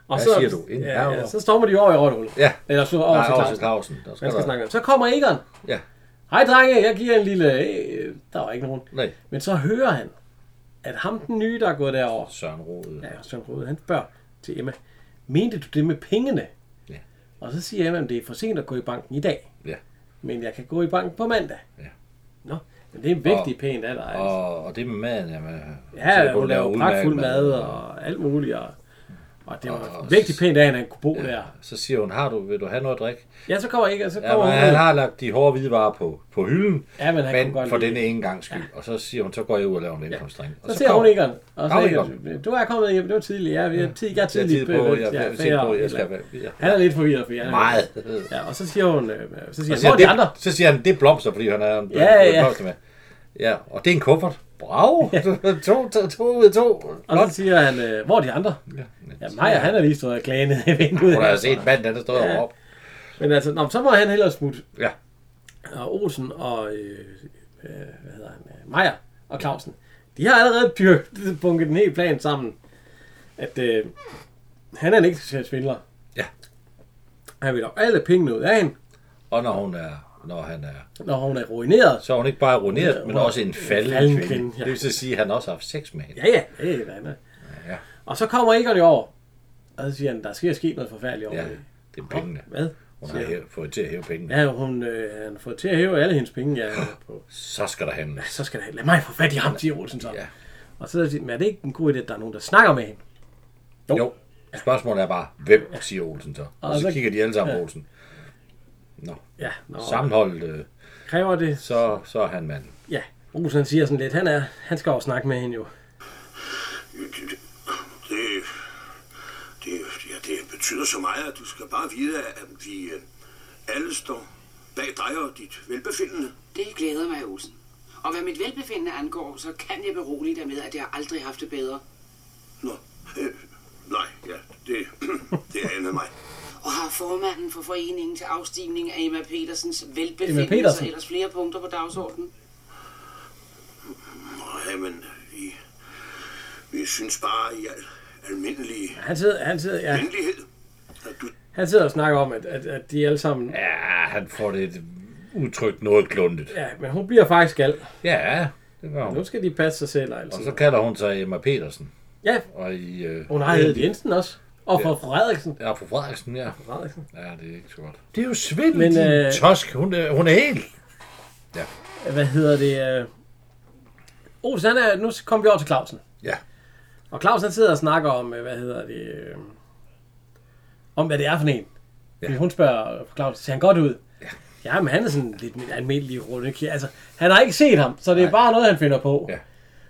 Og Hvad så, siger du? En herre? Ja, så står man de over i rottehullet. Ja. Eller så over Nej, til Clausen. Clausen. Clausen. Der skal, Man skal der. snakke om. Så kommer Egon. Ja. Hej drenge, jeg giver en lille... Øh, der var ikke nogen. Nej. Men så hører han, at ham den nye, der er gået derover, Søren Rode. ja, Søren Rode, han spørger til Emma, mente du det med pengene? Ja. Og så siger Emma, at det er for sent at gå i banken i dag. Ja. Men jeg kan gå i banken på mandag. Ja. Nå, men det er en vigtig pæn alder, altså. Og, og det med maden, jamen. øh, Ja, hun laver udmærket pragtfuld mad og alt muligt. Og, og det var en vigtig s- pæn dag, at han kunne bo der. Så siger hun, har du, vil du have noget at drikke? Ja, så kommer ikke, så Ja, kommer men ja, han hun. har lagt de hårde hvidevarer på, på hylden, Ja, men han kunne men godt for lide denne ene gang skyld. Og så siger hun, så går jeg ud og laver en indkomstdrink. Og Så, ser kommer- hun Egon, og så Kom, Egon, du er kommet hjem, det var tidligt, ja, vi er tid, jeg er Jeg har tidligt tid på, begyndt, jeg, ja, jeg, jeg, færre, jeg, på, jeg eller- skal være... Ja. Han er lidt forvirret, fordi han er- Meget. Ja, og så siger hun, øh, så siger, han, hvor Og siger, er de andre? det, så siger han, det er blomster, fordi han er en Ja, ja. blomster med. Ja, og det er en kuffert. Bravo! to, to, to ud af to. Og så Godt. siger han, øh, hvor er de andre? Ja, Ja, Maja, han er lige stået og klanet i vinduet. Hun har altså- jo set manden, der står Ja. ja. op. Men altså, nå, men så må han hellere smutte. Ja. Og Olsen og, øh, øh, hvad hedder han, øh, Maja og Clausen, de har allerede byrket, bunket en hel plan sammen, at øh, han er en ægteskab svindler. Ja. Han vil dog alle pengene ud af hende, Og når hun er, når han er, når hun er ruineret. så er hun ikke bare ruineret, men Hun er- også en falden falden kvinde. kvinde, ja. Det vil så sige, at han også har haft sex med hende. Ja, ja, det er det andet. ja. Og så kommer Egon i år, og så siger han, der skal ske noget forfærdeligt over Ja, det. det er pengene. Hvad? Hun har siger han. hæ- fået til at hæve pengene. Ja, hun, øh, han har fået til at hæve alle hendes penge, ja, på. Så skal der handles. Så skal der, lad mig få fat i ham, siger Olsen så. Ja. Og så siger han, men er det ikke en god idé, at der er nogen, der snakker med hende? Jo. Jo. Spørgsmålet er bare, hvem siger Olsen så? Og Og så så- kigger de alle sammen på ja. Olsen. Ja, nå, Sammenholdt, øh, kræver det, så... så, så er han manden. Ja, Olsen han siger sådan lidt, han, er, han skal jo snakke med hende jo. Det, det, ja, det betyder så meget, at du skal bare vide, at vi øh, alle står bag dig og dit velbefindende. Det glæder mig, Olsen. Og hvad mit velbefindende angår, så kan jeg berolige dig med, at jeg aldrig har haft det bedre. Nå, øh, nej, ja, det, det anede mig. Og har formanden for foreningen til afstigning af Emma Petersens velbefindende Emma Petersen? så ellers flere punkter på dagsordenen? Nå, jamen, vi, vi synes bare i al almindelig Han sidder, han sidder, ja, venlighed, at du han sidder og snakker om, at, at, at de alle sammen... Ja, han får det udtrykt noget kluntet. Ja, men hun bliver faktisk gal. Ja, det gør hun. Nu skal de passe sig selv, altså. Og så kalder hun sig Emma Petersen. Ja, Og i... Øh, hun har heddet Jensen også. Og for Frederiksen. Ja, fru Frederiksen, ja. Frederiksen. Ja, det er ikke så godt. Det er jo svindel, Men, Men, din øh... øh, tosk. Hun er, hun er helt... hvad hedder det? Øh... Olsen, han er, nu kommer vi over til Clausen. Ja. Og Claus han sidder og snakker om, øh, hvad hedder det, øh, om hvad det er for en. Ja. Hun spørger øh, Claus, ser han godt ud? Ja. ja men han er sådan lidt min almindelig runde. ki- Altså, han har ikke set ham, så det er bare noget, han finder på. Ja.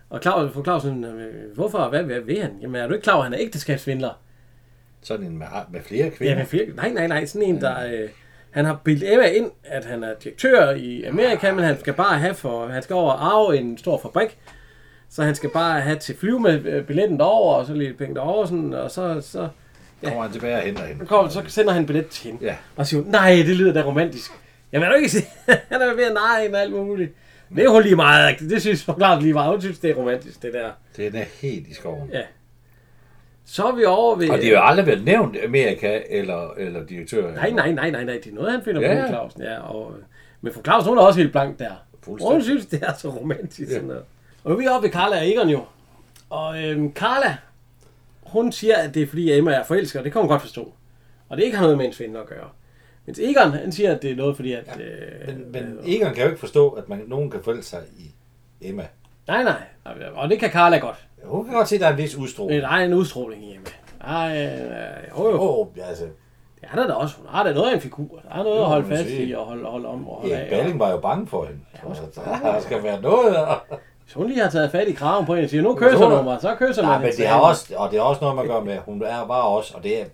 Og Claus, for Clausen, øh, hvorfor? Hvad, hvad vil han? Jamen, er du ikke klar over, at han er ægteskabssvindler? Sådan en med, med flere Ja, kvinder. men flere, nej, nej, nej. Sådan en, der... Øh, han har bildt Emma ind, at han er direktør i Amerika, Ah. men han skal bare have for... Han skal over og arve en stor fabrik. Så han skal bare have til flyve med øh, billetten derover og så lidt penge derover, sådan, og så, så, ja. kommer han tilbage og henter hende. så, kommer, så sender han en billet til hende. Ja. Og siger, hun, nej, det lyder da romantisk. Jamen, er du ikke sige, han er ved at narre hende og alt muligt. Det er jo lige meget, agtigt. det synes forklart lige meget. Hun synes, det er romantisk, det der. Den er helt i skoven. Ja. Så er vi over ved... Og det har jo aldrig været nævnt Amerika eller, eller direktør. Nej, nej, nej, nej, nej. Det er noget, han finder Ja. ja. på, Clausen. Ja, og, øh, men for Clausen, hun er også helt blank der. Fuldstændig. Hun synes, det er så romantisk. Ja. Sådan noget. Og nu er vi oppe ved Carla og Egon jo. Og øhm, Carla, hun siger, at det er fordi Emma er forelsket, og det kan hun godt forstå. Og det ikke har noget med en svindel at gøre. Mens Egon, han siger, at det er noget fordi, at... Ja. Øh, Men, men Egon kan jo ikke forstå, at man, nogen kan forelske sig i Emma. nej, nej. Og det kan Carla godt. Hun kan godt se, at der er en vis udstråling. Men der er en udstråling i Emma. Ej, øh, jo, jo. Åh, oh, altså, Det er der da også. Hun har da noget af en figur. Der er noget at må holde man fast sige. i og holde, holde om og holde Erik af. Balling var jo bange for hende. Altså, der skal være noget. Altså, Hvis hun lige har taget fat i kraven på en og siger, nu kysser du mig, så kysser man Nej, men hende det har tilbage. også, og det har også noget, man gør med, hun er, var også, og det er,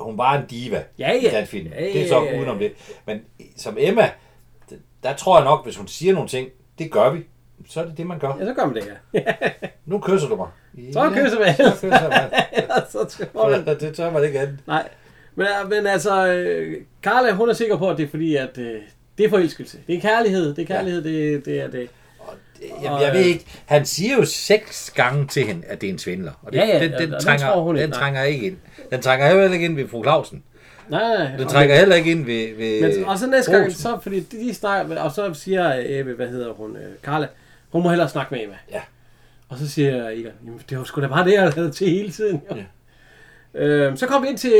hun var en diva Ja, i ja. den film. Ja, ja, Det er så ja, ja. udenom det. Men som Emma, d- der tror jeg nok, hvis hun siger nogle ting, det gør vi, så er det det, man gør. Ja, så gør man det her. Nu kysser du mig. Så kysser man. Så kysser man. Ellers så tror man. Så det tør man ikke andet. Nej. Men, men altså, øh, Carla, hun er sikker på, at det er fordi, at øh, det er forelskelse. Det er kærlighed, det er kærlighed, det, det er det. Jeg, jeg ved ikke, han siger jo seks gange til hende, at det er en svindler. Og det, Ja, ja, den, ja, den, den trænger, tror hun ikke, den nej. trænger ikke ind. Den trænger heller ikke ind ved fru Clausen. Nej, nej. Den trækker heller ikke ind ved... ved Men, og så næste gang, Øh, Olsen. så, fordi de, de snakker, og så siger Ebbe, hvad hedder hun, øh, Carla, hun må hellere snakke med Emma. Ja. Og så siger Egon, jamen det var sgu da bare det, jeg havde til hele tiden. Jo. Ja. Øhm, så kom vi ind til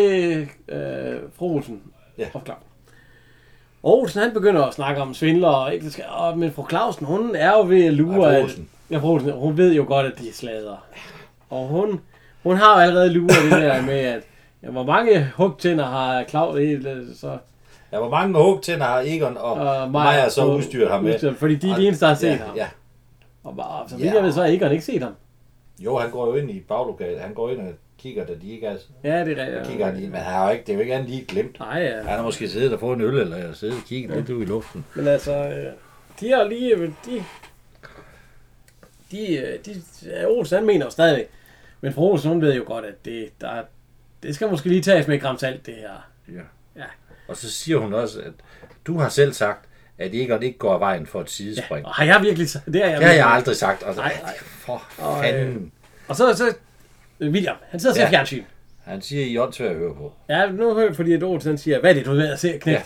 øh, fru Olsen Ja. og Clausen. Og Olsen, han begynder at snakke om svindler og ægteskab, og, men fru Clausen, hun er jo ved at lure... Nej, fru at- Olsen. Ja, fru Olsen, hun ved jo godt, at de er slader. Og hun, hun har jo allerede luret det der med, at ja, hvor mange hugtænder har Claus, så Ja, hvor mange hugtænder har Egon og, og Maja så på- udstyret ham med? udstyret, fordi de er Og- de eneste, der har set ja, ham. Ja. Og bare, så vidt Ja. jeg ved, så har Egon ikke set ham. Jo, han går jo ind i baglokalet. Han går ind og kigger, da de ikke er... Ja, det er Ja. rigtigt. Kigger han ind, men han har jo ikke, det er jo ikke andet lige glemt. Nej, ja. Han har måske siddet og fået en øl, eller siddet og kigget ja. lidt ud i luften. Men altså, øh, de har lige... øh, De, de, øh, de, ja, Olsen, han mener jo stadigvæk. Men fru Olsen, hun ved jo godt, at det, der, det skal måske lige tages med et gram salt, det her. Ja. Ja. Og så siger hun også, at du har selv sagt, at Egon ikke går af vejen for et sidespring. Ja. Og har jeg virkelig... så- Det har jeg, Det har virkelig- jeg aldrig sagt. Altså, Nej, nej, nej. nej. For Og, fanden. Og så, så øh, William, han sidder og ser Ja. fjernsyn. Han siger, I er åndssvagt at høre på. Ja, nu hører jeg, fordi at Olsen han siger, hvad er det, du er ved at se, knægt? Ja.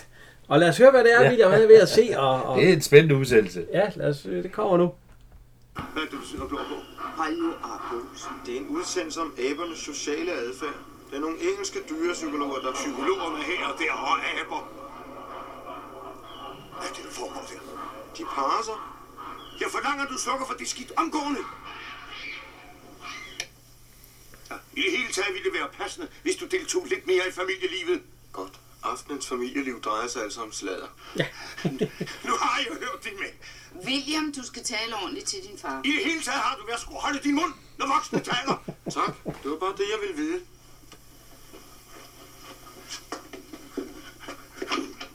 Og lad os høre, hvad det er, William han er ved at se. Og, og, Det er en spændende udsendelse. Ja, lad os, øh, det kommer nu. Hvad er det, du sidder og glor på? Hold nu op, Olsen. Det er en udsendelse om abernes sociale adfærd. Det er nogle engelske dyrepsykologer, der er psykologerne her og der og aber. Hvad er det, der foregår der? De parer sig. Jeg forlanger, at du slukker for det skidt omgående. I det hele taget ville det være passende, hvis du deltog lidt mere i familielivet. Godt. Aftenens familieliv drejer sig altså om slader. Nu har jeg hørt det med. William, du skal tale ordentligt til din far. I det hele taget har du været skulle holde din mund, når voksne taler. Tak. Det var bare det, jeg ville vide.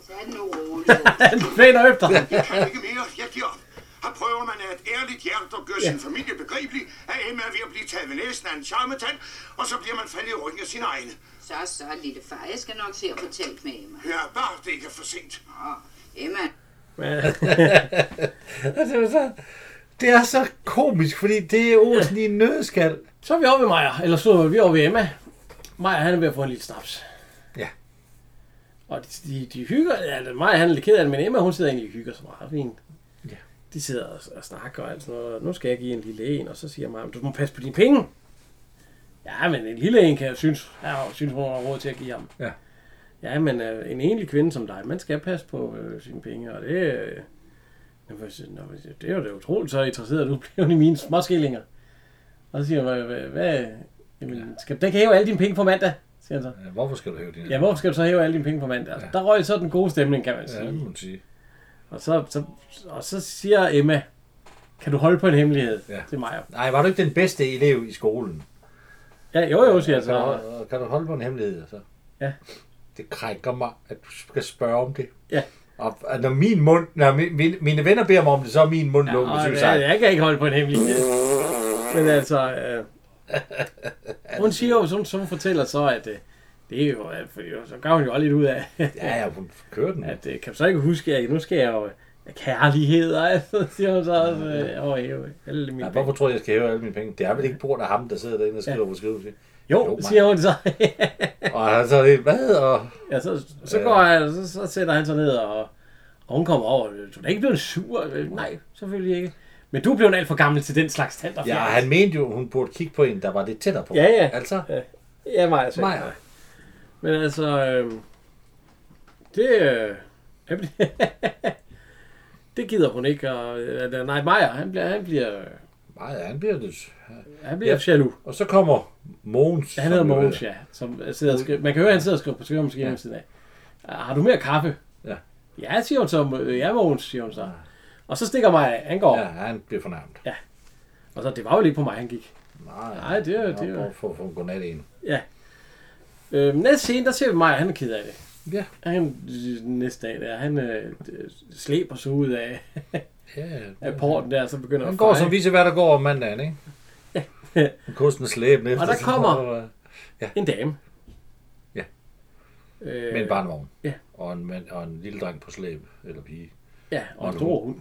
Så er den nu rolig. Han fæner efter ham. Jeg kan ikke mere. Jeg giver op. Her prøver man af et ærligt hjerte at gøre sin familie begribelig, at Emma er ved at blive taget ved næsen af en charmetand, og så bliver man faldet i ryggen af sine egne. Så, så, lille far. Jeg skal nok se at få talt med Emma. Ja, bare det ikke er for sent. Åh, Emma, Altså, det er så, det er så komisk, fordi det er Olsen i en nødskal. Så er vi over ved Maja, eller så er vi over ved Emma. Maja, han er ved at få en lille snaps. Ja. Og de, de, de hygger, altså Maja han er lidt ked af det, men Emma hun sidder egentlig og hygger så meget fint. Ja. De sidder og, og snakker og alt sådan noget. Nu skal jeg give en lille en, og så siger Maja, du må passe på dine penge. Ja, men en lille en kan jeg synes, ja, synes hun har råd til at give ham. Ja. Ja, men øh, en enlig kvinde som dig, man skal passe på øh, sine penge, og det... Øh, Nå, hvad siger- nå, hvad siger- det er jo da utroligt, så interesseret du blev i mine småskillinger. Og så siger jeg, hvad, hvad, hvad jamen, skal du da ikke hæve alle dine penge på mandag? Siger han så. Hvorfor skal du hæve din? Ja, hvorfor skal du så hæve alle dine penge på mandag? Altså, der røg så den gode stemning, kan man sige. Ja, må man sige. Og, så, så, og så siger Emma, Kan du holde på en hemmelighed? Ja. Til mig. Nej, var du ikke den bedste elev i skolen? Ja, jo, jo, siger jeg Kan, så. du- kan du holde på en hemmelighed? Altså? altså- Ja. Det krænker mig, at du skal spørge om det. Ja. Og og når min mund, når min, mine, mine venner beder mig om det, så er min mund ja, lukket, Og, synes jeg. jeg, jeg kan ikke holde på en hemmelighed. Men altså, øh, hun siger jo, hun, hun fortæller så, at øh, det er jo, at, fordi, jo, så gør hun jo også lidt ud af, Ja, ja, hun kører den. Ja. at øh, kan du så ikke huske, at nu skal jeg jo øh, kærlighed, og så siger hun så også, øh, åh, hæve, alle mine penge. Ja, hvorfor tror jeg, jeg skal hæve alle mine penge? Det er vel ikke på grund af ham, der sidder derinde og skriver ja. på skrivebordet. Jo, siger hun så. Og han så det, hvad? Og, ja, så, så går han, så, så sætter han sig ned, og, og hun kommer over. "Øh, Du er da ikke blevet sur? Øh, Nej, selvfølgelig ikke. Men du er blevet alt for gammel til den slags tand. ja, han mente jo, hun burde kigge på en, der var lidt tættere på. Ja, ja. Altså, Ja, ja Maja. så- Maja. Men altså, øh, det, øh, han bliver, det gider hun ikke. Og, øh, nej, Maja, han bliver, han bliver, øh, Maja, han bliver det. han bliver ja. jalow. Og så kommer Mogens. Han hedder som øh, jo Mogens, ja. Som sidder og skriver, man kan høre, at han sidder og skriver på skrivemaskinen ja. siden af. "Ah, Har du mere kaffe? Ja. Ja, siger hun så. "Øh, Ja, Mogens, siger hun så. Og så stikker Maja, af. han går. Ja, Ja. han bliver fornærmet. Og så, det var jo lige på mig, han gik. Nej, Nej, det er- det er- For, for, for en godnat en. Øh, næste scene, der ser vi Maja, han er ked af det. Ja. Han, næste dag der, han øh, slæber sig ud af, Ja, af porten der, så begynder Han at går feje. som viser, hvad der går om mandagen, ikke? Ja. Kosten slæb efter. Og der sig. kommer- En dame. Ja. Øh, Med en barnvogn. Ja. Og en, mand, og en lille dreng på slæb, eller pige. Ja, og en en stor hund.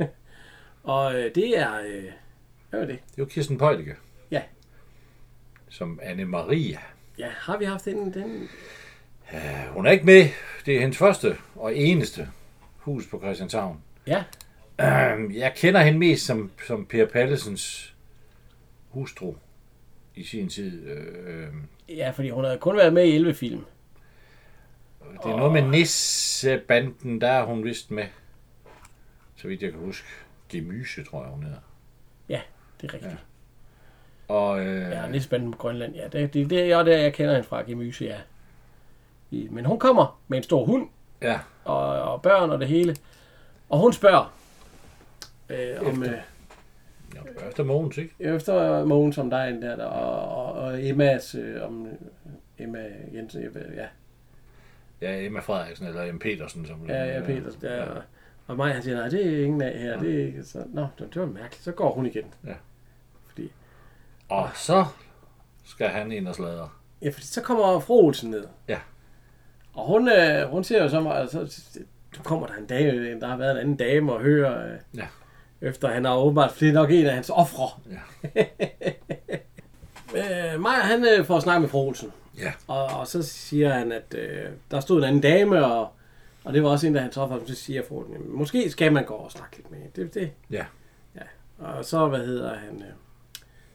Ja. og øh, det er... Øh, hvad var det? Det var Kirsten Pøjtke. Ja. Som Anne-Maria. Ja, har vi haft den? den? Ja, Hun er ikke med. Det er hendes første og eneste hus på Christianshavn. Ja. Øhm, Jeg kender hende mest som, som Per Pallesens hustru i sin tid. Øh, øh, Ja, fordi hun havde kun været med i 11 film. Det er noget med Nissebanden, der er hun vist med. Så vidt jeg kan huske. Gemyse, tror jeg, hun hedder. Ja, det er rigtigt. Og, øh, Ja, ja Nisbanden på Grønland. Ja, det, det, det er jo der, jeg kender hende fra, Gemyse, ja. I- Men hun kommer med en stor hund ja, og, og børn og det hele. Og hun spørger øh, om... Øh, ja, efter Mogens, ikke? efter Mogens om dig der, der og, og, og Emmas øh, om øh, Emma Jensen, jeg ved- ja, Ja, Emma Frederiksen eller M. Petersen. Som, ja, Mm. ja, Peter, der, og mig, han siger, nej, det er ingen af her, det er ikke, så, nå, det, det var mærkeligt, så går hun igen. Ja. Fordi, Og så skal han ind og sladre. ja, fordi så kommer fru Olsen ned. Ja. Og hun, øh, hun siger jo så meget, så, du kommer der en dame, der har været en anden dame og hører, øh, Ja. efter han har åbenbart, fordi det er nok en af hans ofre. Ja. øh, Maja, han øh, får snakket med fru Olsen. Ja. Og, og så siger han, at øh, der stod en anden dame, og, og det var også en, der han så for, så siger Froden, "Jamen, måske skal man gå og snakke lidt med hende." det, det. Ja. ja. Og så, hvad hedder han, øh,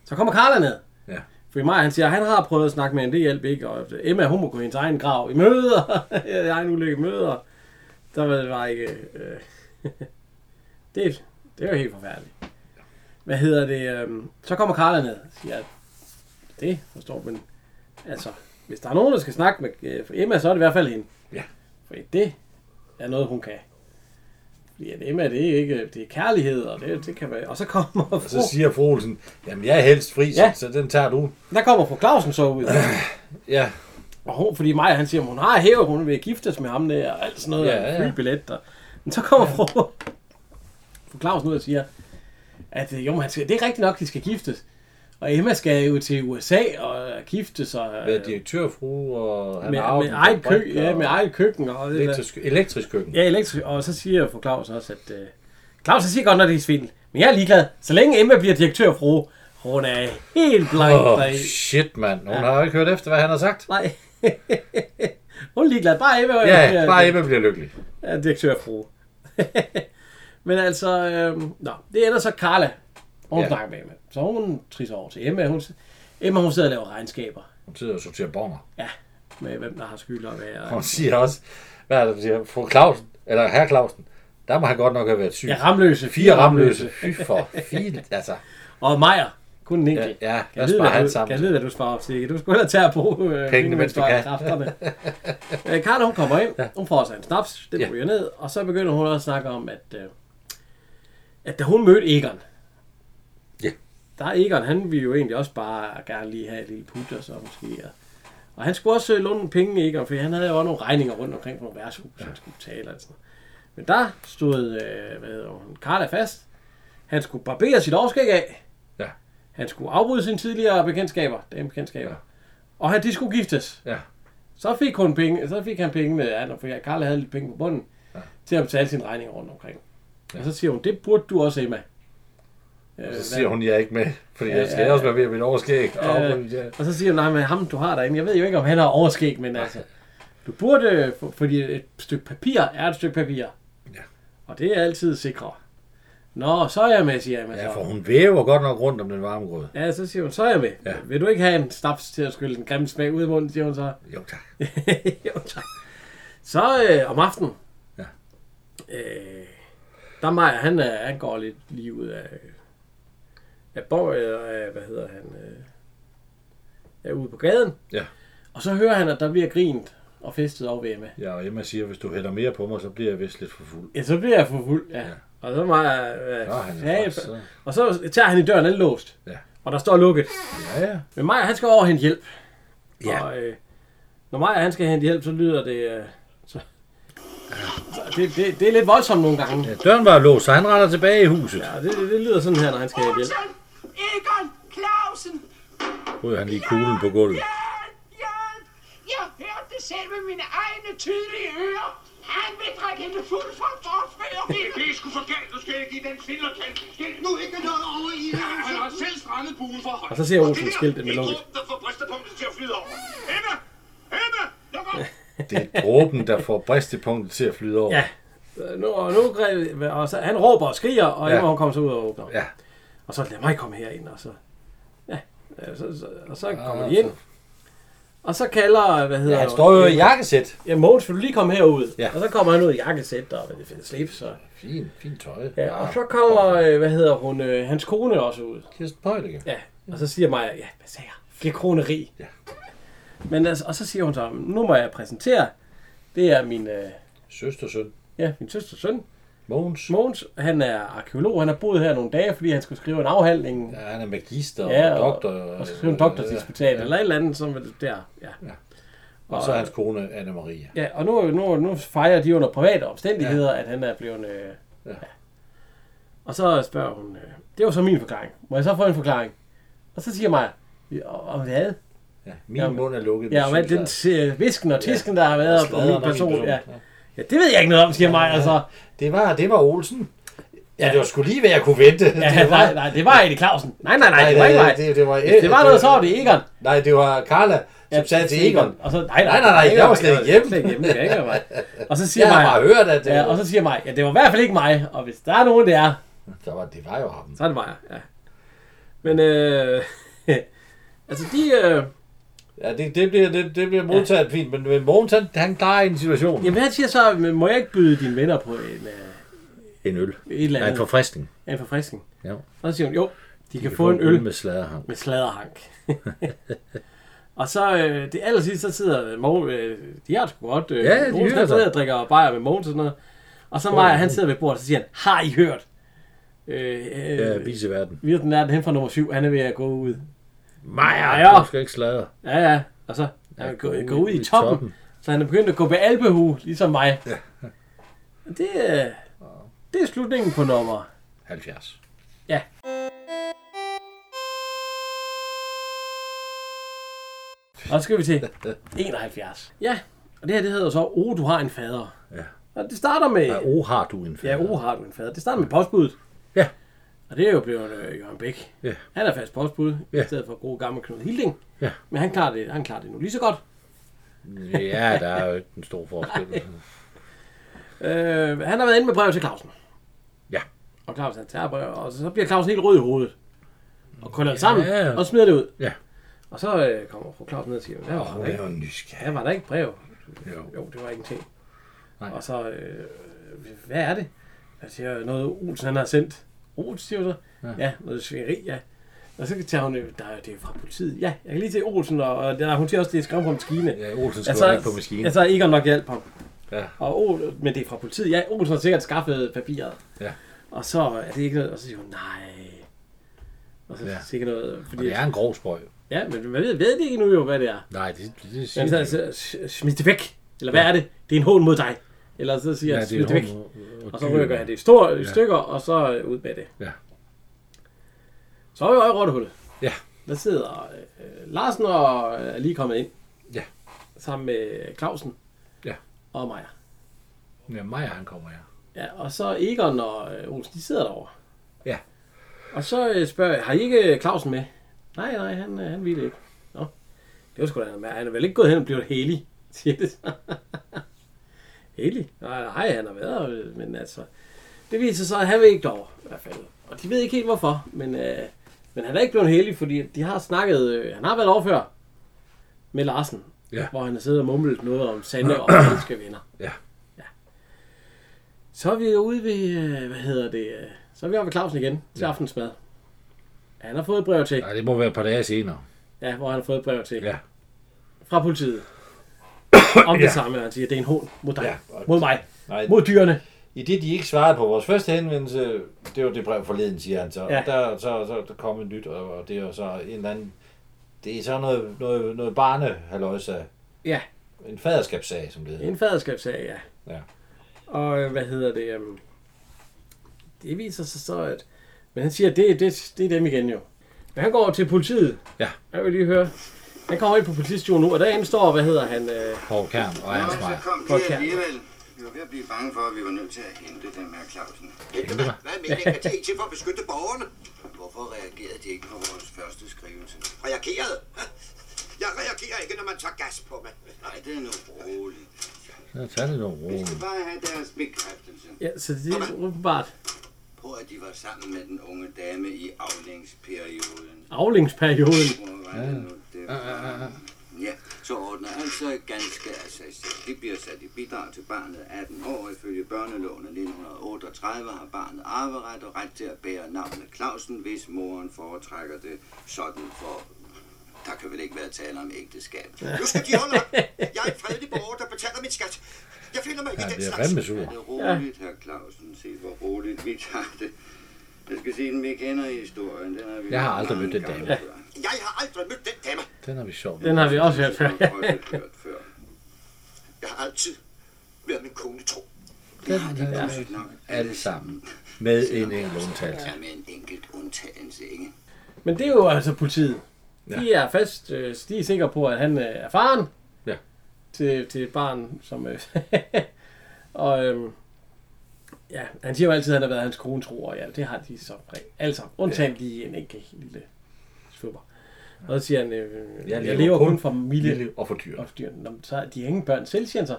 så kommer Karla ned. Ja. For Maja, han siger, han har prøvet at snakke med hende, det hjalp ikke, og øh, Emma, hun må gå i hendes egen grav i møder, i egen ulykke i møder. Der var det bare ikke, øh, det, det er jo helt forfærdeligt. Hvad hedder det, øh, så kommer Karla ned, siger, det forstår man, Altså, hvis der er nogen, der skal snakke med øh, for Emma, så er det i hvert fald hende. Ja. For det er noget, hun kan. Fordi at Emma, det er ikke, det er kærlighed, og det, det kan være... Og så kommer Og fru, så siger fru Olsen, jamen jeg er helst fri, Ja. ja. så den tager du. der kommer fru Clausen så ud. Ja, Og hun, fordi Maja, han siger, hun har hævet, hun vil giftes med ham der, og alt sådan noget, Ja, ja, ja. ja. fly billet. Og, men så kommer fru, fru Clausen ud og siger, at øh, jo, men han skal, det er rigtigt nok, de skal giftes. Og Emma skal jo til USA og giftes. Og, øh, hvad er direktørfru, og han med, arver med, den eget fabrik, køkken, ja, og med eget køkken. Og, det der. Elektrisk, elektrisk køkken. Ja, elektrisk. Og så siger fru Claus også, at... Øh, Claus han siger godt, når det er svindel. Men jeg er ligeglad. Så længe Emma bliver direktør, fru, hun er helt blank oh, Åh, oh, deri. shit, mand. Hun ja. har jo ikke hørt efter, hvad han har sagt. Nej. hun er ligeglad. Bare Emma Ja, bare Emma bliver lykkelig. er direktør, fru. Men altså, øh, nå, det ender så Carla. Hun ja. Ja. snakker med Emma. Så hun trisser over til Emma. Hun, Emma, hun sidder og laver regnskaber Hun sidder og sorterer bonger. med, hvem der har skyld og hvad. Hun Og, siger også, hvad er det, hun siger? Fru Clausen, eller herr Clausen, der må han godt nok have været syg. ja, ramløse. Fire ramløse. Fy for fint, altså. Og Maja. Kun en enkelt. Ja, ja Kan der jeg, vide, sparer hvad du, han kan jeg sammen. vide, hvad du sparer op, Sikke? Du skulle hellere tage på øh, mens du kan. kræfterne. øh, Karla, hun kommer ind. Hun får sig en snaps. Det Ja. ryger ned. Og så begynder hun også at snakke om, at øh, at da hun mødte Egon, Ja. der er Egon, han ville jo egentlig også bare gerne lige have et lille put og så måske. Og, og han skulle også øh, låne nogle penge, Egon, for han havde jo også nogle regninger rundt omkring på nogle værtshus, ja. han skulle betale og sådan noget. Men der stod, øh, hvad hedder hun, Carla fast. Han skulle barbere sit overskæg af. Ja. Han skulle afbryde sine tidligere bekendtskaber, damebekendtskaber. Ja. Ja. Og han, de skulle giftes. Ja. Så fik, hun penge, så fik han pengene, ja, for Karl havde lidt penge på bunden, ja. til at betale sine regninger rundt omkring. Ja. Og så siger hun, det burde du også, Emma. Øh, Så siger hun, jeg er ikke med, fordi jeg skal også være ved at mit overskæg. Og, Øh, ja. og så siger hun, nej, men ham du har derinde, jeg ved jo ikke, om han har overskæg, men altså, du burde, øh, for- fordi et stykke papir er et stykke papir. Ja. Og det er altid sikrere. Nå, så er jeg med, siger Emma. ja, så. for hun væver godt nok rundt om den varme grød. ja, så siger hun, så er jeg med. Ja. Ja. Vil du ikke have en snaps til at skylle den grimme smag ud i munden, siger hun så. Jo, tak. jo, tak. Så øh, om aftenen, Ja. øh, der er Maja, han, er, han går lidt lige ud af, af borg, eller af, hvad hedder han, øh, er ude på gaden. Ja. Og så hører han, at der bliver grint og festet over ved Emma. Ja, og Emma siger, hvis du hælder mere på mig, så bliver jeg vist lidt for fuld. Ja, så bliver jeg for fuld, ja. ja. Og så Maja, øh, Nå, han er ja, faktisk så- og så tager han i døren, den er låst. Ja. Og der står lukket. Ja, ja. Men Maja, han skal over og hente hjælp. Ja. Og, øh, når Maja, han skal hente hjælp, så lyder det... Øh, så, så det, det, det, er lidt voldsomt nogle gange. ja døren var låst, så han render tilbage i huset. Ja, det, det, det lyder sådan her, når han skal have hjælp. Olsen! Egon! Clausen! Ryger han lige kuglen på gulvet. Hjælp! Hjælp! Jeg hørte det selv med mine egne tydelige ører. Han vil drikke hende fuld for drosfærer. Det er sgu for galt, du skal jeg give den finder kan. Skæld nu ikke noget over i det. Han har selv strandet buen for højt. Og så ser Olsen skiltet med lukket. der får bristepunktet til at flyde over. Emma! Emma! Luk op! Det er dråben, der får bristepunktet til at flyde over. Ja. Så Øh, Nu, og nu, gre- og så, han råber og skriger, og Ja. Emma hun kommer så ud og åbner. Ja. Og så lad mig komme herind, og så... Ja, øh, så, så, og så kommer Ah, de ind. Og så kalder, hvad hedder ja han står jo i jakkesæt. Ja, Mogens, vil du lige komme herud? Ja. Og så kommer han ud i jakkesæt og hvad det slips. Og, Fint, fint tøj. ja, og så kommer, øh, hvad hedder hun, øh, hans kone også ud. Kirsten Pøjlige. Ja, og så siger Maja, ja, hvad sagde jeg? Flere kroner rig. Ja. Men altså, og så siger hun så, nu må jeg præsentere, det er min, øh, Søstersøn. ja, min søsters søn, Mogens. Mogens. Han er arkeolog, han har boet her nogle dage, fordi han skulle skrive en afhandling. Ja, han er magister Ja, og og- doktor. øh, Og så skrive en doktordisputat, eller et eller andet, som er der, ja. Og så er hans kone, Anna-Maria. Ja, og nu, nu, nu fejrer de under private omstændigheder, ja. at han er blevet... Øh, ja. Ja. ja. Og så spørger hun, øh, det var så min forklaring. Må jeg så få en forklaring? Og så siger Maja, "Ja, og og hvad? Ja, min Ja, mund er lukket. Ja, og hvad med den sylter. øh, visken og tisken, der har været på Sladder min om min person. person, Ja. ja. ja, det ved jeg ikke noget om, siger Maja. Altså. Det var, det var Olsen. Ja, det var sgu lige, hvad jeg kunne vente. Ja, det var, nej, nej, det var Eddie Clausen. Nej, nej, nej, det var nej, ikke mig. det, det, var, Hvis det var noget, så var det Egon. Nej, det var Carla, som Ja, ja, sagde til Egon. Og så, nej, nej, Nej, nej, nej, jeg var slet jeg ikke hjemme. Slet ikke hjemme, det kan ikke være mig. Og så siger Jeg har Maja, bare hørt, at øh, det, ja, og så siger Maja, ja, det var i hvert fald ikke mig. Og hvis der er nogen, det er, så var, det var jo ham. Så er det Maja, ja. Men øh, altså de, øh, Ja, det, det, bliver, det, det bliver modtaget ja. fint, men, men Mogens, han, han klarer en situation. jamen han siger så, men må jeg ikke byde dine venner på en, øh, En øl. et eller Nej, en andet, forfriskning. en forfriskning? Ja. Og så siger hun, jo, de, kan, få en øl med, med sladderham. med sladderhank. og så øh, det aller sidste, så sidder Mogens, øh, de har det sgu godt, øh, Ja, de Mogens, han hygger sig. sidder og drikker bajer med Mogens og sådan noget. Og så Maja, han sidder ved bordet, og så siger han, har I hørt? Øh, Ja, øh, vise verden. Virten er den hen fra nummer 7, han er ved at gå ud. Maja, Ja. du skal ikke sladre. Ja, ja. Og så han går, går ud i toppen. toppen. Så han er begyndt at gå på albehue, ligesom mig. Ja. Det, øh, det er slutningen på nummer. 70. Og så skal vi til 71. Ja, og det her det hedder så, O, du har en fader. Ja. Og det starter med, Ja, O har du en ja, O har du en fader. Det starter med postbuddet. Ja. Og det er jo blevet øh, Jørgen Bæk. Ja. Han er fast postbud, i Ja. stedet for god gammel Knud Hilding. Ja. Men han klarer, det, han klarer det nu lige så godt. Ja, der er jo ikke en stor forskel. Øh, han har været inde med brev til Clausen. Ja. Og Clausen han tager brev, og så bliver Clausen helt rød i hovedet. Og krøller det sammen, Ja. og smider det ud. Ja. Og så øh, kommer fru Clausen ned og siger, hvad var, der, ikke? jo nysgerrig. Ja, var der ikke brev? Jo. Jo, det var ingenting. Nej. Og så, øh, hvad er det? Jeg siger, noget Olsen han har sendt. Olsen siger hun så, ja, ja noget svingeri, ja. Og så tager hun, øh, der, er- det er fra politiet. Ja, jeg kan lige se Olsen, og, og der, hun siger også, det er skræmt på maskine. Ja, Olsen skriver Altså, ikke på maskinen. altså Egon nok hjalp ham. Ja. Og Ol, men det er fra politiet. Ja, Olsen har sikkert skaffet papiret. Ja. Og så er det ikke noget, og så siger hun, nej. Og så Ja. ja. siger ikke noget, Og fordi... det er en grov sprøj. Ja, men man ved, ved det ikke nu jo, hvad det er. Nej, det, det, det Men siger så jeg ikke. altså, "S- smid det væk. Eller hvad ja. er det? Det er en hån mod dig. Eller så siger Ja, jeg, det smid er det en væk. hån mod- Og så dyr. rykker han det i store ja. stykker, og så øh, ud med det. Ja. Så er vi over i rottehullet. Ja. Der sidder øh, Larsen og øh, er lige kommet ind. Ja. Sammen med Clausen. Ja. Og Majer. Ja, Maja, han kommer her. Ja, og så Egon og øh, Olsen, de sidder derovre. Ja. Og så øh, spørger jeg, har I ikke øh, Clausen med? Nej, nej, han, øh, han ville ikke. Nå, det var sgu da han med. Han er vel ikke gået hen og blevet helig, siger det så. helig? Nej, nej, han har været, øh, men altså... Det viser sig, at han vil ikke dog, i hvert fald. Og de ved ikke helt hvorfor, men, øh, men han er ikke blevet helig, fordi de har snakket... Øh, han har været over før med Larsen, Ja. hvor han har siddet og mumlet noget om sande og danske venner. Ja. Så er vi ude ved, øh, hvad hedder det, øh, så er vi oppe ved Clausen igen til ja. aftensmad. Han har fået et brev til, Nej, det må være et par dage senere. ja, hvor han har fået et brev til, Ja. fra politiet. Om det Ja. samme, han siger, det er en hån mod dig, Ja. mod mig, Nej, mod dyrene. I det, de ikke svarede på vores første henvendelse, det var det brev forleden, siger han så. Ja. Ja. Der, så, så der kom et nyt, og og det er jo så en eller anden... Det er så noget, noget, noget barnehaløjsa. Ja. En faderskabssag, som det hedder. En faderskabssag, ja. Ja. Og øh, hvad hedder det, øhm, det viser sig så, at, men han siger, det, det, det er dem igen jo. Men han går over til politiet. Ja. Jeg vil lige høre. Han kommer ind på politistationen nu, og derinde står, hvad hedder han, øh, Poul Kern og Ernst Altså, så Meyer. kom Prøv at det kære. alligevel. Vi var ved at blive bange for, at vi var nødt til at hente dem her Clausen. Kæmpe mig. Hvad mener de ikke til for at beskytte borgerne? Hvorfor reagerede de ikke på vores første skrivelse? Reageret? Jeg reagerer ikke, når man tager gas på mig. Nej, det er nu roligt. Ja, tag det nu Vi skal roligt. bare have deres bekræftelse ja, så det er åbenbart på, at de var sammen med den unge dame i aflingsperioden. aflingsperioden. Hvor var det nu, det var? Ja, så ordner han sig ganske af sig selv. Det bliver sat i bidrag til barnet 18 år. Ifølge børneloven af 1938 har barnet arveret og ret til at bære navnet Clausen, hvis moren foretrækker det sådan for... Der kan vel ikke være tale om ægteskab. Nu skal de holde op. Jeg er en fredelig borger, der betaler min skat. Jeg finder mig ikke Ja, i den det er slags. fandme sur. Ja, det er roligt, herr Clausen. Se, hvor roligt vi tager det. Jeg skal sige, den vi kender i historien. Den har vi Jeg har aldrig mange mødt den gange dame. før. Jeg har aldrig mødt den dame. Den har vi sjovt. Den har vi også hørt før. Den har vi også hørt før. Jeg har altid været min kone tro. Den har de også Sygt nok. alle sammen. Med en enkelt undtagelse. Ja, med en enkelt undtagelse, ikke? Men det er jo altså politiet. Ja. De er fast, øh, de er sikre på, at han øh, er faren Ja. til, til et barn, som... Øh, og øhm, ja, han siger jo altid, at han har været hans kone tro, og ja, det har de så re- alle sammen. Undtagen lige en enkelt lille svømmer. Og så siger han, øh, jeg, lever, kun, kun for familie Og for dyr. og dyr. Nå, men så er de ingen børn selv, siger han så.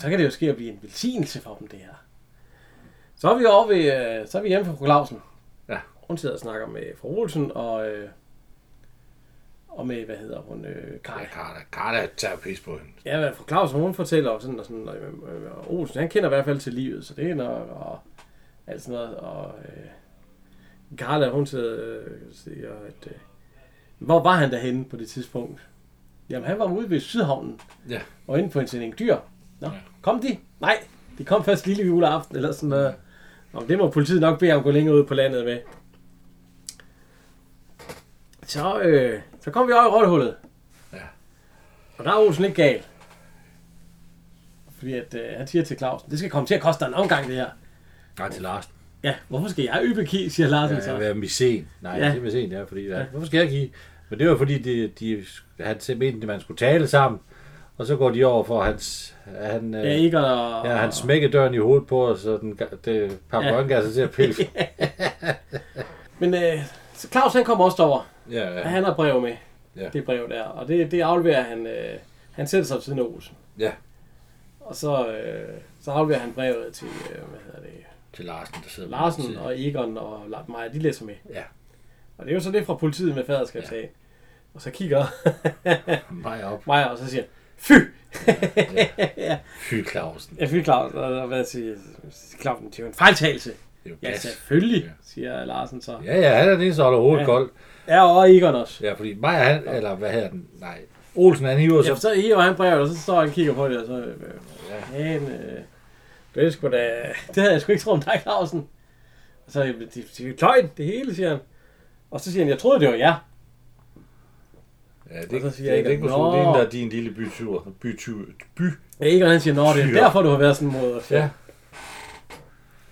Så kan det jo ske at blive en velsignelse for dem, det her. Så er vi over ved, øh, så er vi hjemme fra fru Clausen. Ja. Hun sidder og snakker med fru Olsen og, øh, og med, hvad hedder hun, øh, Kaj. Nej, Karla. Karla tager pis på hende. Ja, hvad fru Clausen, hun fortæller og sådan, og sådan, og, øh, øh, og Olsen, han kender i hvert fald til livet, så det er nok, og alt sådan noget, og øh, Carla, hun sidder, øh, siger, at, øh, hvor var han derhenne på det tidspunkt? Jamen, han var ude ved Sydhavnen, Ja. og inde på en sending dyr. Nå, ja. kom de? Nej, de kom først lille juleaften, eller sådan noget. Nå, men det må politiet nok bede om at gå længere ud på landet med. Så, øh, så kom vi over i rottehullet. Ja. Og der er Olsen ikke gal. Fordi at, øh, han siger til Clausen, det skal komme til at koste dig en omgang, det her. Nej, til Larsen. Ja, hvorfor skal jeg ybe ki, siger Larsen ja, så. Ja, hvad er misen? Nej, Ja. ja. det er misen, ja, fordi, ja. hvorfor skal jeg give? Men det var fordi, de, de, han selv mente, at man skulle tale sammen, og så går de over for hans, han, Ja, øh, ikke og... ja, han smækker døren i hovedet på os, og den, ga- det papagøjengasser ja. til at pille. Men øh, så Claus han kommer også over. ja, Ja. ja, Han har brev med. Ja. Det brev der. Og det, det afleverer han... Øh, han sætter sig ved siden af Olsen. ja, Og så, øh, så afleverer han brevet til, øh, hvad hedder det, til Larsen, der sidder på den Larsen side. og Egon og Lars Meyer, de læser med. Ja. Og det er jo så det fra politiet med faderskabssagen. Ja. Og så kigger Mig op. Meyer, og så siger han, Fy! Fy Clausen. Jeg fik Claus, og og hvad siger Clausen, det er jo en fejltagelse. Det er jo Ja, gas. selvfølgelig, Ja. siger Larsen så. Ja, ja, han er den eneste, der holder hovedet Ja. ja. koldt. Ja, og Egon også. Ja, fordi mig han, eller hvad hedder den? Nej, Olsen, han hiver Ja, sig. for så hiver han brevet, og så står han og kigger på det, og så... Øh, ja. Ja. Han, øh, det er sgu da... Det havde jeg sgu ikke troet om dig, Clausen. Så de, de, de kløjn, det hele, siger han. Og så siger han, jeg troede, det var jer. Ja, det, Og så det, siger det, jeg, det, kunne nå. sådan en, der er din lille bytur. Bytur. By. Ja, Egon han siger, nå, det er Fyre. derfor, du har været sådan mod os. Ja.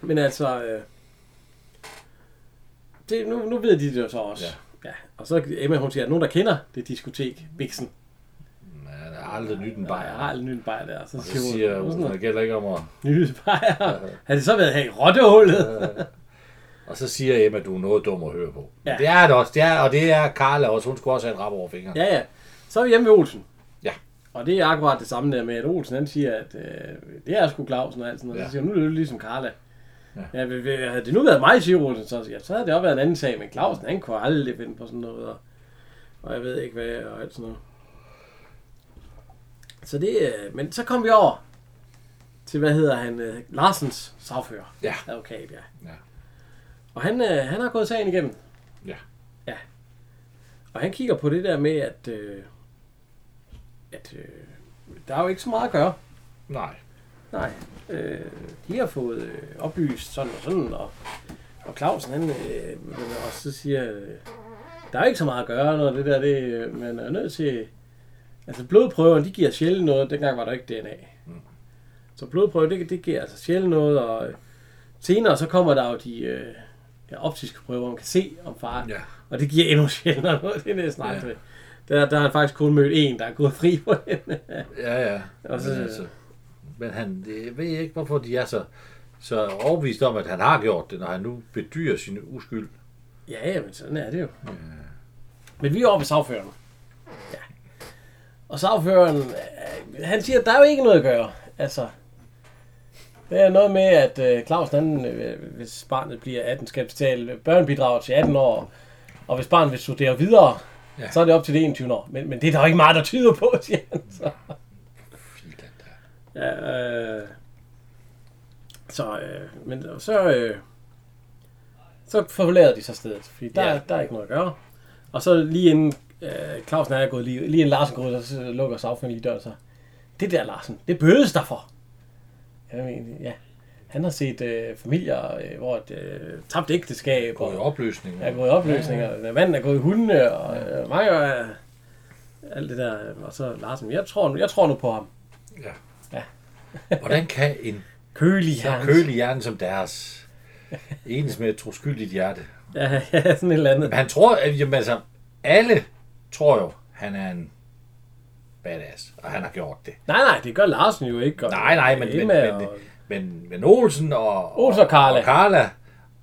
Men altså, øh, det, nu, nu ved de det jo så også. Ja. ja. Og så Emma, hun siger, at nogen, der kender det diskotek, Bixen. Nej, der er aldrig nyt en Nej, jeg har bajer. aldrig nyt en bajer der. Så Så siger Olsen, det gælder ikke om at... nyt bajer. Har det så været her i rottehullet? Og så siger Emma, at du er noget dum at høre på. Ja. Ja. Det er det også. Det er, og det er Karla også. Hun skulle også have en rap over fingeren. Ja, ja. Så er vi hjemme ved Olsen. Ja. Og det er akkurat det samme der med, at Olsen han siger, at øh, det er sgu Clausen og alt sådan noget. Ja. Så Ja. siger hun, nu er det ligesom Karla. Ja. ja vi- vi- havde det nu været mig, siger Olsen, så, ja, så havde det også været en anden sag, men Clausen han kunne aldrig finde på sådan noget. Og, og jeg ved ikke hvad, og alt sådan noget. Så det, øh, men så kom vi over til, hvad hedder han, øh, Larsens sagfører. Ja. Advokat, ja. Ja. Og han, øh, han har gået sagen igennem. Ja. Ja. Og han kigger på det der med, at, øh, at øh, der er jo ikke så meget at gøre. Nej. Nej. Øh, de har fået øh, oplyst sådan og sådan, og, og Clausen han, øh, og så siger, øh, der er ikke så meget at gøre, når det der, det, øh, man er nødt til, altså blodprøverne, de giver sjældent noget, dengang var der ikke DNA. Mm. Så blodprøver, det, det giver altså sjældent noget, og øh, senere så kommer der jo de øh, ja, optiske prøver, hvor man kan se om faren, Ja. og det giver endnu sjældnere noget, det er næsten Ja. aldrig. Der, der har han faktisk kun mødt en, der er gået fri på hende. Ja, ja. Og så- men, altså, men han det, ved jeg ikke, hvorfor de er så, så overbevist om, at han har gjort det, når han nu bedyrer sin uskyld. Ja, ja, men sådan er det jo. Ja. Men vi er oppe ved sagføreren. Ja. Og sagføreren, øh, han siger, at der er jo ikke noget at gøre. Altså, det er noget med, at øh, Claus, han, øh, hvis barnet bliver 18, skal betale børnebidrag til 18 år. Og hvis barnet vil studere videre, ja. Ja. så er det op til det 21 år. Men, men det er der jo ikke meget, der tyder på, siger han så. Filan da. Ja, øh, så, øh, men så, øh, så forlader de så stedet, fordi der, ja. Ja. der er ikke noget at gøre. Og så lige inden øh, Clausen er gået lige, lige inden Larsen går ud, så så lukker sagføren lige døren så. Det der, Larsen, det bødes der for. Jeg mener, ja. Han har set øh, familier, øh, hvor et øh, tabt ægteskab Går i opløsning. er gået i opløsninger, ja, ja. manden er gået i hundene, og ja. øh, Maja er alt det der. Og så Larsen, jeg tror, nu, jeg tror nu på ham. Ja. Ja. Hvordan kan en Kølig så Hans. kølig hjerne som deres enes med et troskyldigt hjerte? Ja, ja, sådan et eller andet. Men han tror, at jamen, altså, alle tror jo, han er en badass, og han har gjort det. Nej, nej, det gør Larsen jo ikke. Og Nej, nej, men, men, Emma men, og, men, men Olsen og, Olsen og Karla. og, Karla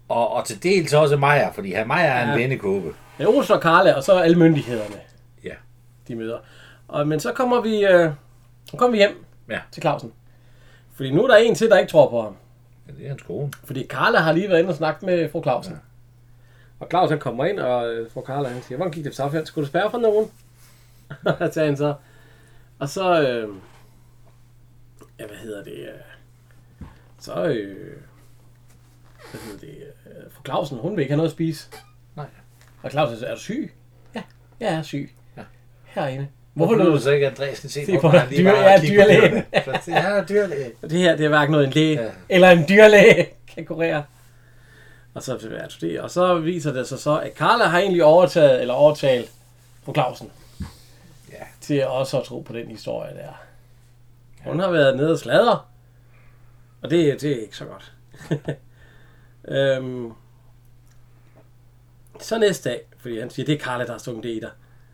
og, og til dels også Maja, fordi han, Maja er en Ja. ja. vennekåbe. ja, Olsen og Karla, og så alle myndighederne, Ja. de møder. Og, men så kommer vi, øh, så kommer vi hjem Ja. til Clausen. Fordi nu er der en til, der ikke tror på ham. ja, det er hans kone. Fordi Karla har lige været inde og snakket med fru Clausen. Ja. Og Claus han kommer ind, og øh, fru Karla han siger, hvordan gik det for sagføren? Skulle du spærre for nogen? Og sagde han så. Og så, øh, ja, hvad hedder det? Øh, så, øh, hvad hedder det? Øh, fru Clausen, hun vil ikke have noget at spise. Nej. Og Claus han siger, er du syg? Ja, jeg er syg. Ja. Herinde. Hvorfor Hvorfor lød lå du så ikke, Andreasen se, Se på, på han lige dyr- var ja, og kigge på dyrlægen. dyrene? Så siger han, Ja, dyrlæge. Det her, det er hverken noget, en læge ja. Ja. eller en dyrlæge kan kurere. Og så, er det det. og så viser det sig så, at Carla har egentlig overtaget, eller overtalt fru Clausen. Ja. Til også at tro på den historie der. Hun har været nede og sladre. Og det, det er ikke så godt. øhm, så næste dag, fordi han siger, det er Carla, der har stukket det i dig.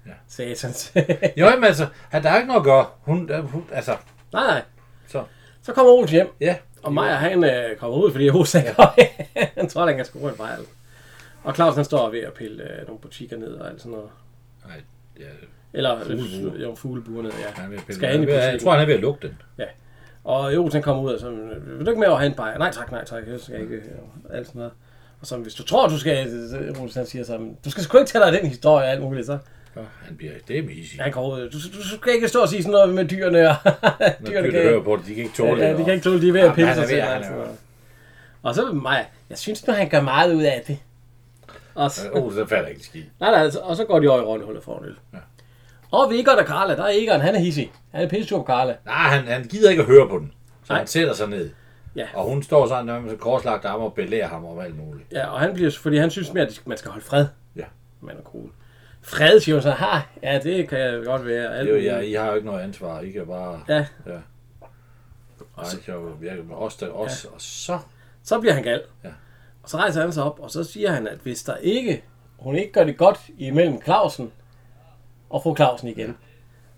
Ja. Satans. Jo, jamen altså, han, der er ikke noget at gøre. Hun, øh, hun altså, nej, nej. så. Så kommer Olsen hjem, Ja. Og Maja, han øh, kommer ud, fordi Hos han ja. Han tror, han kan score en fejl. Og Claus, han står ved at pille øh, nogle butikker ned og alt sådan noget. Nej, ja, Eller øh, Fuglebuer. jo, fuglebuer ned, ja. han er ved at pille. Skal han han er i ved, at- jeg tror, butikken? han er ved at lugte den. Og Jolsen han kommer ud og så, øh, vil du ikke med over have en bajer? Nej tak, nej tak, jeg skal ikke. øh, Og alt sådan noget. Og så, hvis du tror, du skal, Jolsen han siger så, "Men du skal sgu ikke tage dig af den historie og alt muligt, så. Nå, Han bliver, det er easy. Han kommer ud, du, du skal ikke stå og sige sådan noget med dyrene, og Når dyrene hører på det, de kan ikke tåle det. Ja, de og- kan ikke tåle, de er ved at Jamen, pille han er sig selv. ved, han er altså. ved. Og så Maja, jeg synes nu, han gør meget ud af det. Og så, Åh, så falder ikke en skid. nej, nej, altså, og så går de over i rollehullet for en øl. Ja. Og Vigert og Karla, der er Egon, han er hissig. Han er pisse på Karla. Nej, han, han gider ikke at høre på den. Så Nej. Nej. han sætter sig ned. Ja. Og hun står sådan nærmest med korslagt arme og belærer ham om alt muligt. Ja, og han bliver, fordi han synes mere, at de skal- man skal holde fred. Ja. Man er cool. Fred, siger hun så. Ha, ja, det kan godt være. Alt Det muligt. er jo, jeg, I har jo ikke noget ansvar. I kan bare... Ja, ja. Og så kan jo virke med os, der os, og så... så bliver han gal. Ja. Og så rejser han sig op, og så siger han, at hvis der ikke, hun ikke gør det godt imellem Clausen og fru Clausen igen, ja.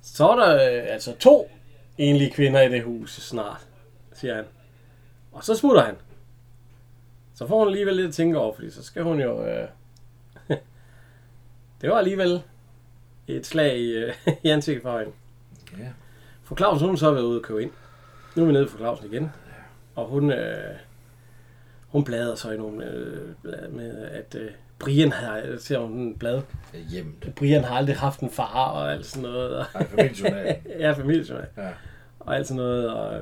så er der øh, altså to enlige kvinder i det hus snart, siger han. Og så smutter han. Så får hun alligevel lidt at tænke over, fordi så skal hun jo... Øh, det var alligevel et slag i, øh, i ansigtet for hende. Ja. Fru Clausen, hun er så været ude og købe ind. Nu er vi nede for Clausen igen. Og hun, øh, hun bladrer så i nogle øh, blade med, at øh, Brian har, ser hun en blad. Hjemme. Brian har aldrig haft en far og alt sådan noget. Og, Nej, familiejournalen. ja, familiejournal. Ja. Og alt sådan noget. Og,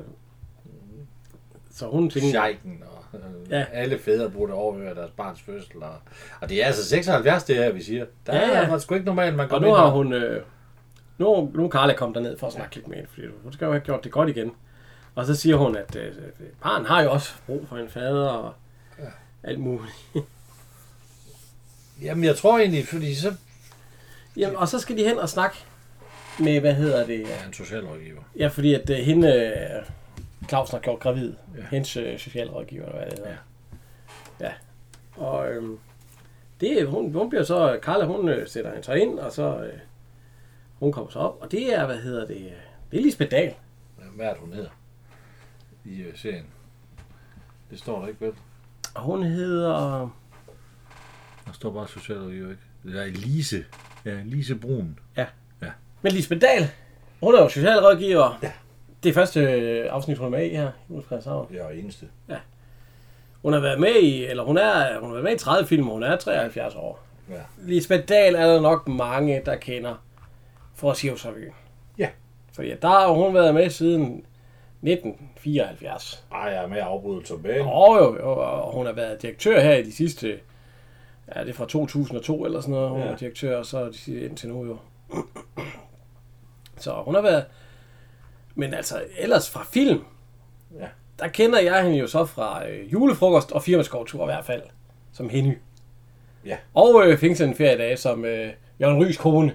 så hun tænker, Sjejken, og øh, Ja. ja. alle fædre burde overhøre deres barns fødsel. Og, og det er altså 76, det her, vi siger. Der Ja, ja, ja. ja. er altså sgu ikke normalt, man går og ind nu har og- hun... Øh, nu, nu er Carla kommet derned for at snakke lidt med hende, fordi hun skal jo have gjort det godt igen. Og så siger hun, at øh, barn har jo også brug for en fader og alt muligt. Jamen, jeg tror egentlig, fordi så Jamen, og så skal de hen og snakke med, hvad hedder det? er en socialrådgiver. Ja, fordi at øh, hende, øh, Clausen har gjort gravid. Ja. Hendes øh, socialrådgiver, eller hvad det hedder. Ja. ja. Og øhm, det, hun, hun bliver så, Carla, hun øh, sætter hende så ind, og så, øh, hun kommer så op. Og det er, hvad hedder det? øh, Det er Lisbeth Dahl. Hvad er det, hun hedder i øh, serien? Det står der ikke, vel? Og hun hedder... Der står bare socialrådgiver, ikke? Det er Elise. Ja, Elise Brun. Men Lisbeth Dahl, hun er jo socialrådgiver. Ja. Det er første øh, afsnit, hun er med i her. i Ulf Christianshavn. Jeg er eneste. Hun har været med i, eller hun er, hun har været med i 30 film, og hun er 73 år. Ja. Lisbeth Dahl er der nok mange, der kender fra Sivsrevyen. Ja. Fordi der har hun været med siden 1974. Ej, jeg er med afbrudt tilbage. Og jo, jo, og hun har været direktør her i de sidste... Ja, det er fra 2002 eller sådan noget, hun ja. Ja. var direktør, og så de sidste- indtil nu jo. Så hun har været... Men altså, ellers fra film, Ja. der kender jeg hende jo så fra øh, julefrokost og firmaskovtur i hvert fald, som Henny. Ja. Og øh, Fingsen feriedage som øh, Jørgen Rys kone.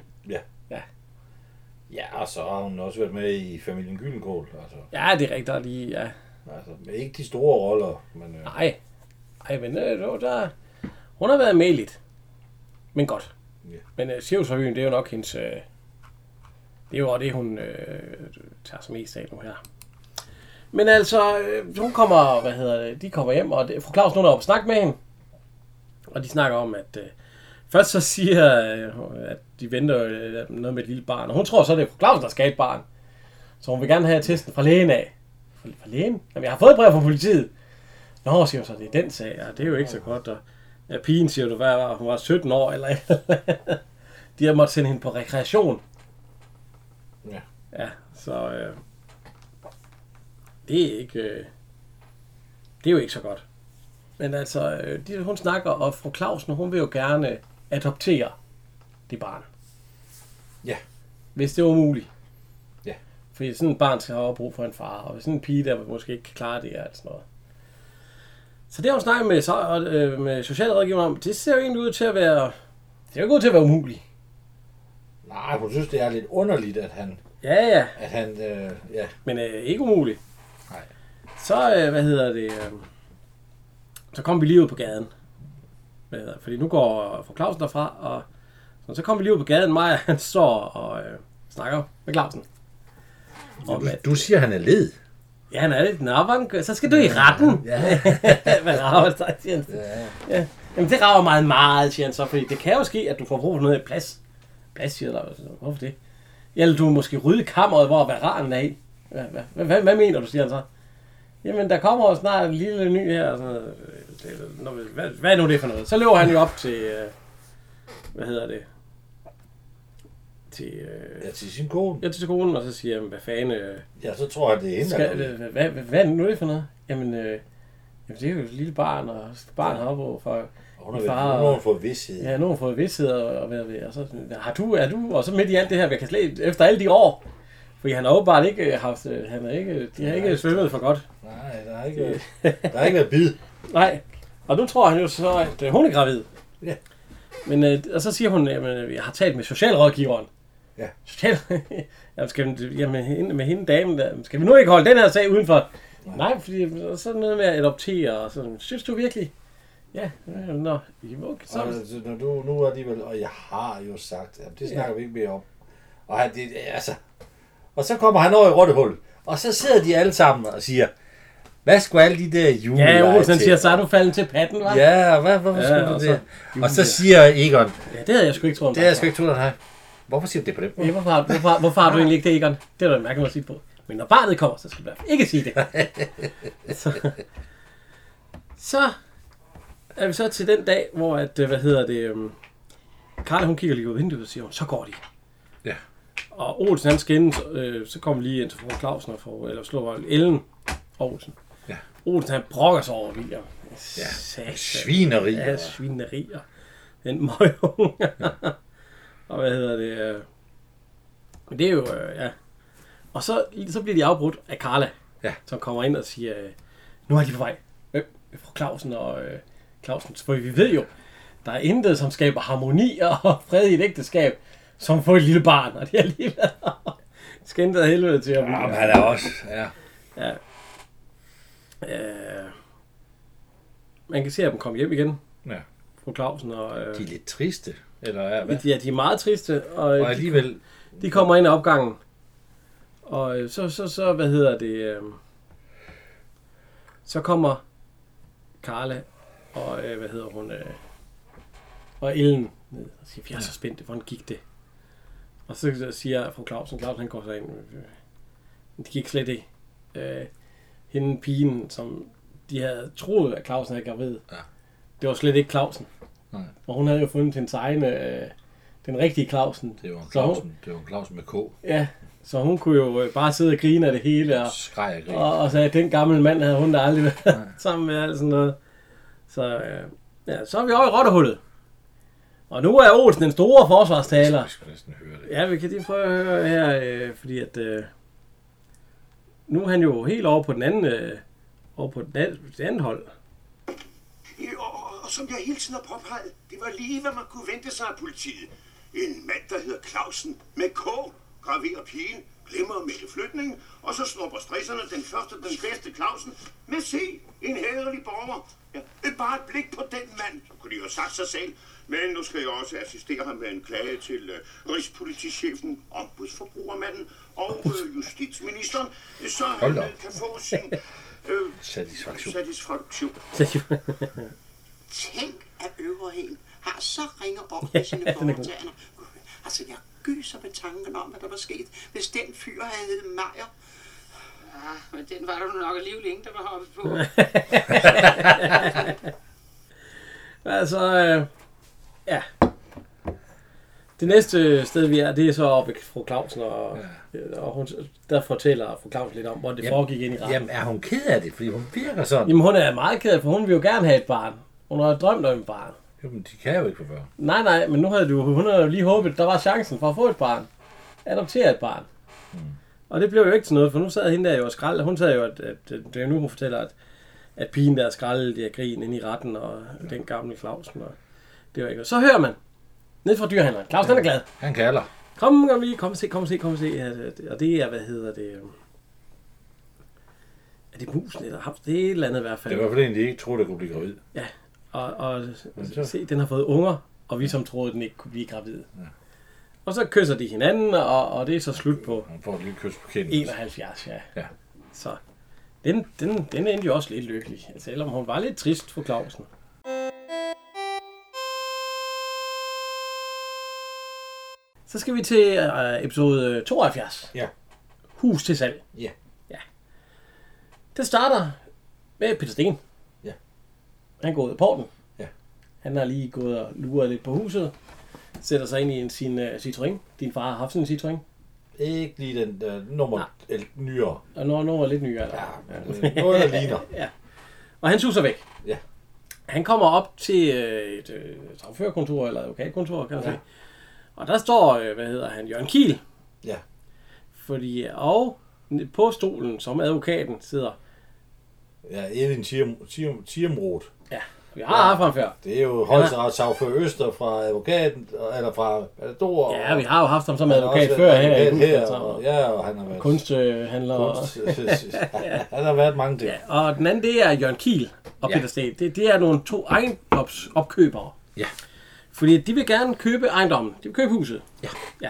Ja, og så har hun også været med i Familien Gyllenkål. Altså, Ja, det er rigtigt, der er lige, ja. altså men ikke de store roller, men øh, Nej. Ej, men øh, det var der... Hun har været med lidt. Men godt. Ja. Men øh, Sjævsrevyen, det er jo nok hendes... Øh, det er jo også det, hun øh, tager som mest af nu her. Men altså, øh, hun kommer, hvad hedder det, de kommer hjem, og det, fru Claus nu er oppe og snakke med hende. Og de snakker om, at øh, først så siger, øh, at de venter øh, noget med et lille barn. Og hun tror så, det er fru Claus, der skal have et barn. Så hun vil gerne have testen fra lægen af. Fra, fra lægen? Jamen, jeg har fået et brev fra politiet. Nå, siger hun så, det er den sag, og det er jo ikke så godt. Og, ja, pigen siger du, hvad var, hun var 17 år, eller et eller andet. De har måttet sende hende på rekreation. Ja. Ja, så øh, det er ikke... Øh, det er jo ikke så godt. Men altså, øh, de, hun snakker, og fru Clausen, hun vil jo gerne adoptere det barn. Ja. Hvis det var muligt. Ja. Fordi sådan et barn skal have brug for en far, og sådan en pige, der måske ikke kan klare det, og alt sådan noget. Så det har hun snakket med, så- og, øh, med socialrådgiveren om, det ser jo egentlig ud til at være, det ser jo ikke ud til at være umuligt. nej, hun synes, det er lidt underligt, at han, Ja, ja, at han øh, ja, men øh, ikke umuligt. Nej. Så, øh, hvad hedder det, øh, så kom vi lige ud på gaden. Hvad hedder, fordi nu går fru Clausen derfra, og så, så kom vi lige ud på gaden, Maja, han står og øh, snakker med Clausen. Og, du, du siger, han er led. ja, han er lidt narvank, så skal du i retten. Ja. Hvad rager dig, siger han. ja. Ja. Jamen, det rager meget meget, siger han så, fordi det kan jo ske, at du får brug for noget af plads. Plads, siger der. Så, Hvorfor det? Eller du måske rydde kammeret, hvor varanen er i. Hvad, hvad, hvad, hvad, hvad mener du, siger han så? Jamen, der kommer jo snart en lille ny her. Og sådan noget. Det, er- nå, hvad, hvad er nu det for noget? Så løber han jo op til... Øh, hvad hedder det? Til... Øh, ja, til sin kone. ja, til skolen, og så siger han, hvad fanden... Øh, Ja, så tror jeg, det er hende. der er skal, led. hvad, hvad, hvad, hvad er det nu det for noget? Jamen, øh, jamen, det er jo et lille barn, og barn har på for... Og Hun har været Far- far... hun har fået vidshed. Ja, nu har hun fået vidsthed og, og, og, og så sådan, har du, er du, og så midt i alt det her, vi kan slet, efter alle de år, for Fordi han har åbenbart ikke øh, haft... øh, Han er ikke, de har ikke svømmet for godt. Nej, der har ikke, der har ikke været bid. Nej. Og nu tror han jo så, at øh, hun er gravid. Ja. Men, øh, og så siger hun, at øh, jeg har talt med socialrådgiveren. Ja. Social... jamen, skal, vi- jamen, hende, med hende damen der, skal vi nu ikke holde den her sag udenfor? Nej, Nej fordi og så er der noget med at adoptere, og sådan, synes du virkelig? Ja, øh, nå, jamen, okay, så... Og, altså, når du, nu er de vel, og jeg har jo sagt, jamen, det snakker ja. vi ikke mere om. Og, han, det, altså, og så kommer han over i rottehullet, og så sidder de alle sammen og siger, hvad skulle alle de der juleleje Ja, Olsen han til? siger, så er du faldet til patten, hva'? Ja, hvad, hvorfor Ja, ja, skulle og du så- det? Og så siger Egon, ja det havde jeg sgu ikke troet. det er jeg sgu ikke troet, nej. Hvorfor siger du det på den måde? Ja, hvorfor, har- hvorfor, hvorfor har du egentlig ikke det, Egon? Det er da mærkeligt at sige på. Men når barnet kommer, så skal du i hvert fald ikke sige det. så, så er vi så til den dag, hvor at, øh, hvad hedder det, um, Karla hun kigger lige ud af vinduet og siger, hun, så går de. Ja. Og Olsen han skal ind, så, øh, så kommer lige ind til fru Clausen og får, eller slår Ellen og Olsen. Ja. Olsen han brokker sig over William. Ja, Satan. Svineri. Ja, Ja, svinerier. Den møgunge. og hvad hedder det? øh, Men det er jo, øh, ja. Og så, så bliver de afbrudt af Karla, Ja. som kommer ind og siger, øh, nu er de på vej. Øh, fru Clausen og øh, Clausen. For vi ved jo, der er intet, som skaber harmoni og fred i et ægteskab, som får et lille barn. Og det har lige været skændt af helvede til ham. men han er også, ja. Øh, man kan se, at dem kommer hjem igen. Ja. Fru Clausen og... Øh, De er lidt triste, eller ja, hvad? Ja, de er meget triste, og, Og og de, alligevel, de kommer ind ad opgangen. Og øh, så, så, så, hvad hedder det? Øh, så kommer Karla og, øh, hvad hedder hun? Øh, og Ellen ned og siger, jeg er så spændt, hvordan gik det? Og så siger fru Clausen, Clausen han går så ind, øh, det gik slet ikke. Øh, hende pigen, som de havde troet, at Clausen havde gravid, Ja. det var slet ikke Clausen. Nej. Og hun havde jo fundet hendes egne, øh, den rigtige Clausen. det var en Så hun- Clausen, det var en Clausen med K. Ja, så hun kunne jo øh, bare sidde og grine af det hele, og, Skreg og grin. og, og sagde, at den gamle mand havde hun da aldrig været sammen med, alt sådan noget. Så, øh, ja, så er vi over i rottehullet. Og nu er Olsen den store forsvarstaler. Jeg skal næsten høre det. Ja, vi kan lige prøve at høre her, øh, fordi at... Øh, nu er han jo helt over på den anden... Øh, over på den anden, den anden hold. Øh, Og, og, og som jeg hele tiden har påpeget, det var lige, hvad man kunne vente sig af politiet. En mand, der hedder Clausen, med K, graverer pigen, glemmer at melde flytningen, og så snupper stresserne den første, den bedste Clausen, med se, en hæderlig borger. Ja, et bare et blik på den mand, så kunne de jo have sagt sig selv. Men nu skal jeg også assistere ham med en klage til øh, Rigspolitichefen, ombudsforbrugermanden og øh, justitsministeren, så Hold han da øh, op. kan få sin øh, Satisfaktion. satisfaktion. Tænk, at øverheden har så ringe op med sine foretagende. Altså, jeg gyser ved tanken om, hvad der var sket, hvis den fyr havde heddet Meier. Ah, men den var der nu nok alligevel ingen, der var hoppet på. Altså, øh, ja. Det næste sted, vi er, det er så oppe ved fru Clausen, og, ja. og hun, der fortæller fru Clausen lidt om, hvor det Jamen, foregik ind i retten. Jamen, er hun ked af det? Fordi hun virker sådan. Jamen, hun er meget ked af, for hun vil jo gerne have et barn. Hun har jo drømt om et barn. Jamen, de kan jo ikke få børn. Nej, nej, men nu havde du, hun havde jo lige håbet, der var chancen for at få et barn. Adoptere et barn. Mm. Og det blev jo ikke til noget, for nu sad hende der jo og skraldede. Hun sagde jo, at, at det er jo nu, hun fortæller, at, at pigen der skraldede af grin ind i retten, og den gamle Clausen. Og det var ikke noget. Så hører man, ned fra dyrhandleren. Clausen, han er glad. Han kalder. Kom, kom lige, kom og se, kom og se, kom og se. Ja, det- Og det er, hvad hedder det? øhm, Er det musen eller hamster? Det er et eller andet i hvert Det fald. var i hvert fald en, de ikke troede, der kunne blive gravid. Og, og så- se, den har fået unger, og vi som troede, den ikke kunne blive gravid. Ja. Og så kysser de hinanden, og, og det er så slut på Hun får et lille kys på kinden. 71, ja. Ja. Så den, den, den endte jo også lidt lykkelig, altså, selvom hun var lidt trist for Clausen. Så skal vi til øh, episode 72. Ja. Hus til salg. Ja. ja. Det starter med Peter Sten. Ja. Han går ud af porten. Ja. Han har lige gået og luret lidt på huset. Sætter sig ind i en, sin uh, Citroën. Din far har haft sådan en Citroën. Ikke lige den uh, nummer el, nyere. Og når når er lidt nyere. Ja, øh, noget, der ligner. Og han suser væk. Ja. Han kommer op til øh, et øh, trafikkontor eller advokatkontor, kan man ja. sige. Og der står, øh, hvad hedder han, Jørgen Kiel. Ja. Fordi, og på stolen, som advokaten sidder, Ja, Elin Thiem- Thiem- Thiemroth. ja, vi har haft ham før. Det er jo højesteretssagfører Øster fra advokaten, eller fra Ador. Ja, vi har jo haft ham som advokat før her. i altså. her altså. Hulken, og, og ja, og han har været Kunsthandler. og- kunst. han har været mange ting. Ja, og den anden, det er Jørgen Kiel og Ja. Peter Sten. Det, det er nogle to ejendomsopkøbere. Ja. Fordi de vil gerne købe ejendommen. De vil købe huset. Ja. ja.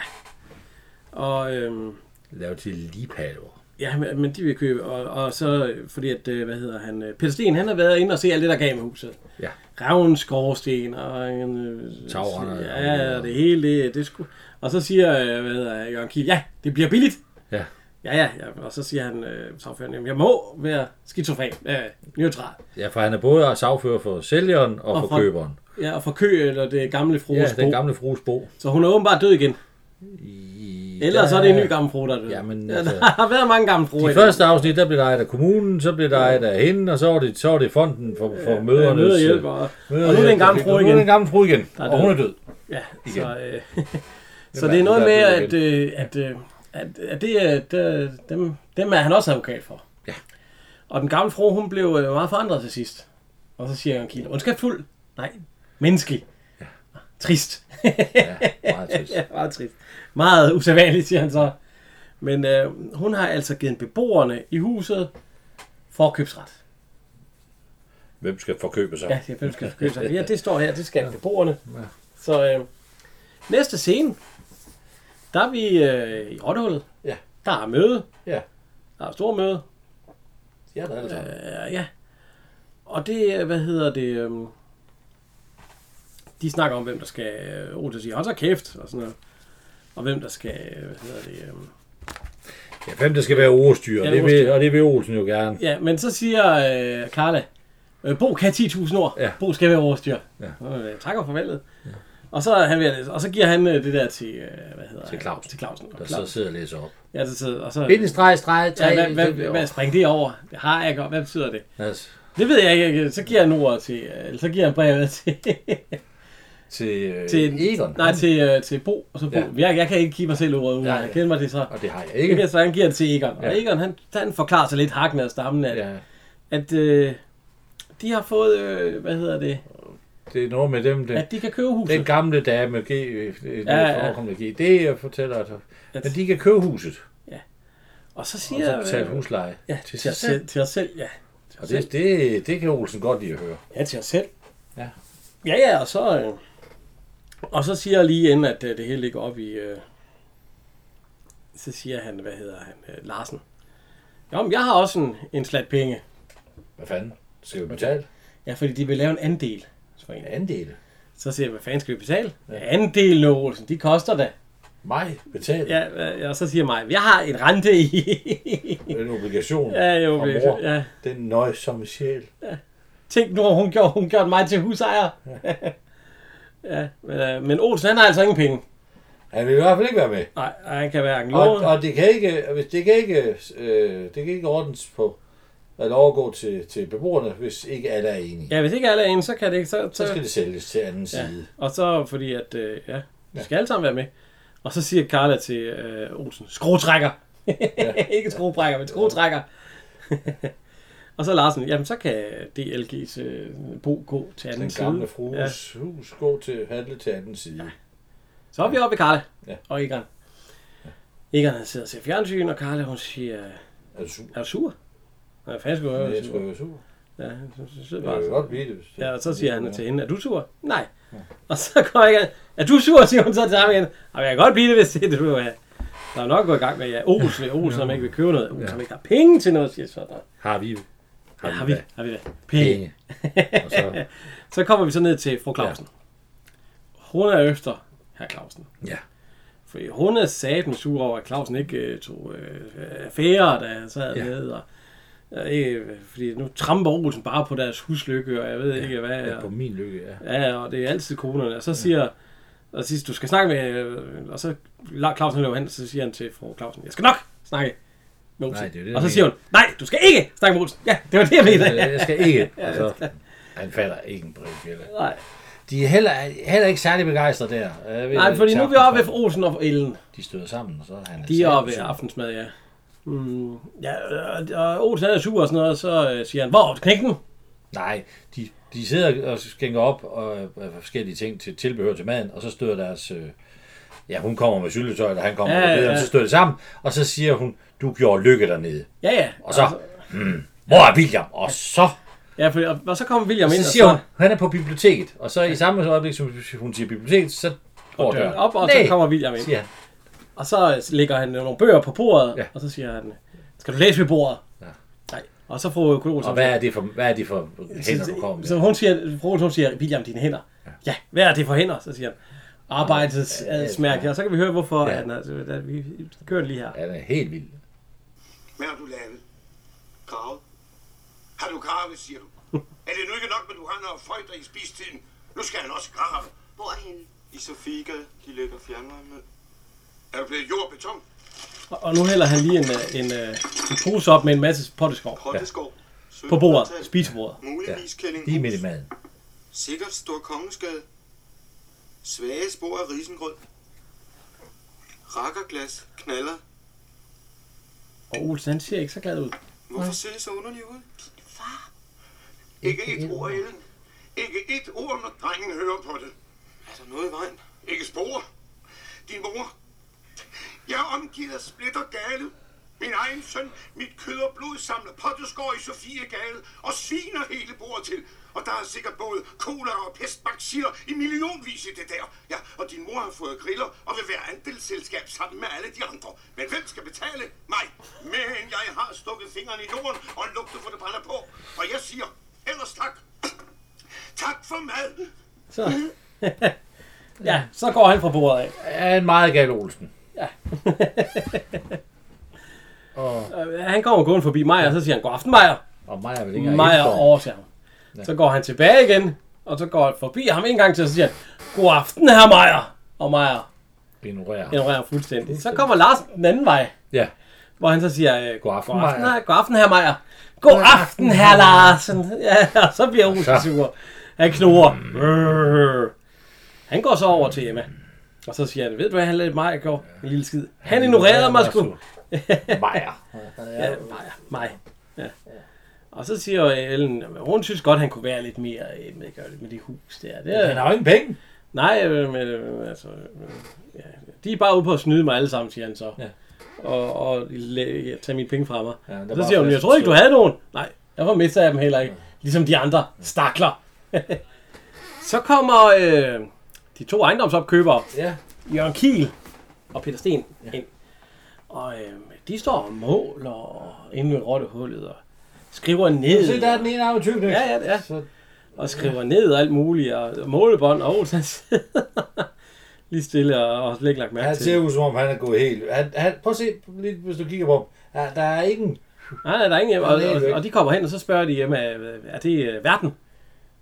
Og øhm, Lavet til ligepaver. ja, men men de vil købe, og, og så øh, fordi at, øh, hvad hedder han, øh, Peter Sten, han har været inde og se alt det, der gav med huset. Ja. Ravn, skorsten og... Øh, Tagrender. Ja, det hele, det, det skulle... Og så siger, øh, hvad hedder jeg, Jørgen Kiel, ja, det bliver billigt. Ja. Ja, ja, ja. Og så siger han, øh, sagføreren, jamen, jeg må være skizofren, øh, neutral. ja, for han er både sagfører for sælgeren og, for- for køberen. Ja, og for kø eller det gamle frues Ja, den gamle... gamle frues bo. Så hun er åbenbart død igen. Eller så er det en ny gammel fru, der er død. Jamen, ja, altså- der har været mange gamle fruer. De i første afsnit, der blev der ejet af kommunen, så blev der ejet af hende, og så var det, så var det fonden for, for ja, den. Øh, mødernes... møderhjælp, og, og nu er det en møderhjælp, der gammel fik- fru Nu er det igen. en gammel fru igen, er og hun er død. Ja, Igen. så, øh, så Hvem det er er noget det, med, der er at, død øh, at, øh, at, at det, er- at øh, dem, dem er han også advokat for. Ja. Og den gamle fru, hun blev øh, meget forandret til sidst. Og så siger Jørgen Kiel, ondskabsfuld? Nej, menneskelig. Trist. Ja, meget trist. ja, meget trist. Meget usædvanligt, siger han så. Men øh, hun har altså givet beboerne i huset forkøbsret. Hvem skal forkøbe sig? Ja, det er, hvem skal forkøbe sig. Ja, det står her, det skal beboerne. Så øh, næste scene, der er vi øh, i Rottehullet. Ja. Der er møde. Ja. Der er stor møde. Ja, der er det sammen. Øh, ja. Og det, er, hvad hedder det... Øh, de snakker om, hvem der skal... Øh, Otis siger, hold så kæft, og sådan noget. Og hvem der skal... øh, Hvad hedder det... Øh, Ja, hvem der skal være ordstyr, Ja, det vil, ordstyrer. og det vil Olsen jo gerne. Ja, men så siger øh, Carla, øh, Bo kan 10.000 ord. Ja. Bo skal være overstyr. Ja. Øh, tak og farvelet. Ja. Og, så er han ved, at- og så giver han øh, det der til, øh, hvad hedder Til han? Clausen. Til Clausen. Og Der så Clausen. sidder og læser op. Ja, så sidder, og så... Bindestreg, streg, Ja, hvad, hvad, hvad, hvad spring det over? Det har jeg godt. Hvad betyder det? Altså, Det ved jeg ikke. Så giver han ordet til... øh, Eller så giver han brevet til... til, øh, til Egon. Nej, til, øh, til Bo. Og så Bo. Ja. Ja. Jeg, jeg kan ikke give mig selv ordet ud. Nej, Ja, ja. nej. Kender mig det så. Og det har jeg Det ikke. kan- Så han giver det til Egon. Ja. Og Egon, han, han forklarer sig lidt hakken af stammen, at, Ja. at øh, de har fået, øh, hvad hedder det, Det er noget med dem, det. at de kan købe huset. Den gamle dame, G, øh, det Ja, ja. ja, forekommende G, det jeg fortæller dig. At- Men de kan købe huset, og så og siger øh, så betale husleje. ja, til, til, os selv. til os selv. Ja. Til Og os selv. det, det, det kan Olsen godt lide at høre. ja, til os selv. Ja. Ja, ja, og så, øh, og så siger jeg lige inden, at øh, det hele ligger op i, øh, så siger han, hvad hedder han, øh, Larsen. Jo, men jeg har også en, en slat penge. Hvad fanden? Skal vi betale? Ja, fordi de vil lave en andel. for en. Andele. Så siger jeg, hvad fanden skal vi betale? Ja. Andel, Olsen, de koster da. Mig betale. Ja. Ja, øh, og så siger mig, jeg har en rente i. En obligation ja, jo, fra det- mor. ja. Den nøjsomme sjæl. Tænk nu, om hun gjorde, hun gjorde mig til husejer. Ja. ja men, øh, men Olsen, han har altså ingen penge. Han vil i hvert fald ikke være med. Nej, og han kan hverken Og, låne. og det kan ikke, hvis det kan ikke, øh, det kan ikke ordnes på, eller overgå til, til beboerne, hvis ikke alle er enige. Ja. Ja, hvis ikke alle er inde, så kan det ikke. Så, Så skal så, det sælges til anden ja. side. Og så fordi, at øh, ja, vi skal alle sammen være med. Og så siger Carla til øh, Olsen, skruetrækker. ikke skruebrækker, men skruetrækker. og så Larsen, jamen så kan DLG's øh, bo gå til anden Den side. gamle frues ja. hus gå til handle til anden side. Ja. Så er vi oppe i Karla ja. Ja. og Egon. Egon han sidder og ser fjernsyn, og Karla hun siger, Er du sur? er du sur? Hvad fanden skulle jeg Ja, være jeg tror, sur? jeg er sur. Ja, han sidder Jeg bare. kan godt blive det. Hvis det Ja, og så siger han til hende, er du sur? Nej. Og så går Egon, er du sur? siger hun så til ham igen. Og jeg kan godt blive det, hvis det er det, du vil have. Der er nok gået i gang med, ja, Olsen, Olsen, som ikke vil købe noget. Olsen, som ikke har penge til noget, siger så der. Har vi Ja, har vi, har vi det. Penge. penge? Og så, Så kommer vi så ned til fru Clausen. Hun er efter herr Clausen. ja. Fordi hun er satan sur over, at Clausen ikke øh, tog øh, affære, da han sad ja. Ja. med. Og, og ikke, fordi nu tramper Olsen bare på deres huslykke, og jeg ved ja. ikke hvad. ja, på Og, min lykke, ja. ja, og det er altid konerne. Og så siger, ja. og så siger du skal snakke med, øh, og så la- Clausen løber hen, og så siger han til fru Clausen, jeg skal nok snakke med Olsen. Nej, det er det, og så jeg siger hun, nej, du skal ikke snakke med Olsen. Ja, det var det, jeg mente. Altså, Jeg skal ikke. Og så, han fatter ikke en brik, eller. Nej. De er heller, heller ikke særlig begejstrede der. Jeg ved, Nej, at fordi nu er vi Tarkov- oppe ved Olsen og Ellen. De støder sammen, og så er han... De er oppe ved sur. aftensmad, ja. Mm, ja, og- og Olsen han er sur og sådan noget, og så øh, siger han, hvor er knækken? Nej, de, de sidder og skænker op og, og forskellige ting til tilbehør til maden, og så støder deres... Øh, ja, hun kommer med syltetøj, og han kommer Ja, ja, med ja, bedre, ja. så støder de sammen, og så siger hun, du gjorde lykke dernede. Ja, ja. Altså, Og så, hmm, hvor er William? Og så, Ja, for, og, og, så kommer William ind, så og siger hun, så han er på biblioteket. Og så i samme øjeblik, som hun siger biblioteket, så går døren døren op, og så Nej, kommer William ind. siger han. Og så øh, lægger han nogle bøger på bordet, ja. Ja. og så siger han, skal du læse ved bordet? Ja. Nej. Og så fru Knud Olsen. Og hvad er det for, hvad er det for hænder, du kommer Altså, Så med? hun siger, fru Olsen hun siger, William, dine hænder. Ja. ja, hvad er det for hænder? Så siger han, arbejdsadsmærke. Og så kan vi høre, hvorfor. Ja. Ja. At, altså, at vi kører den lige her. Ja, det er helt vildt. Hvad har du lavet? Gravet? Har du gravet, siger du? er det nu ikke nok, men du har noget føjter i spistiden? Nu skal han også grave. Hvorhen? I Sofika, de lægger fjernvarme. Er du blevet jord og beton? Og, og nu hælder han lige en, øh, en, øh, en pose op med en masse potteskov Potteskov. på bordet, spisebordet. Muligvis kælling. Lige midt i maden. Sikkert stor kongeskade. Svage spor af risengrød. Rakkerglas knaller. Og Olsen, han ser ikke så glad ud. Hvorfor ser det så underligt ud? Ikke et ord, Ellen. Ikke et ord, når drengen hører på det. Er der noget i vejen? Ikke spor. Din mor. Jeg er omgivet af splitter gale. Min egen søn, mit kød og blod samler potteskår i Sofie Gade og sviner hele bordet til. Og der er sikkert både cola og pestbakterier i millionvis i det der. Ja, og din mor har fået griller og vil være andelsselskab sammen med alle de andre. Men hvem skal betale? Mig. Men jeg har stukket fingrene i jorden og lugtet for det brænder på. Og jeg siger, ellers tak. Tak for mad. Så. ja, så går han fra bordet af. Er en meget gal Olsen. Øh, Han kommer gående forbi Maja, og så siger han, god aften, Maja. Og Maja vil ikke Maja engang overser ham. Så går han tilbage igen, og så går han forbi ham en gang til, og så siger han, god aften, herr Maja. Og Maja ignorere. ignorerer ham fuldstændig. Så kommer Lars den anden vej, Ja. hvor han så siger, øh, God aften, god aften, Maja." her- god aften herr Maja. God aften, herr Larsen. Ja, og så bliver Olsen så- sur. Han knurrer. Han går så over til Emma. Og så siger han, ved du hvad han lavede mig i går? En lille skid. Han ignorerede mig sgu. Maja. Ja, mig. mig. Ja. Og så siger jo Ellen, at hun synes godt, han kunne være lidt mere øh, med, gør det med de hus der. Det, Han er, har jo ingen penge. nej, øh, men øh, altså, øh, ja. de er bare ude på at snyde mig alle sammen, siger han så. Ja. Og, og læ- ja, tage mine penge fra mig. Ja, der Ja, var så siger hun, faktisk jeg troede ikke, du stor- havde nogen. Nej, derfor mister jeg dem heller ikke. Ligesom de andre stakler. så kommer øh, de to ejendomsopkøbere, Ja. Jørgen Kiel og Peter Sten ja. ind. Og øh, de står og måler og inde ved rottehullet og skriver ned. Se, der er den ene arme tyk Ja, ja, ja. Så Og skriver ned og alt muligt. Og målebånd og Olsen sidder lige stille og, og slet ikke lagt mærke han til. ser det. ud som om, han er gået helt... Han, han, prøv at se, lige, hvis du kigger på ham. Ja, der er ingen... Nej, nej, der er ingen hjemme. Og, Han er helt og, væk. og, de kommer hen, og så spørger de hjemme, øh, er det øh, verden?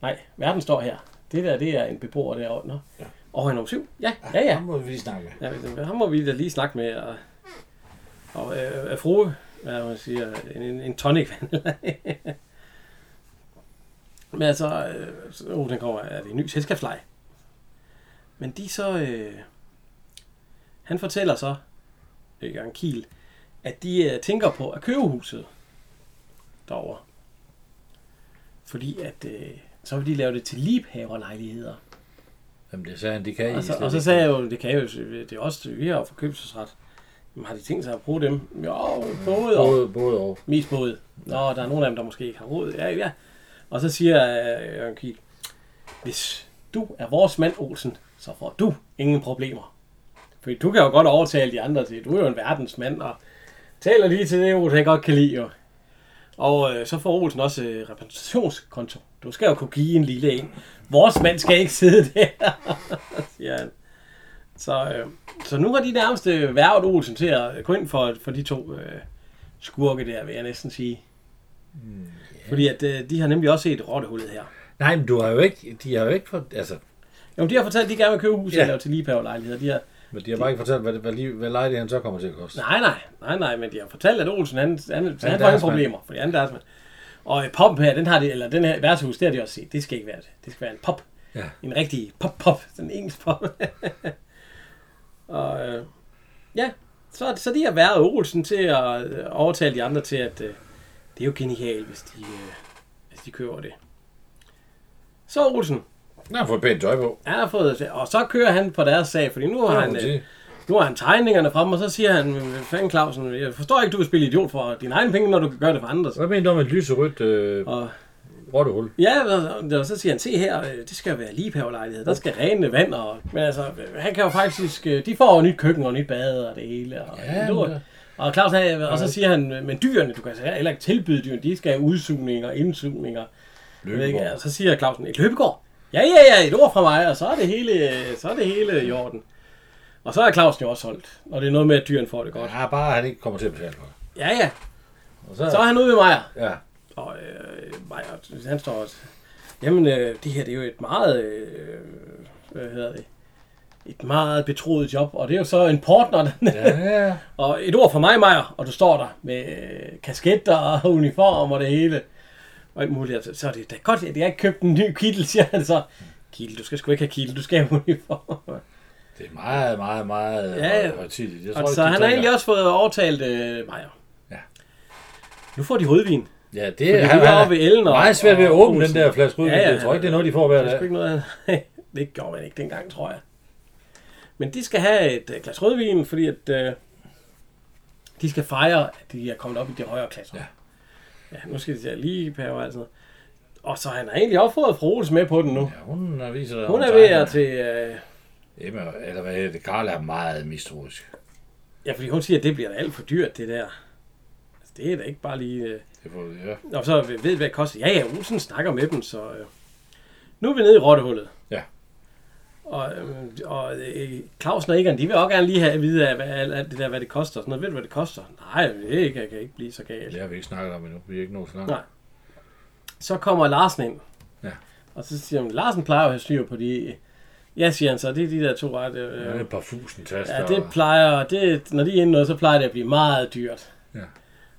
Nej, verden står her. Det der, det er en beboer derovre. Nå. Ja. Og han er 7. Ja, ja, ja. Ham må vi lige snakke med. Ja, men ham må vi da lige snakke med. Og, og øh, øh, frue, hvad man siger, en, en, en tonicvand. eller- Men altså, øh, så, oh, den kommer, er det en ny selskabsleje? Men de så, øh, han fortæller så, øh, Jørgen Kiel, at de øh, tænker på at købe huset derovre. Fordi at, øh, så vil de lave det til libhaverlejligheder. Jamen, det sagde han, det kan I Og så, slet og så ikke. sagde jeg jo, det kan jeg jo, det er også, vi har jo forkøbsret. Jamen, har de tænkt sig at bruge dem? Jo, både og. Både, både og. Mest både. Nå, der er nogle af dem, der måske ikke har råd. Ja, ja. Og så siger øh, Jørgen Kiel, hvis du er vores mand, Olsen, så får du ingen problemer. For du kan jo godt overtale de andre til, du er jo en verdensmand, og taler lige til det, Olsen han godt kan lide jo. Og øh, så får Olsen også øh, repræsentationskonto. Du skal jo kunne give en lille en. Vores mand skal ikke sidde der, siger han. Så, øh, så nu har de nærmest øh, værvet Olsen til at gå ind for, for de to øh, skurke der, vil jeg næsten sige. Yeah. Fordi at øh, de har nemlig også set rottehullet her. Nej, men du har jo ikke... De har jo ikke... For, altså, Jo, de har fortalt, at de gerne vil købe huset Ja. yeah. og lave til ligepavelejligheder. De har, men de har bare ikke fortalt, hvad, hvad, lige, hvad leje det han så kommer til at koste. nej, nej, nej, nej, men de har fortalt, at Olsen, han, han, han, han får deres ingen mand. problemer, fordi han er deres mand. Og øh, pop her, den har de, eller den her værtshus, det har de også set. Det skal ikke være det. Det skal være en pop. Ja. En rigtig pop-pop, sådan en engelsk pop. og øh, ja, så, så de har været Olsen til at øh, overtale de andre til, at øh, det er jo genialt, hvis de, øh, hvis de kører det. Så Olsen, Jeg har fået pænt tøj på. han har fået, og så kører han på deres sag, fordi nu har må han, man øh, sige. nu har han tegningerne frem, og så siger han, "Hvad fanden Clausen, jeg forstår ikke, du vil spille idiot for dine egne penge, når du kan gøre det for andres. Hvad mener du om et lyserødt øh, Og rottehul? Ja, og- og så siger han, se her, øh, det skal være ligepavelejlighed, der skal rene vand, og, men altså, øh, han kan jo faktisk, øh, de får jo nyt køkken og nyt bad og det hele, og, Ja, lort. men det- og Claus han, øh, og så siger han, men dyrene, du kan altså heller ikke tilbyde dyrene, de skal have udsugninger, indsugninger, Jeg ved ikke, altså. Løbegård. og så siger Clausen, et løbegård? Ja, ja, ja, et ord fra mig, og så er det hele, øh, så er det hele i orden. Og så er Clausen jo også holdt, og det er noget med, at dyrene får det godt. Ja, bare han ikke kommer til at betale for det. Ja, ja, Og så, så er han ude ved Maja. ja. Og øh, Maja, han står også... Jamen, øh, det her det er jo et meget... Øh, hvad hedder det? Et meget betroet job, og det er jo så en partner. Ja, ja. og et ord for mig, Maja, og du står der med øh, kasketter og uniform og det hele. Og alt muligt. Altså, Så er det da godt, at jeg ikke købte en ny kittel, siger han så. Kittel, du skal sgu ikke have kittel, du skal have uniform. Det er meget, meget, meget Ja, ja. ja, højtidligt. Jeg og ikke, så Altså, de han har drikker- egentlig også fået overtalt øh, Maja. Ja. Nu får de rødvin. Ja, det er, de var oppe ved Ellen og- meget svært ved at og åbne den Olsen. der flaske ud. Ja, ja. Jeg tror ikke, det er noget, de får hver Det er sgu dag. ikke noget, han... det gjorde man ikke dengang, tror jeg. Men de skal have et øh, glas rødvin, fordi at, øh, de skal fejre, at de er kommet op i de højere klasser. Ja. ja nu skal de til at lige pære og alt sådan noget. Og så han har egentlig også fået Froels med på den nu. Ja, hun er- viser dig. Hun hun er ved tegner. at til... Øh, Emma, eller hvad hedder det? Karl er meget mistroisk. ja, fordi hun siger, at det bliver da alt for dyrt, det der. Altså, det er da ikke bare lige... Øh, Det får det, ja. og så ved ved, hvad det koster. Ja, ja, Olsen snakker med dem, så... Øh. Nu er vi nede i rottehullet. Ja. Og, øhm, og øh, Clausen og Egon, de vil også gerne lige have at vide, af, hvad, alt alt det der, hvad det koster. og Sådan noget. Ved du, hvad det koster? Nej, det er ikke, jeg kan ikke blive så galt. Det har vi ikke snakket om endnu. Vi er ikke nået så langt. Nej. Så kommer Larsen ind. Ja. Og så siger han, Larsen plejer jo at have styr på de... Ja, siger han så, det er de der to ret... Ja, det Øh, er et par fusen taster. ja, det plejer... Det, når de er inde noget, så plejer det at blive meget dyrt. Ja.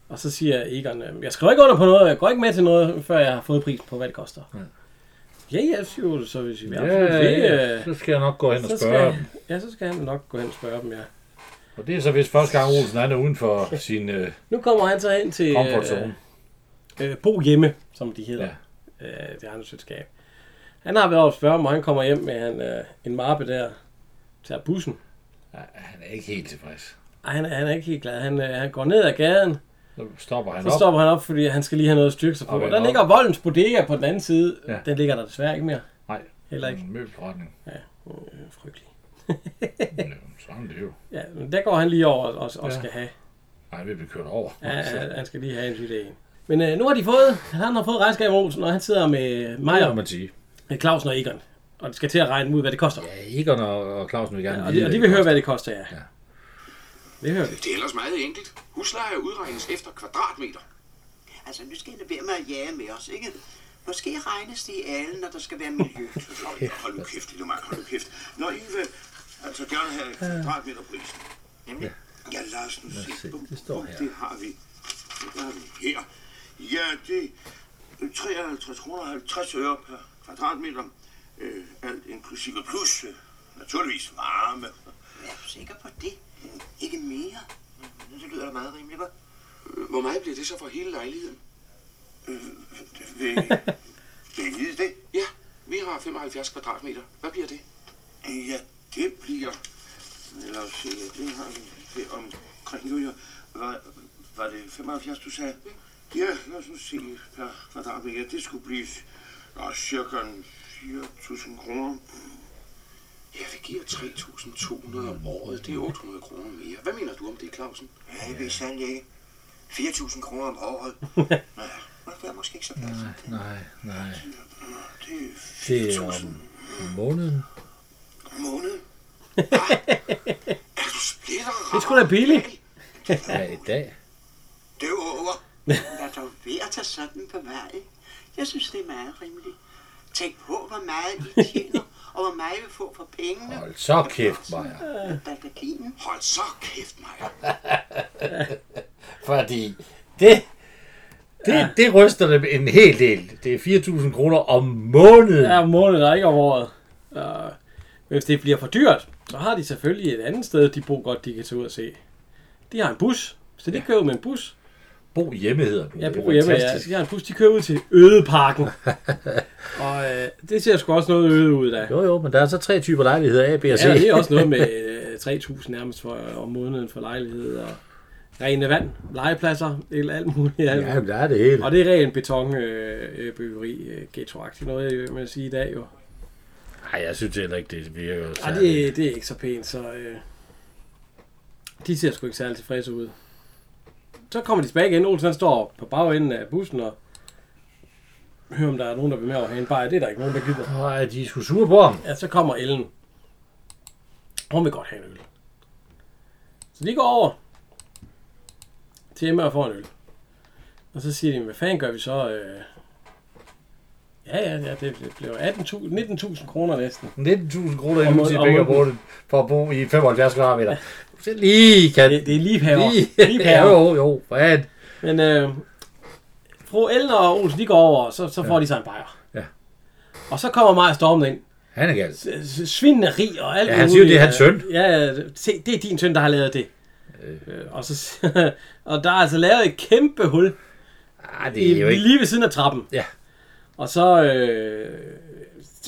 Og så siger Egon, øh, jeg skriver ikke under på noget, jeg går ikke med til noget, før jeg har fået prisen på, hvad det koster. Ja, ja, siger jo, så hvis vi Ja, er absolut ikke... ja, øh, så skal jeg nok gå hen og så spørge skal, dem. ja, så skal han nok gå hen og spørge dem, ja. Og det er så hvis første gang Olsen han er uden for sin øh, Nu kommer han så hen til comfort zone. øh, øh, Bo Hjemme, som de hedder. Ja. Ja. Øh, det er hans selskab. Han har været oppe og spørge mig, og han kommer hjem med en, øh, en mappe der, tager bussen. Ja, han er ikke helt tilfreds. Ej, han, er- han er ikke helt glad. Han, øh, han går ned ad gaden, Så stopper han så op. stopper han op, fordi han skal lige have noget at styrke sig på. Og Og vender der om. ligger Voldens Bodega på den anden side. Ja. Ja. Den ligger der desværre ikke mere. Nej, Heller ikke. en møbelforretning. Øh, frygtelig. Jamen, Sådan er det jo. Ja, men der går han lige over og, og skal have. Nej, vi bliver kørt over. Ja, han, han skal lige have en lille en. Men øh, nu har de fået, han har fået regnskab Olsen, og han sidder med Det Maja, må man sige. med Clausen og Egon. Og de skal til at regne ud, hvad det koster. Ja, Egon og, og Clausen vil gerne Og vide, de, og de det vil høre, koster. hvad det koster, ja. Ja. Det hører vi. Det er ellers meget enkelt. Husleje udregnes efter kvadratmeter. Altså, nu skal I lade være med at jage med os, ikke? Måske regnes det i alle, når der skal være miljø. Hold nu kæft, lille mand, hold nu kæft. Når I vil altså gerne have kvadratmeterprisen. Nemlig? Ja, lad os nu se. Bum, det står bum, her. Det har vi. Det har vi her. Ja, det er 53 kroner 50 øre per kvadratmeter. Øh, alt inklusive plus, øh, naturligvis varme. Er du sikker på det? Ikke mere? Mm-hmm. Det lyder da meget rimeligt, hva'? Øh, Hvor meget bliver det så for hele lejligheden? Øh, det vil, vil I vide det? Ja, vi har 75 kvadratmeter. Hvad bliver det? Ja, det bliver... Lad os se, ja, det har vi det er omkring jo, ja. Var, var det 75, du sagde? Ja, lad os nu se per kvadratmeter. Det skulle blive ja, cirka en 4.000 kroner. Ja, vi giver 3.200 om året. Det er 800 kroner mere. Hvad mener du om det, Clausen? Ja, det er sandt ikke. 4.000 kroner om året. Det er måske ikke så godt. Nej, nej. Det er Det er om måneden. måned. Ah, er du splitter? Det er sgu da billigt. Ja, i dag. Det er jo over. Lad dog være at tage sådan på vej. Jeg synes, det er meget rimeligt. Tænk på, hvor meget I tjener, og hvor meget vi får for pengene. Hold så kæft, Maja. Baldakinen. Hold så kæft, Maja. Fordi det Det, ja. det ryster dem en hel del. Det er 4.000 kroner om måneden. Ja, om måneden er ikke om året. Og hvis det bliver for dyrt, så har de selvfølgelig et andet sted, de bor godt, de kan tage ud og se. De har en bus, så de ja. kører med en bus. Bo hjemme hedder den. Ja, bo hjemme, ja. Så de har en bus, de kører ud til Ødeparken. og øh, det ser sgu også noget øde ud af. Jo, jo, men der er så tre typer lejligheder, A, B og C. Ja, det er også noget med øh, 3.000 nærmest for, om måneden for lejlighed og rene vand, legepladser, el- alt muligt. Ja, ja men der er det hele. Og det er ren betonbyggeri, øh, øh, ghettoagtigt noget, jeg vil sige i dag jo. Nej, jeg synes heller ikke, det virker jo Nej, det, det er ikke så pænt, så øh, de ser sgu ikke særlig tilfredse ud. Så kommer de tilbage igen. Olsen han står på bagenden af bussen og hører, om der er nogen, der vil med over have en bajer. Det er der ikke nogen, der gider. Nej, de er sgu sure på ham. Ja, så kommer Ellen. Hun vil godt have en øl. Så de går over til Emma og får en øl. Og så siger de, hvad fanden gør vi så? Øh, Ja, ja, ja, det blev 19.000 kroner næsten. 19.000 kroner i huset i Bækkerbunden for at bo i 75 kvadratmeter. Så lige kan... Det, det er lige her. Lige, lige her. jo, jo, man. Men øh, fru Elner og Olsen, de går over, og så, så får ja. de sig en bajer. Ja. Og så kommer Maja Stormen ind. Han er galt. Svineri og alt Ja, han siger jo, det er hans søn. Ja, se, det er din søn, der har lavet det. Øh. Og, så, og der er altså lavet et kæmpe hul. Ah, det er jo ikke... Lige ved siden af trappen. Ja. Og så... Øh,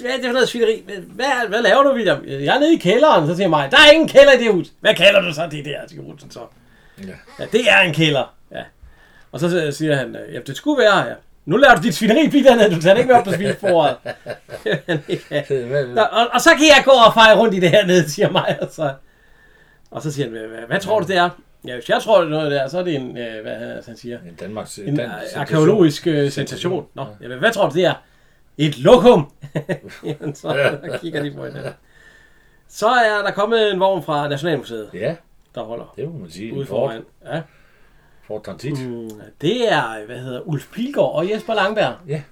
hvad er det for noget svineri? Hvad, hvad laver du, William? Jeg er nede i kælderen. Så siger mig, der er ingen kælder i det hus. Hvad kalder du så det der, siger Olsen så. Ja. Ja, det er en kælder. Ja. Og så siger han, ja, det skulle være her. Ja. Nu lader du dit svineri blive dernede. Du tager det ikke med op på svinebordet. og, og, og, så kan jeg gå og feje rundt i det her nede, siger mig. Og så, og så siger han, hvad, hvad tror du, det er? Ja, hvis jeg tror, det er noget der, så er det en, øh, hvad er det, han siger? En Danmarks... En Dan- arkeologisk øh, sensation. Nå, ja. jamen, hvad tror du, det er? Et lokum! jamen, så kigger de på hinanden. Så er der kommet en vogn fra Nationalmuseet, Ja, der holder det må man sige. ude En Ford, foran. Ja. Ford Transit. Mm, Det er, hvad hedder, Ulf Pilgaard og Jesper Langberg. Ja.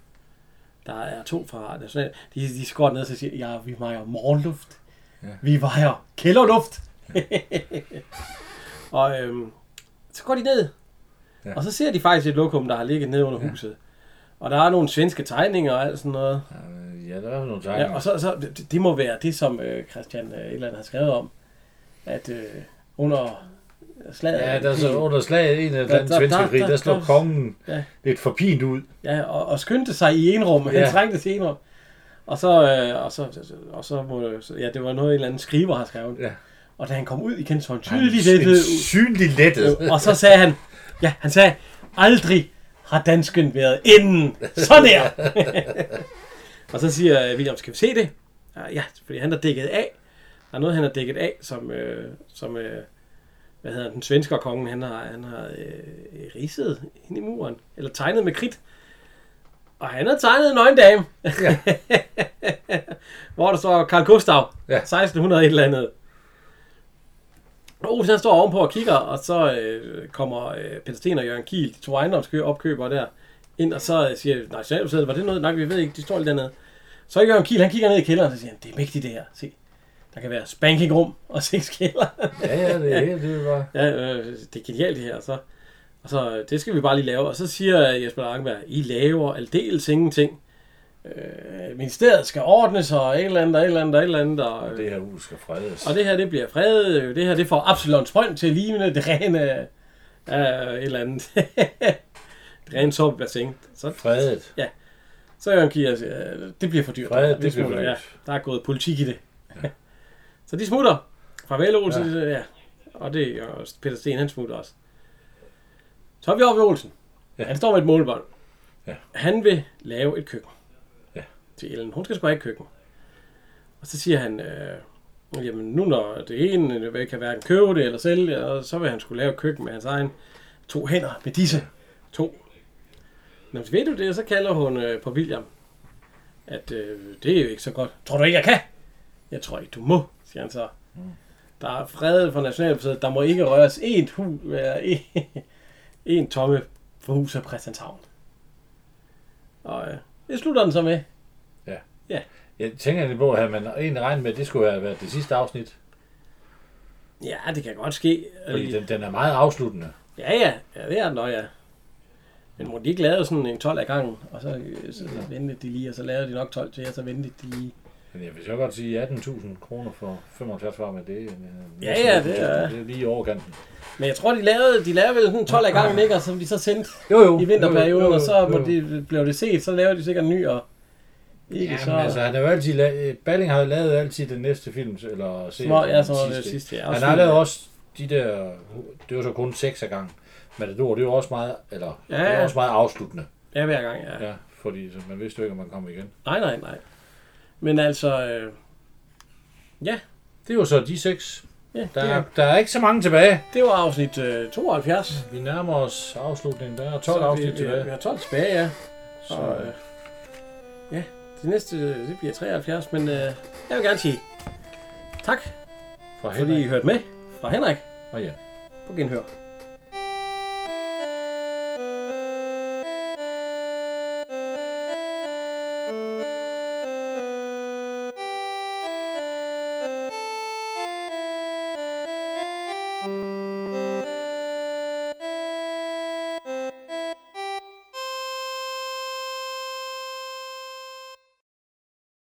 Der er to fra National. De, de skal godt ned og siger, ja, vi vejer morgenluft. Ja. Vi vejer kælderluft. og øhm, så går de ned. Ja. Ja. Og så ser de faktisk et lokum, der har ligget ned under ja. huset. Og der er nogle svenske tegninger og alt sådan noget. Øh, Ja, der er nogle Ja, tegninger. og så, så, det, det må være det, som øh, Christian øh, et eller andet har skrevet om. At øh, under slaget... Ja, af der er så krigen- under slaget i en eller Der- anden der- der- svenske krig, der- der slår der- kongen Ja. lidt for pint ud. Ja, og, og skyndte sig i enrum. Ja. Han Ja. trængte til enrum. Og så, øh, og så, og så må, så- ja, det var noget, en eller anden skriver har skrevet. Ja. Og da han kom ud igen, så var han Han tydeligt er det en Synlig lettet. ud. Og så sagde han, ja, han sagde, aldrig har dansken været inden. Så der! og så siger øh, William, skal vi se det? Ja, Ja, fordi han er dækket af. Der er noget, han er dækket af, som, øh, som øh, hvad hedder han, den svenske kongen, han har, han har øh, ridset ind i muren. Eller tegnet med kridt. Og han har tegnet en nøgendame. Ja. Hvor der står Karl Gustav. Ja. 1600 et eller andet. Og Olsen han står ovenpå og kigger, og så øh, kommer øh, Peter Sten og Jørgen Kiel, de to ejendomsopkøbere der, ind og så øh, siger, nej, Nationalmuseet, var det noget? Nej, vi ved ikke, de står lidt dernede. Så Jørgen Kiel, han kigger ned i kælderen, og så siger han, det er mægtigt det her, se. Der kan være spankingrum og seks kælder. Ja, ja, det er helt det var. Ja, øh, det er genialt det her. Så, og så, øh, det skal vi bare lige lave. Og så siger Jesper Langberg, I laver aldeles ingenting. Øh, ministeriet skal ordnes, og et eller andet, og et eller andet, og et eller andet. Og, øh, Det her hus skal fredes. og det her, det bliver fredet. øh, Det her, det får Absalons Brønd til lignende det rene... Øh, et eller andet. det rene soppebassin. Så, Fredet. så Jørgen Kier siger, øh, det bliver for dyrt. Fred, det Vi bliver smutter. for ja, dyrt. der er gået politik i det. så de smutter. Farvel, Olsen. Ja. ja. Og det er også Peter Sten, han smutter også. Så er vi oppe ved Olsen. Ja. Ja. Han står med et målbånd. Ja. Han vil lave et køkken. Ja. Til Ellen. Hun skal sgu have et køkken. Og så siger han, øh, jamen nu når det ene øh, kan hverken købe det eller sælge, det, og så vil han skulle lave et køkken med hans egen to hænder med disse to. Nå, men ved du det, så kalder hun øh, på William, at øh, det er jo ikke så godt. Tror du ikke, jeg kan? Jeg tror ikke, du må, siger han så. Der er fred for Nationalmuseet. Der må ikke røres et hus, eller en, en tomme for huset af Christianshavn. Og øh, det slutter den så med. Jeg tænker egentlig på, at man egentlig regnet med, at det skulle have været det sidste afsnit. Ja, det kan godt ske. Fordi den, den er meget afsluttende. Ja, ja, ja det er den også, ja. Men må de ikke lavede sådan en 12 af gangen, og så, øh, så, så ventede de lige, og så lavede de nok 12 til, og så ventede de lige. Men jeg vil så godt sige 18.000 kroner for 75 varme, det, er, øh, Ja, ja, det er- det er lige i overkanten. Men jeg tror, de lavede, de lavede vel sådan 12 af gangen, ikke? Og som de så sendte Jo, jo. i vinterperioden, Jo, jo, og så må jo. de, blev det set, så lavede de sikkert en ny, og ikke Jamen, så... altså, han har jo altid la- Balling har jo lavet altid den næste film, eller serien. Nå, ja, den så var det sidste, ja. Han Også har film, lavet ja. også de der, det var så kun seks af gang. Matador, det var også meget, eller, Ja, ja, det var ja. også meget afsluttende. Ja, hver gang, ja. Ja, fordi så man vidste jo ikke, om man kom igen. Nej, nej, nej. Men altså, øh, ja, Det er jo så de seks. ja Der, det, er, er, der er ikke så mange tilbage. det var afsnit øh, 72. Vi nærmer os afslutningen. Der er 12 Så vi- afsnit vi- tilbage. Vi har 12 tilbage, ja. Så, Og, øh, ja, det næste, øh, det bliver 73, men øh, jeg vil gerne sige tak, fra fordi I Henrik hørte med fra Henrik og Jan. på Genhør. Thank you.